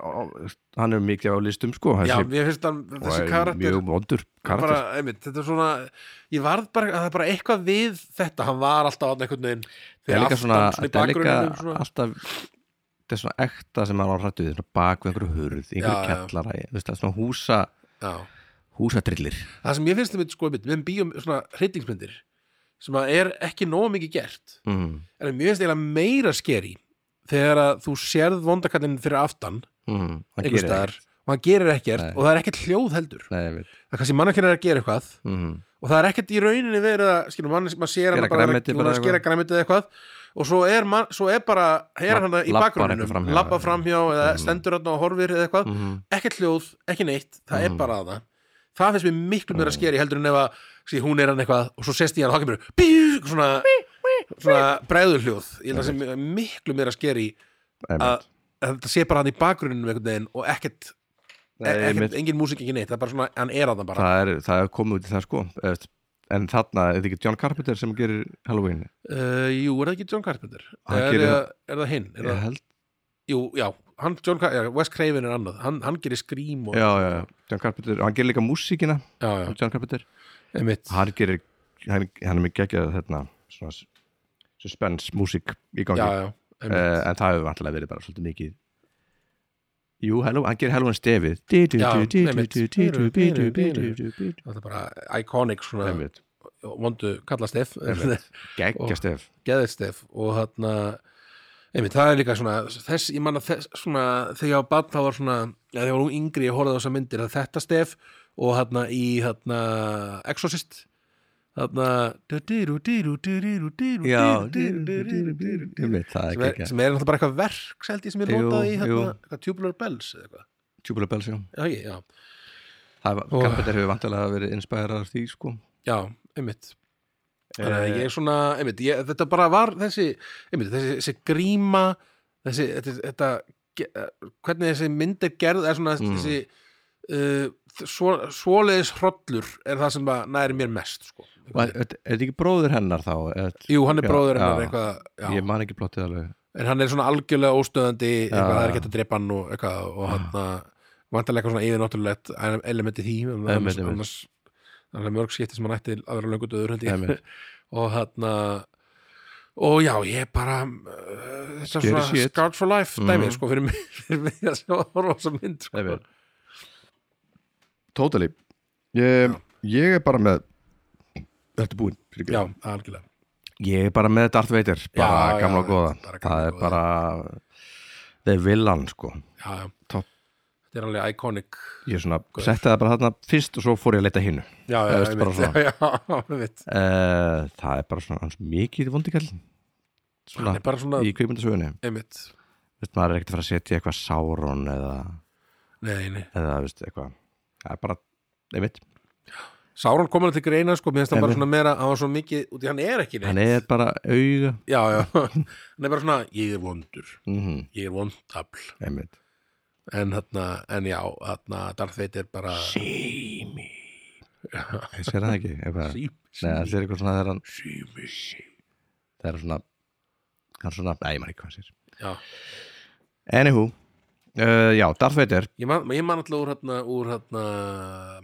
[SPEAKER 2] hann er mikið á listum sko
[SPEAKER 1] já,
[SPEAKER 2] þessi,
[SPEAKER 1] mér finnst hann,
[SPEAKER 2] og
[SPEAKER 1] þessi
[SPEAKER 2] er
[SPEAKER 1] karakter
[SPEAKER 2] Mjög vondur
[SPEAKER 1] bara,
[SPEAKER 2] karakter
[SPEAKER 1] einmitt, þetta er svona ég varð bara, það er bara eitthvað við þetta hann var alltaf þarna einhvern veginn
[SPEAKER 2] Það er
[SPEAKER 1] fyrir
[SPEAKER 2] líka
[SPEAKER 1] aftan,
[SPEAKER 2] svona,
[SPEAKER 1] svona í
[SPEAKER 2] það er líka
[SPEAKER 1] bakgrunninum, svona.
[SPEAKER 2] alltaf Þetta er svona ekta sem hann á rættu því svona Bak við einhverju hurð,
[SPEAKER 1] Já, já.
[SPEAKER 2] einhverju kjallara þú veist, það er Svona húsa,
[SPEAKER 1] Já.
[SPEAKER 2] húsadrillir
[SPEAKER 1] það sem ég finnst einmitt sko einmitt, við býjum svona hreitingsmyndir sem að er ekki nóg mikið gert
[SPEAKER 2] mm.
[SPEAKER 1] en mér finnst eiginlega meira skeri þegar að þú sérð vondakallin fyrir aftan
[SPEAKER 2] Mm. Hann
[SPEAKER 1] einhvers staðar
[SPEAKER 2] gerir ekkert.
[SPEAKER 1] og hann gerir ekkert
[SPEAKER 2] Nei.
[SPEAKER 1] og það er ekkert hljóð heldur
[SPEAKER 2] Nei, ég veit
[SPEAKER 1] það er kannski mannakinn er að gera eitthvað
[SPEAKER 2] mm.
[SPEAKER 1] og það er ekkert í rauninni verið að skilur, mann, maður sér hann
[SPEAKER 2] Skera
[SPEAKER 1] bara,
[SPEAKER 2] grænmeti
[SPEAKER 1] hún er
[SPEAKER 2] bara
[SPEAKER 1] að skera
[SPEAKER 2] eitthvað.
[SPEAKER 1] græmitið eða eitthvað og svo er, man, svo er bara er
[SPEAKER 2] Lab-
[SPEAKER 1] hann í
[SPEAKER 2] labbar
[SPEAKER 1] bakgrunninum,
[SPEAKER 2] eitthvað framhjá.
[SPEAKER 1] labba framhjá eða stendur hann og horfir eða eitthvað
[SPEAKER 2] Mm.
[SPEAKER 1] ekkert hljóð, ekki neitt, það er bara að það það finnst mér miklu
[SPEAKER 2] Mm.
[SPEAKER 1] meira að skeri heldur en ef að sí, hún er hann eitthvað og svo sest ég hann og hakið mér svona, svona bregður hljóð ég held að það sem miklu meira að skeri
[SPEAKER 2] Einmitt.
[SPEAKER 1] að að þetta sé bara hann í bakgrunninum einhvern veginn og ekkert,
[SPEAKER 2] Nei, einmitt.
[SPEAKER 1] Eh, ekkert engin músík, ekki neitt það er bara svona, hann er að það bara
[SPEAKER 2] það er, það er komið út í það sko Eft- en þarna, er þetta ekki John Carpenter sem gerir Halloween
[SPEAKER 1] Uh, jú, er það ekki John Carpenter?
[SPEAKER 2] Hann
[SPEAKER 1] er,
[SPEAKER 2] gerir-
[SPEAKER 1] það, er það hinn? Er
[SPEAKER 2] ég
[SPEAKER 1] það,
[SPEAKER 2] held,
[SPEAKER 1] jú, já, hann, John Car já, Wes Craven er annað Hann, hann gerir Scream og
[SPEAKER 2] já, já, já, John Carpenter hann gerir líka músíkina,
[SPEAKER 1] já,
[SPEAKER 2] John Carpenter
[SPEAKER 1] einmitt
[SPEAKER 2] hann gerir, hann, hann er mikið ekki að hérna, svona s- suspense músík í gangi,
[SPEAKER 1] Já, já,
[SPEAKER 2] uh,
[SPEAKER 1] einmitt
[SPEAKER 2] en það hefur vantilega verið bara svolítið mikið Jú, hello, hann gerir Halloween stefið Dí-dú,
[SPEAKER 1] Já,
[SPEAKER 2] dí-dú,
[SPEAKER 1] einmitt.
[SPEAKER 2] dí-dú, dí-dú, dí-dú, dí-dú, dí-dú.
[SPEAKER 1] Það er bara iconic svona
[SPEAKER 2] Einmitt,
[SPEAKER 1] Vondu kalla Stef
[SPEAKER 2] einmitt. geggja stef
[SPEAKER 1] Geðið Stef og þarna Einmitt, það er líka svona Þess, ég manna þess svona Þegar ég var bann þá var svona Já, þegar ég var yngri, ég horfði á þessar myndir Það er þetta Stef og þarna í þarna Exorcist þarna
[SPEAKER 2] Já,
[SPEAKER 1] sem
[SPEAKER 2] Einmitt, það er
[SPEAKER 1] er
[SPEAKER 2] ekki
[SPEAKER 1] sem er náttúrulega bara eitthvað verk held ég sem er
[SPEAKER 2] Jú,
[SPEAKER 1] notað í
[SPEAKER 2] jú.
[SPEAKER 1] hérna, eitthvað tubular bells eða eitthvað
[SPEAKER 2] Tubular Bells, já
[SPEAKER 1] Já, ekki, já,
[SPEAKER 2] Það var,
[SPEAKER 1] Og-
[SPEAKER 2] Carpenter hefur vantilega verið inspærað af því, sko
[SPEAKER 1] já, einmitt Þannig
[SPEAKER 2] Eh.
[SPEAKER 1] að ég er svona, einmitt, ég, þetta bara var þessi, einmitt, þessi, þessi gríma þessi, þetta, þetta ge- eh, hvernig þessi mynd er gerð er svona
[SPEAKER 2] Mm.
[SPEAKER 1] þessi uh, svo, svoleiðis hrollur er það sem að næri mér mest, sko
[SPEAKER 2] Og Er er þetta ekki bróður hennar þá? Er,
[SPEAKER 1] Jú, hann er
[SPEAKER 2] Já,
[SPEAKER 1] bróður hennar
[SPEAKER 2] já.
[SPEAKER 1] eitthvað, já
[SPEAKER 2] ég man ekki plottið alveg
[SPEAKER 1] en hann er svona algjörlega óstöðandi eitthvað,
[SPEAKER 2] Já,
[SPEAKER 1] það er
[SPEAKER 2] já.
[SPEAKER 1] ekki hægt að drepa hann og eitthvað og hann vantarlega eitthvað svona yfirnáttúrulegt elementi því en
[SPEAKER 2] Einmitt,
[SPEAKER 1] annars,
[SPEAKER 2] einmitt.
[SPEAKER 1] annars, annars mörg skipti sem hann ætti að vera löngu döður held
[SPEAKER 2] Einmitt.
[SPEAKER 1] ég og hann eh, og já, ég bara uh, þessar
[SPEAKER 2] Scary
[SPEAKER 1] svona
[SPEAKER 2] shit.
[SPEAKER 1] Scarred for Life dæmi,
[SPEAKER 2] Mhm.
[SPEAKER 1] sko, fyrir mig, fyrir mig að sjá að horfa á þessa mynd, sko
[SPEAKER 2] Einmitt. Totally ég, ég er bara með Þetta er búinn fyrir
[SPEAKER 1] Já, algjörlega
[SPEAKER 2] Ég er bara með Darth Vader, bara
[SPEAKER 1] Já, já,
[SPEAKER 2] gamla og góða
[SPEAKER 1] bara gamla
[SPEAKER 2] Það er
[SPEAKER 1] góða.
[SPEAKER 2] bara The Villan, sko
[SPEAKER 1] Já, já,
[SPEAKER 2] Topp.
[SPEAKER 1] þetta er alveg iconic
[SPEAKER 2] Ég svona
[SPEAKER 1] Góður.
[SPEAKER 2] setti það bara þarna fyrst og svo fór ég að leita hinnu
[SPEAKER 1] Já, já,
[SPEAKER 2] Það er
[SPEAKER 1] einmitt,
[SPEAKER 2] bara svona.
[SPEAKER 1] já, já, einmitt.
[SPEAKER 2] uh, Það er bara svona hans mikið vondikall Svona
[SPEAKER 1] Hann er bara svona,
[SPEAKER 2] í kveikmyndasögunni
[SPEAKER 1] einmitt
[SPEAKER 2] Veist, maður er ekkert að fara að setja eitthvað Sauron eða,
[SPEAKER 1] Nei, nei
[SPEAKER 2] eða veist, eitthvað Það er bara, einmitt
[SPEAKER 1] Sáron kom hann til greina sko, mér finnst hann bara
[SPEAKER 2] Einmitt.
[SPEAKER 1] svona meira hann var svo mikið, út í hann er ekki neitt
[SPEAKER 2] Hann er bara auga
[SPEAKER 1] já, já, hann er bara svona ég er vondur,
[SPEAKER 2] mm
[SPEAKER 1] ég er vondafl
[SPEAKER 2] Einmitt
[SPEAKER 1] en hérna, en já, hérna Darth Vader bara sí,
[SPEAKER 2] Ég sér það ekki eitthvað.
[SPEAKER 1] sí,
[SPEAKER 2] Nei, það er eitthvað svona þegar hann
[SPEAKER 1] sí, sí.
[SPEAKER 2] Það er svona Hann svona, nei, ég maður ekki hvað hann sér
[SPEAKER 1] já,
[SPEAKER 2] Anywho uh, Já, Darth Vader
[SPEAKER 1] ég man, ég man alltaf úr hérna úr hérna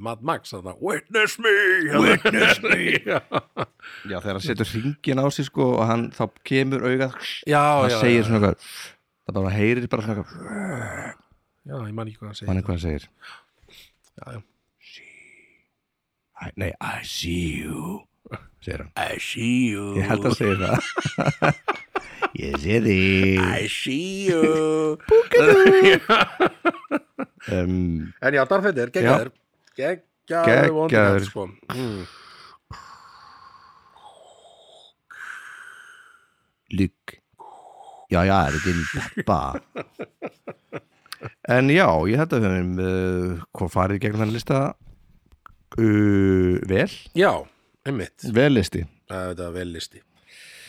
[SPEAKER 1] Mad Max hérna, witness me witness me já,
[SPEAKER 2] Já, þegar hann setur hringin á sig sko og hann þá kemur augað
[SPEAKER 1] já,
[SPEAKER 2] og
[SPEAKER 1] já,
[SPEAKER 2] hann segir
[SPEAKER 1] já,
[SPEAKER 2] svona eitthvað Það bara heyrir bara svona eitthvað
[SPEAKER 1] já, ég man ekki hvað hann segir
[SPEAKER 2] Hann er hvað hann segir
[SPEAKER 1] Já, já.
[SPEAKER 2] I, Nei, I see you segir hann
[SPEAKER 5] I see you.
[SPEAKER 2] Ég held að segja það
[SPEAKER 4] Ég sé þig.
[SPEAKER 5] I see you.
[SPEAKER 2] um,
[SPEAKER 1] en já, Darth Vader, geggjaður geggjaður
[SPEAKER 2] Geggjaður.
[SPEAKER 1] vondafl sko mm.
[SPEAKER 4] Lykk. Já, já, er ekki einn pappa.
[SPEAKER 2] En já, ég held að við höfum uh, hvað farið í gegnum þannig lista uh, vel
[SPEAKER 1] já, einmitt
[SPEAKER 2] vel listi
[SPEAKER 1] Það er þetta vel listi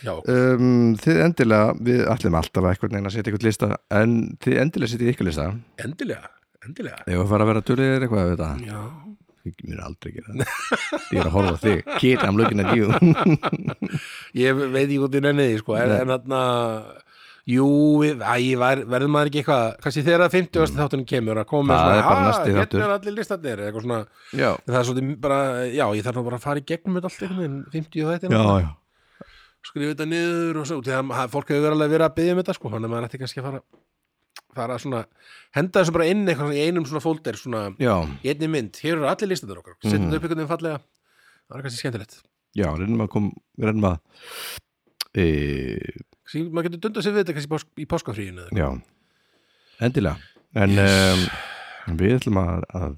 [SPEAKER 1] Já,
[SPEAKER 2] um, Þið endilega, við ætlum alltaf eitthvað neina að setja eitthvað lista en þið endilega setjið ykkur lista
[SPEAKER 1] endilega, endilega
[SPEAKER 2] Ef að fara að vera dulir eitthvað við þetta
[SPEAKER 1] Já,
[SPEAKER 2] Ég mér aldrei gera það Ég er að horfa á þig, um kid, I'm looking at you
[SPEAKER 1] ég veit ekki út í nenniði sko, en,
[SPEAKER 2] Nei.
[SPEAKER 1] en þarna Jú, við, æ, var, verðum maður ekki eitthvað kannski þegar að 50. Mm. þáttunum kemur að koma með
[SPEAKER 2] Það er
[SPEAKER 1] svona,
[SPEAKER 2] bara
[SPEAKER 1] "Ah,
[SPEAKER 2] næsti þáttur."
[SPEAKER 1] Hérna er allir listandir, eitthvað svona en
[SPEAKER 2] Já,
[SPEAKER 1] Það er svolítið bara, já, ég þarf nú bara að fara í gegnum þetta allt einhvern veginn, 50 og þetta
[SPEAKER 2] já
[SPEAKER 1] skrifa þetta niður og svo því að að fólk hefur verið alveg verið að byggja um þetta sko, þannig að maður ætti kannski að fara fara svona, henda þessu bara inn eitthvað svona í einum svona fólder, svona
[SPEAKER 2] Já,
[SPEAKER 1] í einni mynd, hér eru allir listandir okkar setjum þetta upp einhvern veginn fallega, það er kannski skemmtilegt
[SPEAKER 2] já, reynum að kom við reynum að e,
[SPEAKER 1] Kannski, maður getur dundað sér við þetta kannski í pás- í páskafríinu eða eitthvað.
[SPEAKER 2] Já, endilega En um, við ætlum að, að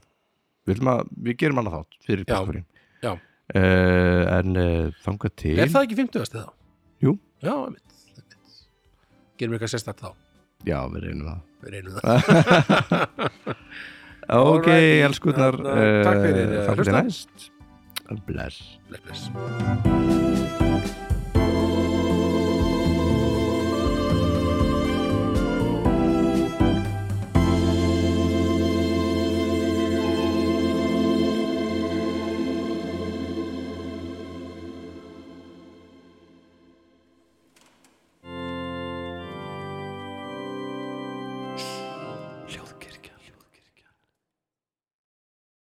[SPEAKER 2] við ætlum að, við gerum annað þátt fyrir
[SPEAKER 1] Já,
[SPEAKER 2] páskafrín
[SPEAKER 1] já.
[SPEAKER 2] En uh, þangað til
[SPEAKER 1] er það ekki 50. þá?
[SPEAKER 2] Jú.
[SPEAKER 1] já, einmitt, einmitt. gerum við eitthvað sérstakt þá
[SPEAKER 2] Já, við reynum það
[SPEAKER 1] við reynum það
[SPEAKER 2] Ok,
[SPEAKER 1] Alrighty,
[SPEAKER 2] elskurnar
[SPEAKER 1] þarna, Hérna, takk fyrir,
[SPEAKER 2] eh,
[SPEAKER 1] eh,
[SPEAKER 2] Þangað
[SPEAKER 1] hlusta.
[SPEAKER 2] til næst Bless
[SPEAKER 1] bless, bless.